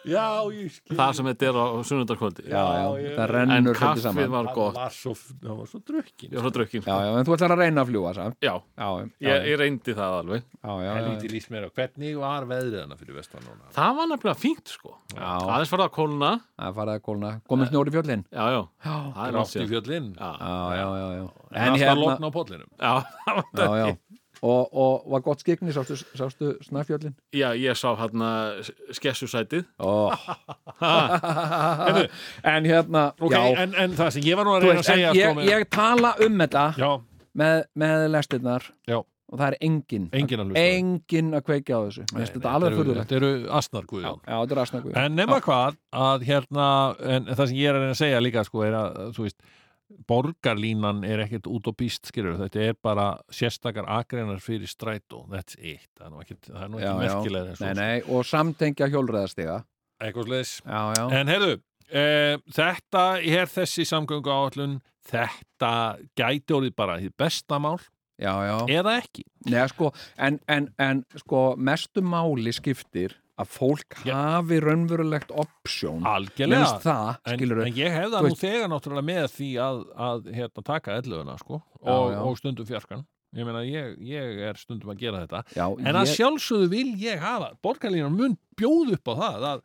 Já, ég skil
það sem þetta er á sunnundarkvöldi
Já, já,
Já, ég-
það
en
rennur svolítið
kaffið
saman.
var
Það
gott
var svo, það var svo drukkin
ég var svo drukkin
Já,
sko.
já, en þú ætlar að reyna að fljúa, samt.
já,
Já, já,
ég, ég reyndi það alveg
já, já, já,
Helviti líst mér á hvernig var veðrið hana fyrir vestan núna
það var nefnilega fínt sko
já,
aðeins var það að kólna
það farið að kólna. Komið snjóri fjörlinn.
já, já,
Já,
það er langt
Rátt í
síðan
fjöllinn
já,
já, já, já, já.
En hérna Logn á pollinum
já, *laughs* það var
já, já. Og, og var gott skikni, sástu, sástu snæfjöllin?
Já, ég sá hérna skessusætið.
*laughs*
Oh. en hérna,
Ok,
já,
en, en það sem ég var nú að
þú
reyna að
veist, en
segja
ég,
sko, með-
ég tala um þetta
Já,
með, með lestirnar
já,
og það er engin,
enginn að hlusta
enginn að kveikja á þessu. Mér finnst þetta alveg
eru-
furðulegt.
Þetta eru asnarguðjón
Já, þetta er aðsnaku.
En nema hvað að hérna en það sem ég er að reyna að segja líka sko er að, þú veist, borgarlínan er ekkert utopist, skilur þetta er bara sérstakar akreinar fyrir strætó, that's it, það er nú ekkert það er nú ekki merkilega
Nei, nei, og samtengja hjólreðastiga.
eitthvað sliðis
Já, já.
En heyrðu, e, þetta er þessi samgöngu áallun þetta gæti orðið bara hið besta mál
já, já.
eða ekki
Nei, sko, en, en, en sko, mestu máli skiptir að fólk
Já.
hafi raunverulegt option
algjörlega
minnst það,
En,
skilur
en ég hefða
þú
nú
veist-
þegar náttúrulega með því að, að hérna, taka ellöfuna sko, og,
já.
og stundum fjarkan ég meina ég, ég er stundum að gera þetta
já,
en að
ég,
sjálfsögðu vil ég hafa borgarlínar mun bjóð upp á það að,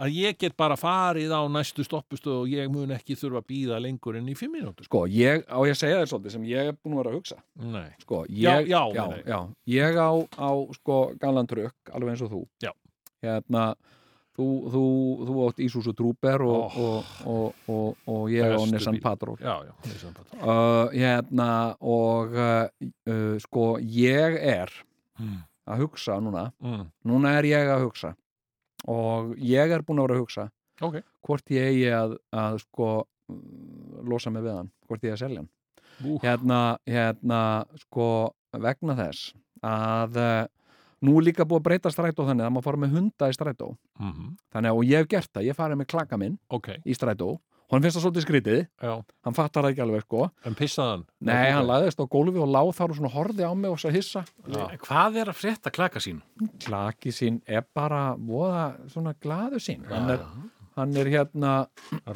að ég get bara farið á næstu stoppustu og ég mun ekki þurfa að býða lengur enn í fimm mínútur sko.
sko, ég, á ég að segja þér svolítið sem ég er búin að vera að hugsa
Nei,
sko,
Já,
ég,
já,
já,
meina ég.
já, ég á, á sko, galan trökk, alveg eins og þú
Já.
hérna þú, þú, þú átt Ísús og Trúber og, og, og, og, og ég á
Oh. Bestu
Nissan
bíl.
Patrol
já, já ég sem bara-
uh, hérna og uh, uh, sko, ég er
Mm.
að hugsa núna
mm.
núna er ég að hugsa og ég er búin að vera að hugsa
Ok.
hvort ég eigi að, að sko mm, losa mig við hann, hvort ég eigi að selja hann
Ú.
hérna, hérna sko vegna þess að eh, nú er líka búið að breyta strætó þannig að maður fara með hunda í strætó
Mm
þannig að og ég hef gert það, ég farið með klaka minn
Ok,
í strætó, hann finnst það svolítið skrítið
já,
hann fattar það ekki alveg sko
en pissaðan
nei, hann lagðist á gólfi og láð þar og svona horði á mig og svo hissa
Já.
Hvað er að frétta klaka sín?
klaki sín er bara voða svona glaðu sín hann er, hann er hérna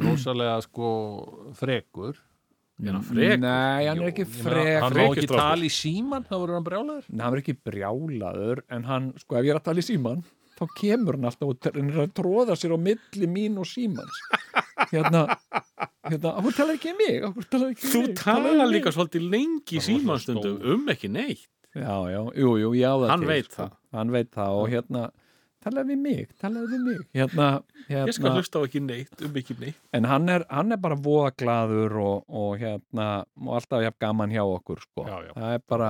rosalega sko frekur
Er hann frek?
Nei, hann er
Jú,
ekki
Ég meina,
frek
Hann má
frekur
ekki
strákur.
tala í síman, þá verður hann brjálæður
Nei, hann er ekki brjálaður en hann, sko, ef ég er að tala í síman þá kemur hann alltaf og hann er að tróða sér á milli mín og símans hérna, hérna hún talar ekki um mig, hún talar ekki um
Þú
mig
tala líka svolítið
Það var
lengi í
svo
símanstundum
stór.
um ekki neitt.
Já, já, jú, jú, ég á það
Hann
til,
veit
sko.
það.
Hann veit það og hérna talaði við mig, talaði við mig hérna,
Ég skal
hérna,
hlusta á ekki neitt, um ekki neitt.
en hann er, hann er bara voða glaður og, og hérna og alltaf jafn gaman hjá okkur, sko
Já, já.
það er bara,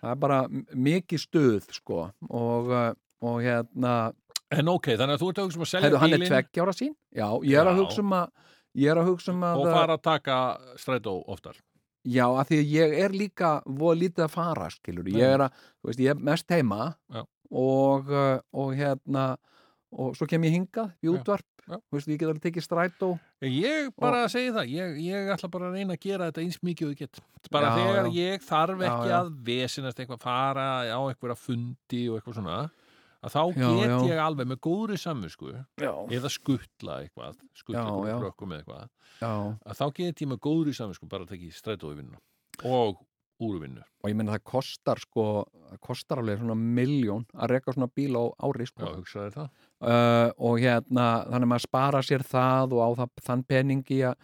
það er bara m- mikið stuð, sko og, uh, og hérna
En ok, þannig að þú ert að hugsa um að selja
Hefðu, hann er
bílinn
tveggjára sín? Já, ég er að
Já.
hugsa um að ég er að hugsa um að eh,
og fara að taka strætó oftar
já, að því að ég er líka voða lítið að fara, skilur ég er að, þú veist, ég er mest heima
Mm. Já.
og, uh, og hérna og svo kem ég hingað í
Já,
útvarp
já.
þú veist, ég get alveg tekið strætó
Ég bara að segja það, ég, ég ætla bara að reyna að gera þetta eins mikið og ég get bara
Já,
þegar
já.
ég þarf
Já,
ekki
já.
að vesinast eitthvað fara á einhverja fundi og eitthvað svona að þá
Já,
get
já.
ég alveg með góðri samvisku
já,
eða skuttla eitthvað skuttla
Já, já.
eitthvað brökkum eða eitthvað
já.
að þá get ég með góðri samvisku bara að taka í strætó í vinnu og úr vinnu
og ég meina það kostar sko það kostar alveg svona miljón að reka svona bíl á ári
Já,
sko.
hugsaði það
uh, og hérna þannig að maður spara sér það og á það, þann peningi a,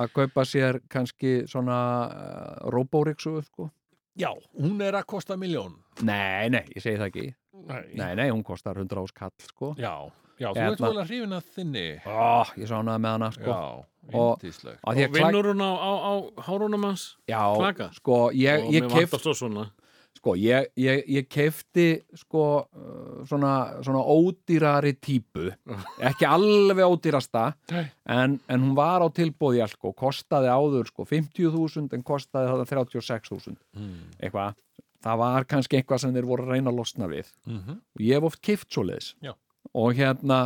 að kaupa sér kannski svona uh, robóriksu sko.
Já, hún er að kosta miljón
Nei, nei, ég segi það ekki
Nei,
Nei, nei, hún kostar 100 ás kall sko.
Já, já, þú
Hérna.
ert vel að hrifin að þinni
oh, Ég sá hana með hana sko.
Já,
Og-
yndislegt
Af því
Og
að klæ-
vinnur hún á, á, á hárunum hans?
Já,
klaka?
sko, ég,
og
ég
mér
keft
vantar svo svona.
Sko, ég, ég, ég kefti sko, uh, svona, svona ódýrari típu ekki alveg ódýrasta en, en hún var á tilbóði alko, kostaði áður sko 50.000 en kostaði þetta 36.000 eitthvað, það var kannski eitthvað sem þeir voru að reyna að losna við og ég hef oft keft svoleiðis
Já.
og hérna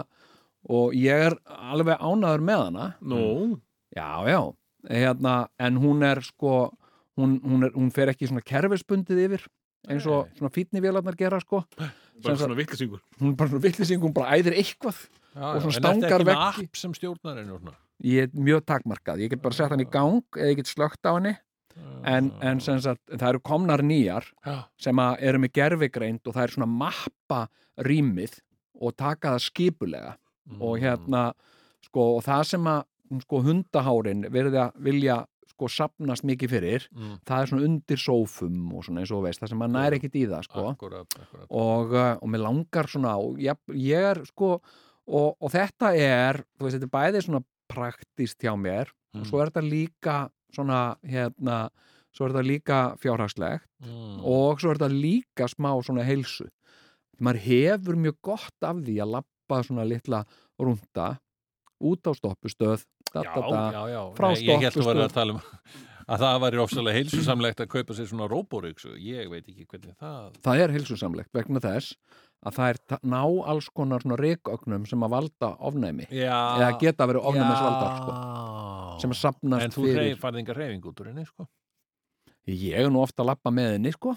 og ég er alveg ánaður með hana
Nú,
Mm. Já, já, hérna, en hún er sko, hún, hún, er, hún fer ekki svona kerfisbundið yfir eins og svona fítnivélarnar gera sko
bara
Sem sagt-
svona vittlisingur
hún er bara svona villising, hún bara æðir eitthvað Og svona stangar
En þetta er ekki
veggi.
með app sem stjórnar einu og svona
ég er mjög takmarkað, ég get bara sett hann í gang eða ég get slögt á henni en, en sem sagt, það eru komnar nýjar
Ah. Já.
sem að eru með gerfigreind og það er svona mappa rýmið og taka það skipulega og
Mm.
hérna, sko, og það sem að sko hundahárin verði að vilja sko sapnast mikið fyrir
Mm.
það er svona undir sófum og svona eins og þú veist, það sem maður næri ekkit í það sko.
Akkurat, akkurat
og, uh, og mér langar svona og ég, ég er sko og, og þetta er, þú veist, þetta er bæði svona praktist hjá mér og
Mm.
svo er þetta líka svona hérna, svo er þetta líka fjárhagslegt
mm.
og svo er þetta líka smá svona heilsu maður hefur mjög gott af því að lappa svona litla runda út á stoppustöð da, da, da.
já, já, já.
frá sko.
Nei, ég held að
stoppistöð.
vera að tala um *laughs* að það væri ofsalega heilsusamlegt að kaupa sér svona róbóryksu, ég veit ekki hvernig það
það er heilsusamlegt vegna þess að það er ta- ná alls konar svona reykögnum sem að valda ofnæmi
já,
eða geta verið ofnæmisvaldar sko, sem að sapnast
Ah, en þú
fyrir
reyf, farði enga reyfing út úr henni sko.
ég er nú ofta að lappa með henni sko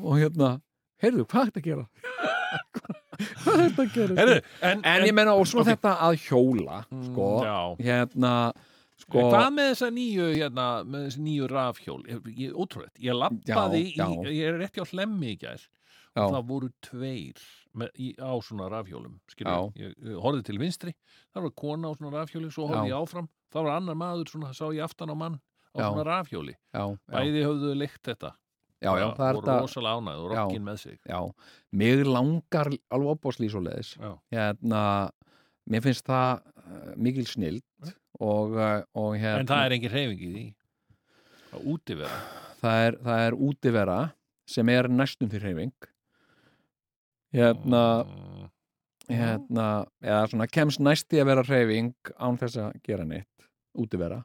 og hérna, heyrðu, hvað er þetta að gera? *laughs* hvað er þetta að gera? sko?
Heru, en, Mm,
en ég menna, og svo þetta að hjóla sko,
já.
hérna sko,
En Hvað með þessa nýju, hérna, með þessi nýju rafhjól? Ég, ég, ótrúlegt, ég lappaði
Já, já.
í, ég er rétt hjá hlemmi í gær
já,
og það voru tveir með, í, á svona rafhjólum, skiljum, ég, ég horfði til vinstri, það var kona á svona rafhjóli, svo horfði
Já.
ég áfram, það var annar maður, svona, sá ég aftan á mann á
Já.
svona rafhjóli,
já, já,
bæði höfðu leikt þetta,
já, já, það er
voru
þetta
rosalega ánægð og
Já.
rokkin með sig.
já, mig langar alveg opbóðslýs og leðis
Já.
hérna, mér finnst það uh, mikil snild og, uh, og hérna,
Mm. En það er engin reyfing í því, að útivera.
það er, það er útivera sem er næstum því hreyfing hérna
Mm.
hérna, eða svona kemst næsti að vera hreyfing án þess að gera neitt útivera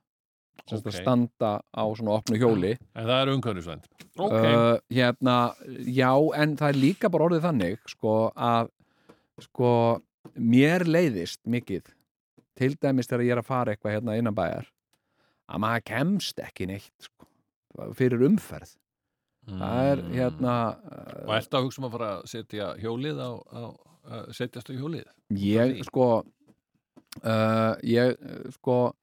sem okay. að
Ókei.
standa á svona opnu hjóli
En það er umhverfisvænt. Ok,
uh, hérna, já, en það er líka bara orðið þannig, sko, að sko, mér leiðist mikið, til dæmis þegar ég er að fara eitthvað hérna innan bæjar að maður kemst ekki neitt sko, fyrir umferð það er
Mm.
hérna
Og ert að hugsa um að fara að setja hjólið á, á að setjast á hjólið?
ég
því?
sko uh, ég uh, sko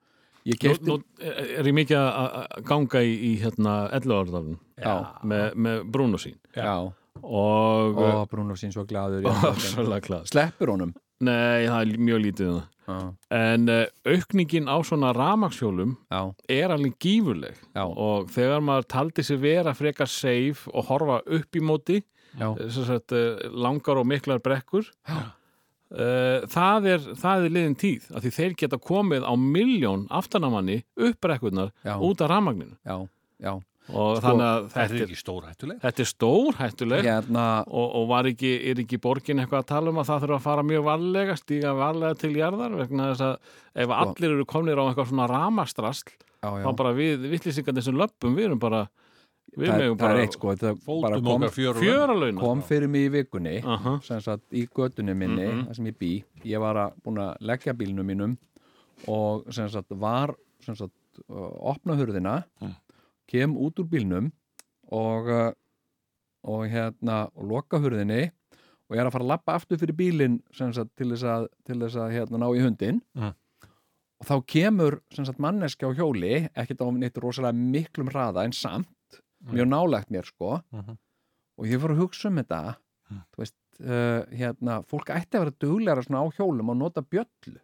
ég
Nú,
kefti
nú er ég mikið að að ganga í, í hérna 11 áraðalinn
Já.
með, með Bruno sín
já,
og eh,
og Bruno sín svo gladur
*laughs*
ég er með þetta.
ofsalega klás
sleppur honum
Nei, það er mjög lítið um það
já,
En eh, aukningin á svona rafmagnshjólum
já,
er alveg gífurleg
já,
og þegar maður taldi sér vera frekar safe og horfa upp í móti
já,
eh, sem sagt, eh, langar og miklar brekkur uh, það, er, það er liðin tíð af því þeir geta komið á miljón aftanamanni upp brekkurnar
Já.
út af rafmagninu
já, já.
og þannig að
Þetta
þetta
er
er,
ekki stórhættuleg.
þetta er stór hættulegt
hérna
og, og var ekki, er ekki borgin eitthvað að tala um að það þurfa að fara mjög varlega, stíga varlega til jarðar vegna þess að ef allir eru komnir á eitthvað svona ramastrasl
Sko- já, já.
þá bara við vittlýsingarnir sem löppum við erum bara, við
það,
megum
það er
bara
eitt sko þetta bara
Fótum
kom,
okkar fjörur.
fjöralaunar
kom fyrir mig í vikunni
Aha.
sem sagt í götunni minni þar sem ég bý, ég var að búin að leggja bílnum mínum og sem sagt var sem sagt uh, opna hurðina kem út úr bílnum og uh, og hérna og loka hurðinni og ég er að fara að lappa aftur fyrir bílinn sem sagt til þess að, til þess að hérna, ná í hundin
Mm.
Mhm.
og þá kemur sem sagt manneski á hjóli ekkert á neitt rosalega miklum hraða en samt
Mm.
mjög nálægt mér sko
Mhm.
Mm-hmm.
og ég fór að hugsa um þetta
Mm.
þú veist, uh, hérna fólk ætti að vera duglegra svona á hjólum og nota bjöllu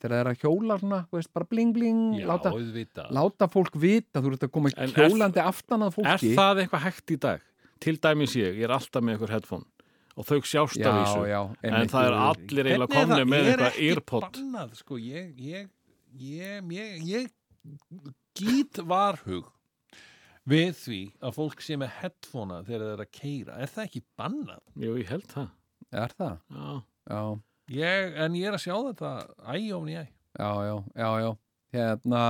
þegar það er að hjóla svona, þú veist, bara bling bling
Já,
láta,
auðvitað.
láta fólk vita, þú ert að koma
En er-
hjólandi aftan að
er
fólki
það eitthvað hægt í dag? Til dæmis ég, ég er alltaf með eitthvað headphone og þau sjást
já,
af þessu
já,
en það er allir eiginlega komni með eitthvað earpod
bannað, sko, ég, ég, ég, ég, ég gít varhug við því að fólk sé með headphonea þegar það er að keira er það ekki bannað?
Jú, ég held það.
er það?
Já.
Já,
Ég, en ég er að sjá þetta æ ofn í æ
já, já, já, já. hérna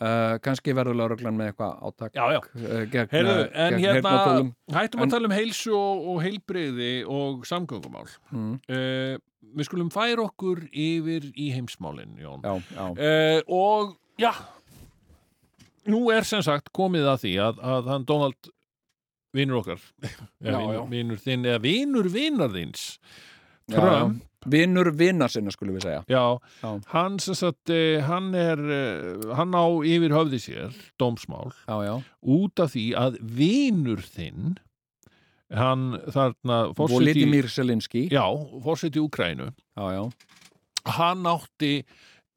uh, kannski verður lauruglan með eitthvað átak
Já, já.
eh, gegn,
Heyrðu,
eh,
en
gegn
hérna,
heyrnartólum.
hættum
En-
að tala um heilsu og, og heilbriði og samgöngumál.
Mm.
Uh, við skulum færa okkur yfir í heimsmálin, Jón.
já, já,
Uh, og, já, nú er sem sagt komið að því að, að hann Donald vinur okkar,
Já,
vinur,
já.
vinur þinn, eða vinur vinar þins,
já, já.
Trump,
vinnur vinnar sinna skulum við segja
Já,
Já.
hann sem sagt, eh, hann er, eh, hann á yfir höfði sér, dómsmál,
já, já,
út af því að vinur þinn, hann þarna,
Voliti
fórseti,
Mirselinski já,
já, fórseti Úkrænu,
já,
hann átti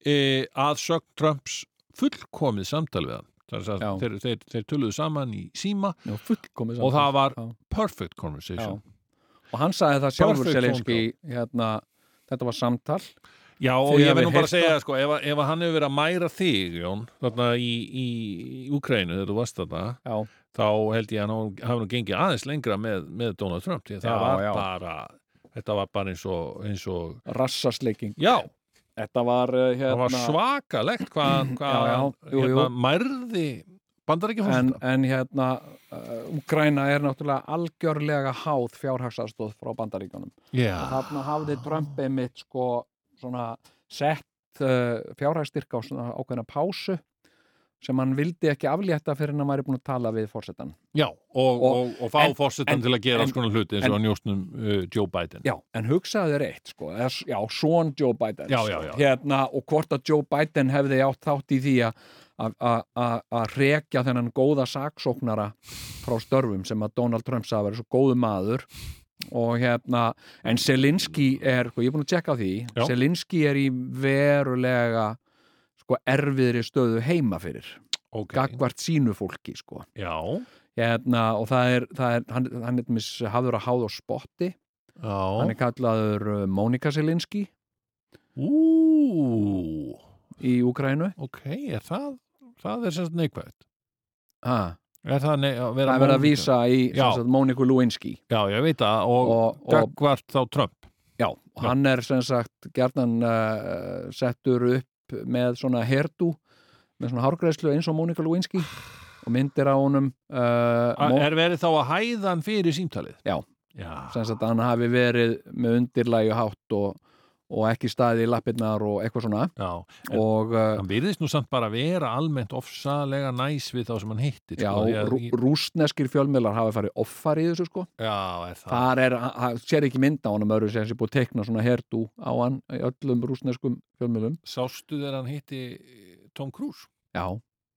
e, að sögn Trumps fullkomið samtal við hann. Þar, að
Já.
þeir, þeir, þeir töluðu saman í síma
já fullkomið
og það var
Já.
perfect conversation.
og hann sagði það sjálfur
Perfect
Selinski hérna, þetta var samtal
Já, og
Þið
ég
hafið
verð nú bara
heyrt
að segja, sko, ef, að- ef að hann hefur verið að mæra þig, Jón, þarna í, í, í Úkrænu þegar þú varst þarna,
já,
þá held ég að hann hafi nú gengið aðeins lengra með, með Donald Trump því að það
Já,
var
já.
bara þetta var bara eins og, eins og
rassasleiking
já,
þetta var, eh,
það
hérna,
var svakalegt hvað hann hva,
Já, já, jú,
hérna,
jú.
mærði bandar ekki
en,
fórsta
en hérna uh, Ukraina er náttúrulega algjörlega háð fjárhagsastóð frá bandaríkjónum og
já,
þarna hafði Trump einmitt sko svona sett uh, fjárhagstyrka á svona ákveðna pásu sem hann vildi ekki aflétta fyrir en hann væri búin að tala við fórsetan.
já og, og, og, fá
en- en-
fórsetan til að gera
en-
alls konar hluti eins
en-
og hann njóstnum uh, Joe Biden
Já, en hugsaðu þér eitt sko, eða, s- já, son Joe Biden
Já,
sko,
já, já.
hérna og hvort að Joe Biden hefði átt þátt í því að- að- að að- að rekja þennan góða saksóknara frá störfum sem að Donald Trump sagði að vera svo góðu maður og hérna, en Selinski er, sko, ég er búin að tjekka á því
Já.
Selinski er í verulega sko erfiðri stöðu heima fyrir,
ok,
gagvart sínu fólki sko
já,
hérna, og það er, það er hann, hann er til dæmis hafður að háða á spotti hann
já
er kallaður uh, Mónika Selinski
ú,
í Úkrænu
ok, er það það er sem sagt neikvægt
ha,
er það nei, að vera
það er verið
móðgun?
að vísa í sem
Já.
sagt, Móniku Lewinsky
já, ég veit það, og,
Og-
og
og-
gagvart þá Trump
já, og hann er sem sagt gerðan uh, settur upp með svona herdu með svona hárgreðslu eins og Mónika Lewinsky og myndir á honum uh,
A-
Mó-
Er verið þá að hæða hann fyrir símtalið?
Já.
Já,
sem sagt hann hafi verið með undirlægi hátt og, og ekki staðið í lappirnar og eitthvað svona
já.
og uh,
Hann virðist nú samt bara vera almennt ofsalega næs við þá sem hann hittir
já,
sko. Því að-
rú, rúsneskir fjölmiðlar hafa farið offar í þessu sko
já, er það
þar er, hann- hann sér ekki mynd á honum öðru sem sé búið að tekna svona herdu á hann í öllum rúsneskum fjölmjölum
Sástu þegar hann hitti eh, Tom Cruise
já,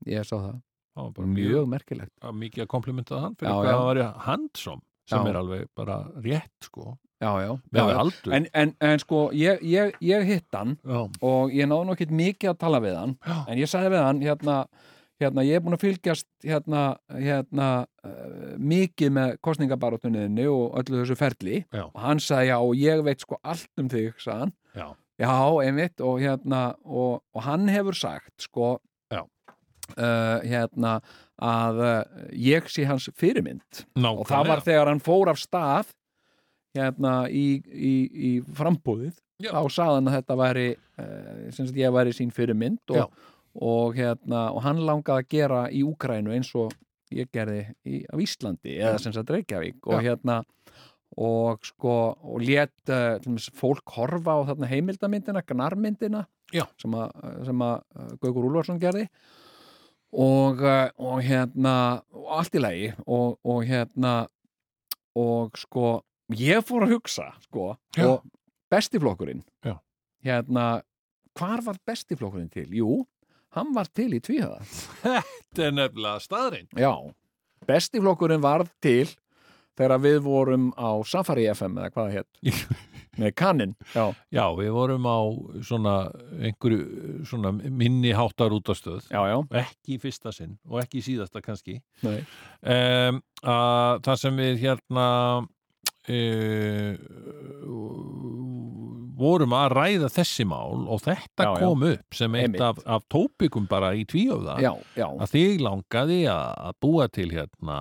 ég sá það,
Það var
bara
bara mjög
mjög merkilegt
mikið að komplementað hann fyrir
Já,
hvað
já.
hann var handsome sem
Já.
er alveg bara rétt sko
já, já, já,
með
já.
aldur
En, en, en sko, ég, ég, ég hitt hann
já.
og ég náði nokkið mikið að tala við hann
Já.
en ég sagði við hann, hérna, hérna ég er búin að fylgjast hérna, hérna uh, mikið með kostningabarátunniðinni og öllu þessu ferli
Já.
og hann sagði já, og ég veit sko allt um þig, sagði hann
Já.
Já, einmitt og hérna og, og hann hefur sagt sko
Já.
eh, hérna að uh, ég sé hans fyrirmynd
Nákvæmlega
og það var þegar hann fór af stað hérna í, í, í frambúðið
Já.
þá sagði hann að þetta væri uh, sem sagt ég væri sín fyrirmynd
Já.
og, og hérna og hann langaði að gera í Úkrænu eins og ég gerði í, af Íslandi eða
Mm.
sem sagt Reykjavík og hérna og sko og let uh, til dæmis fólk horfa á þarna heimildamyndina, gnarmyndina
Já.
sem að, sem að uh, Gaukur Úlfarsson gerði og, uh, og hérna og allt í lagi og, og hérna og sko ég fór að hugsa sko
Já.
og bestiflokkurinn
Já.
hérna hvar var bestiflokkurinn til? Jú, hann var til í tvíhaða
Þetta er nefnilega staðrein
Já, besti flokkurinn varð til þegar við vorum á Safari FM eða hvað það hétt
*laughs*
með kannin, já,
Já, við vorum á svona einhverju svona minni háttar útastöð
já, já
ekki í fyrsta sinn og ekki í síðasta kannski
Nei.
um, að e, það sem við hérna uh, vorum að ræða þessi mál og þetta
Já, já.
kom upp sem eitt
Einmitt.
af, af tópikum bara í tvíöfða
já, já,
að þig langaði að að búa til hérna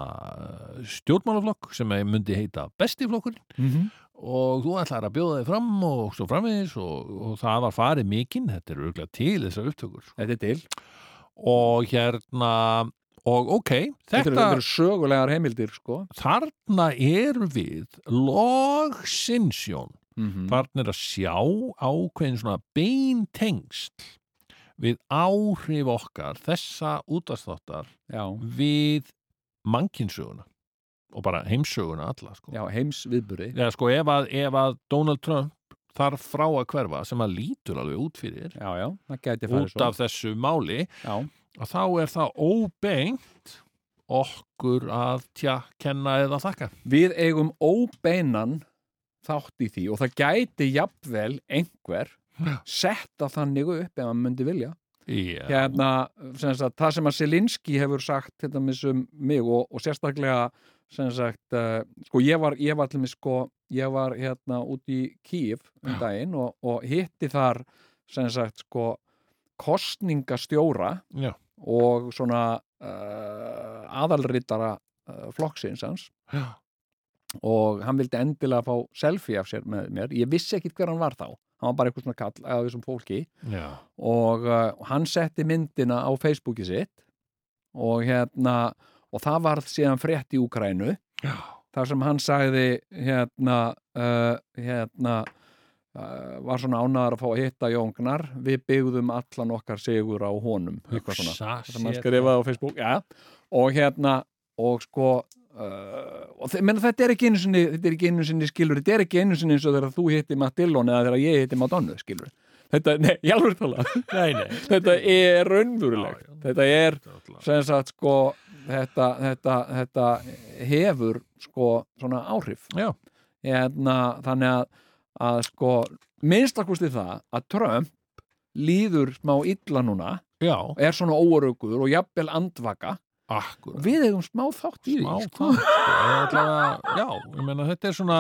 stjórnmálaflokk sem að myndi heita bestiflokkurinn
Mhm.
og þú ætlar að bjóða þig fram og svo framvegis og, og það var farið mikinn, þetta er auðvitað til þessar upptökur sko.
þetta er til
og hérna og ok,
þetta,
þetta,
þetta eru sögulegar heimildir sko
þarna eru við logsinsjón
mm -hmm.
farnir að sjá ákveðin svona beintengst við áhrif okkar þessa útastáttar
já,
við mannkinsöguna og bara heimsöguna alla sko.
já, heimsviðburði
Eða, sko, ef, að, ef að Donald Trump þarf frá að hverfa sem að lítur alveg út fyrir
já, já, það gæti farið
út af þessu máli
já,
að þá er það óbeint okkur að tja, kenna eða þakka
við eigum óbeinan þátt í því og það gæti jafnvel einhver setta þannig upp ef hann myndi vilja
yeah.
hérna, sem sagt, það sem að Selinski hefur sagt þetta mis um mig og, og sérstaklega sem sagt, uh, sko ég var, ég var til mig sko, ég var hérna út í Kýf um daginn og, og hitti þar sem sagt sko kostningastjóra
Já.
og svona uh, aðalritara uh, flokksins hans
Já.
og hann vildi endilega fá selfie af sér með mér, ég vissi ekkit hver hann var þá hann var bara eitthvað svona kall eða þessum fólki
Já.
og uh, hann setti myndina á Facebooki sitt og hérna og það varð síðan frétt í Úkrænu
Já.
þar sem hann sagði hérna, uh, hérna uh, var svona ánæðar að fá að hitta Jóngnar við byggðum allan okkar sigur á honum eitthvað svona
Hugsa
sem hann
sér
skrifaði á Facebook ja. og hérna og sko uh, og þe- menn, þetta er ekki einu sinni þetta er ekki einu sinni skilur, þetta er ekki einu sinni eins og þegar þú hitti Matt Dillon eða þegar ég hitti Madonna skilur þetta, nei, ég alveg tala
Nei, nei.
*laughs* þetta er raunvurulegt
Já, já.
þetta er
Þetta
sem sagt sko þetta, þetta, þetta hefur sko svona áhrif
Já.
hérna, þannig að, að sko minnstakusti það að Trump líður smá illa núna
Já,
er svona óöruggur og jafnvel andvaka
akkur
við eigum smá þátt í
smá
því sko.
það sko. Eða allavega, já, ég meina þetta er svona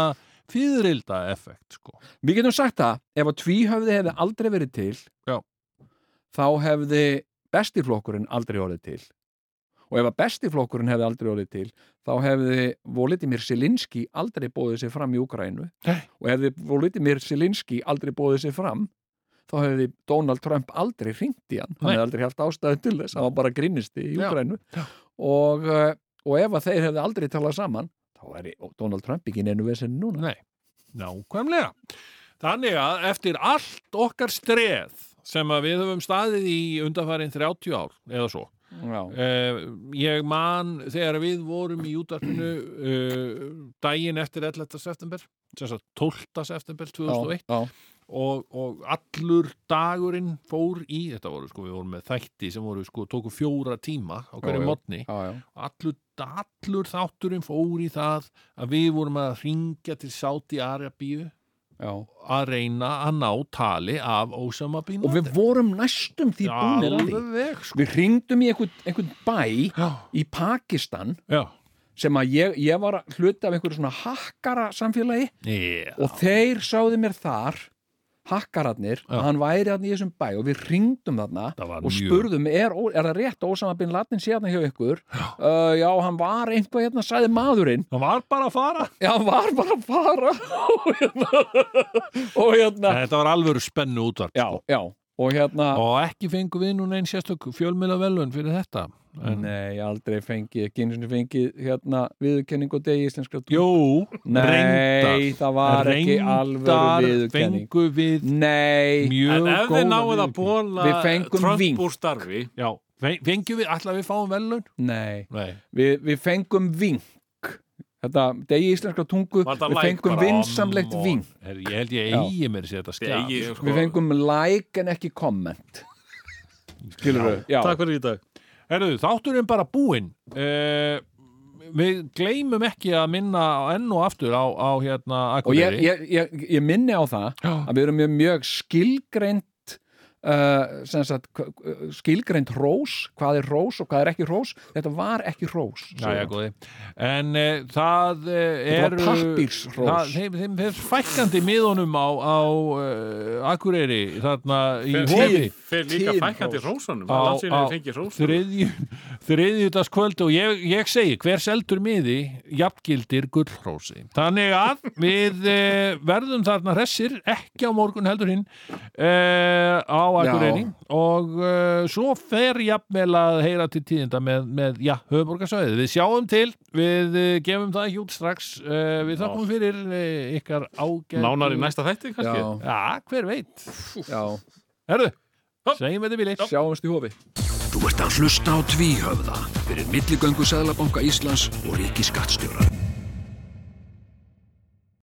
fyririlda effekt sko.
við getum sagt það, ef að tvíhöfði hefði aldrei verið til
Já.
þá hefði bestiflokkurinn aldrei orðið til og ef að bestiflokkurinn hefði aldrei orðið til þá hefði Volitimir Selinski aldrei bóðið sér fram í Ukraínu
Nei.
og hefði Volitimir Selinski aldrei bóðið sér fram þá hefði Donald Trump aldrei hringt í hann hann
Nei.
hefði aldrei haft ástæðu til þess, hann var bara grinnisti í
Já.
Ukraínu
Já.
og, eh, og ef að þeir hefði aldrei talað saman þá er Donald Trump ekki neinu vesinn núna
Nei, nákvæmlega Þannig að eftir allt okkar streð sem að við höfum staðið í undanfærin 30 ár eða svo
Já.
eh, ég man þegar við vorum í útarpinu eh, daginn eftir 11. september sem sagt 12. september 2001
já,
og, og allur dagurinn fór í, þetta voru sko, við vorum með þætti sem voru sko, tóku fjóra tíma á
Já,
hverju
já.
modni,
já, já.
allur, allur þátturinn fór í það að við vorum að ringja til Sáti Arabíu
Já.
að reyna að ná tali af Ósama Bín
og við vorum næstum því búinir að því
Alveg, sko.
við ringdum í einhvern, einhvern bæ
Já,
í Pakistan
já,
sem að ég, ég var hluti af einhverju svona hakkara samfélagi
já.
og þeir sáðu mér þar hakkararnir,
Já.
að hann væri hann í þessum bæ og við ringdum þarna
Það var
og
mjög-
spurðum, er, ó- er það rétt að Ósama bin Laden sé hérna hjá ykkur já. Uh, já, hann var einhvað hérna, sagði maðurinn
Það var bara að fara
já, hann var bara að fara *laughs* og hérna, og hérna
*laughs* Þetta var alvöru spennu útvarp
já,
sko.
já, og hérna
og ekki fengu við núna einn sérstök fjölmjöla velun fyrir þetta en,
Nei, aldrei fengið, ekki einu sinni fengið hérna viðurkenningu degi íslenskra tungu.
Jú,
Nei,
reyndar
það var ekki alvöru viðurkenning.
fengu við
Nei,
mjög
En
góða
ef þið náuð að
viðurkenningu.
bóla
Við fengum
Trump
vink.
úr starfi
Já, fe- fengjum við, ætla við fáum velun?
nei,
Nei
við, við fengum vink. Þetta, degi íslenskra tungu,
Var þetta
við
like
fengum
bara?
vinsamlegt
Come on.
vink.
Herri, Ég held ég
Já.
eigi mér sér þetta
Þið
skjá
eigið, sko,
Við fengum like en ekki comment. Skilur við? Já,
Takk fyrir í dag
Herðu, þátturinn bara búinn uh, Við gleymum ekki að minna á- enn og aftur á, á hérna
og ég,
Akureyri
ég, ég, ég minni á það
Já.
að við erum með mjög skilgreint uh, sem sagt, k- k- skilgreind rós hvað er rós og hvað er ekki rós þetta var ekki rós
Jæja,
segir hann.
góði. En e, það e,
var
eru...
pappírshrós.
Það- Þeim, þeim fer fækkandi miðunum á, á uh, Akureyri, þarna í Hofi.
Fer líka
Tíð
fækandi
hrós.
rósunum
Á-
Landsinu
á
fengið rósunum
þriðju- þriðjudagskvöld og ég, ég segi hver seldur miði jafngildir gullhrósi þannig að við eh, verðum þarna hressir ekki á morgun heldur hinn eh, á
Já.
Akureyri og eh, svo fer jafnvel að heyra til tíðinda með, með já, höfuborgarsvæðið, við sjáum til við eh, gefum það ekki út strax eh, við þakkum fyrir eh, ykkar ágæð
Nánar í næsta þætti kannski
já,
Já, hver veit
já,
Herðu, segjum þetta bíli
sjáumst í hofi
Þú ert að hlusta á tvíhöfða fyrir milligöngu Sæðlabanka Íslands og Ríkiskattstjóra.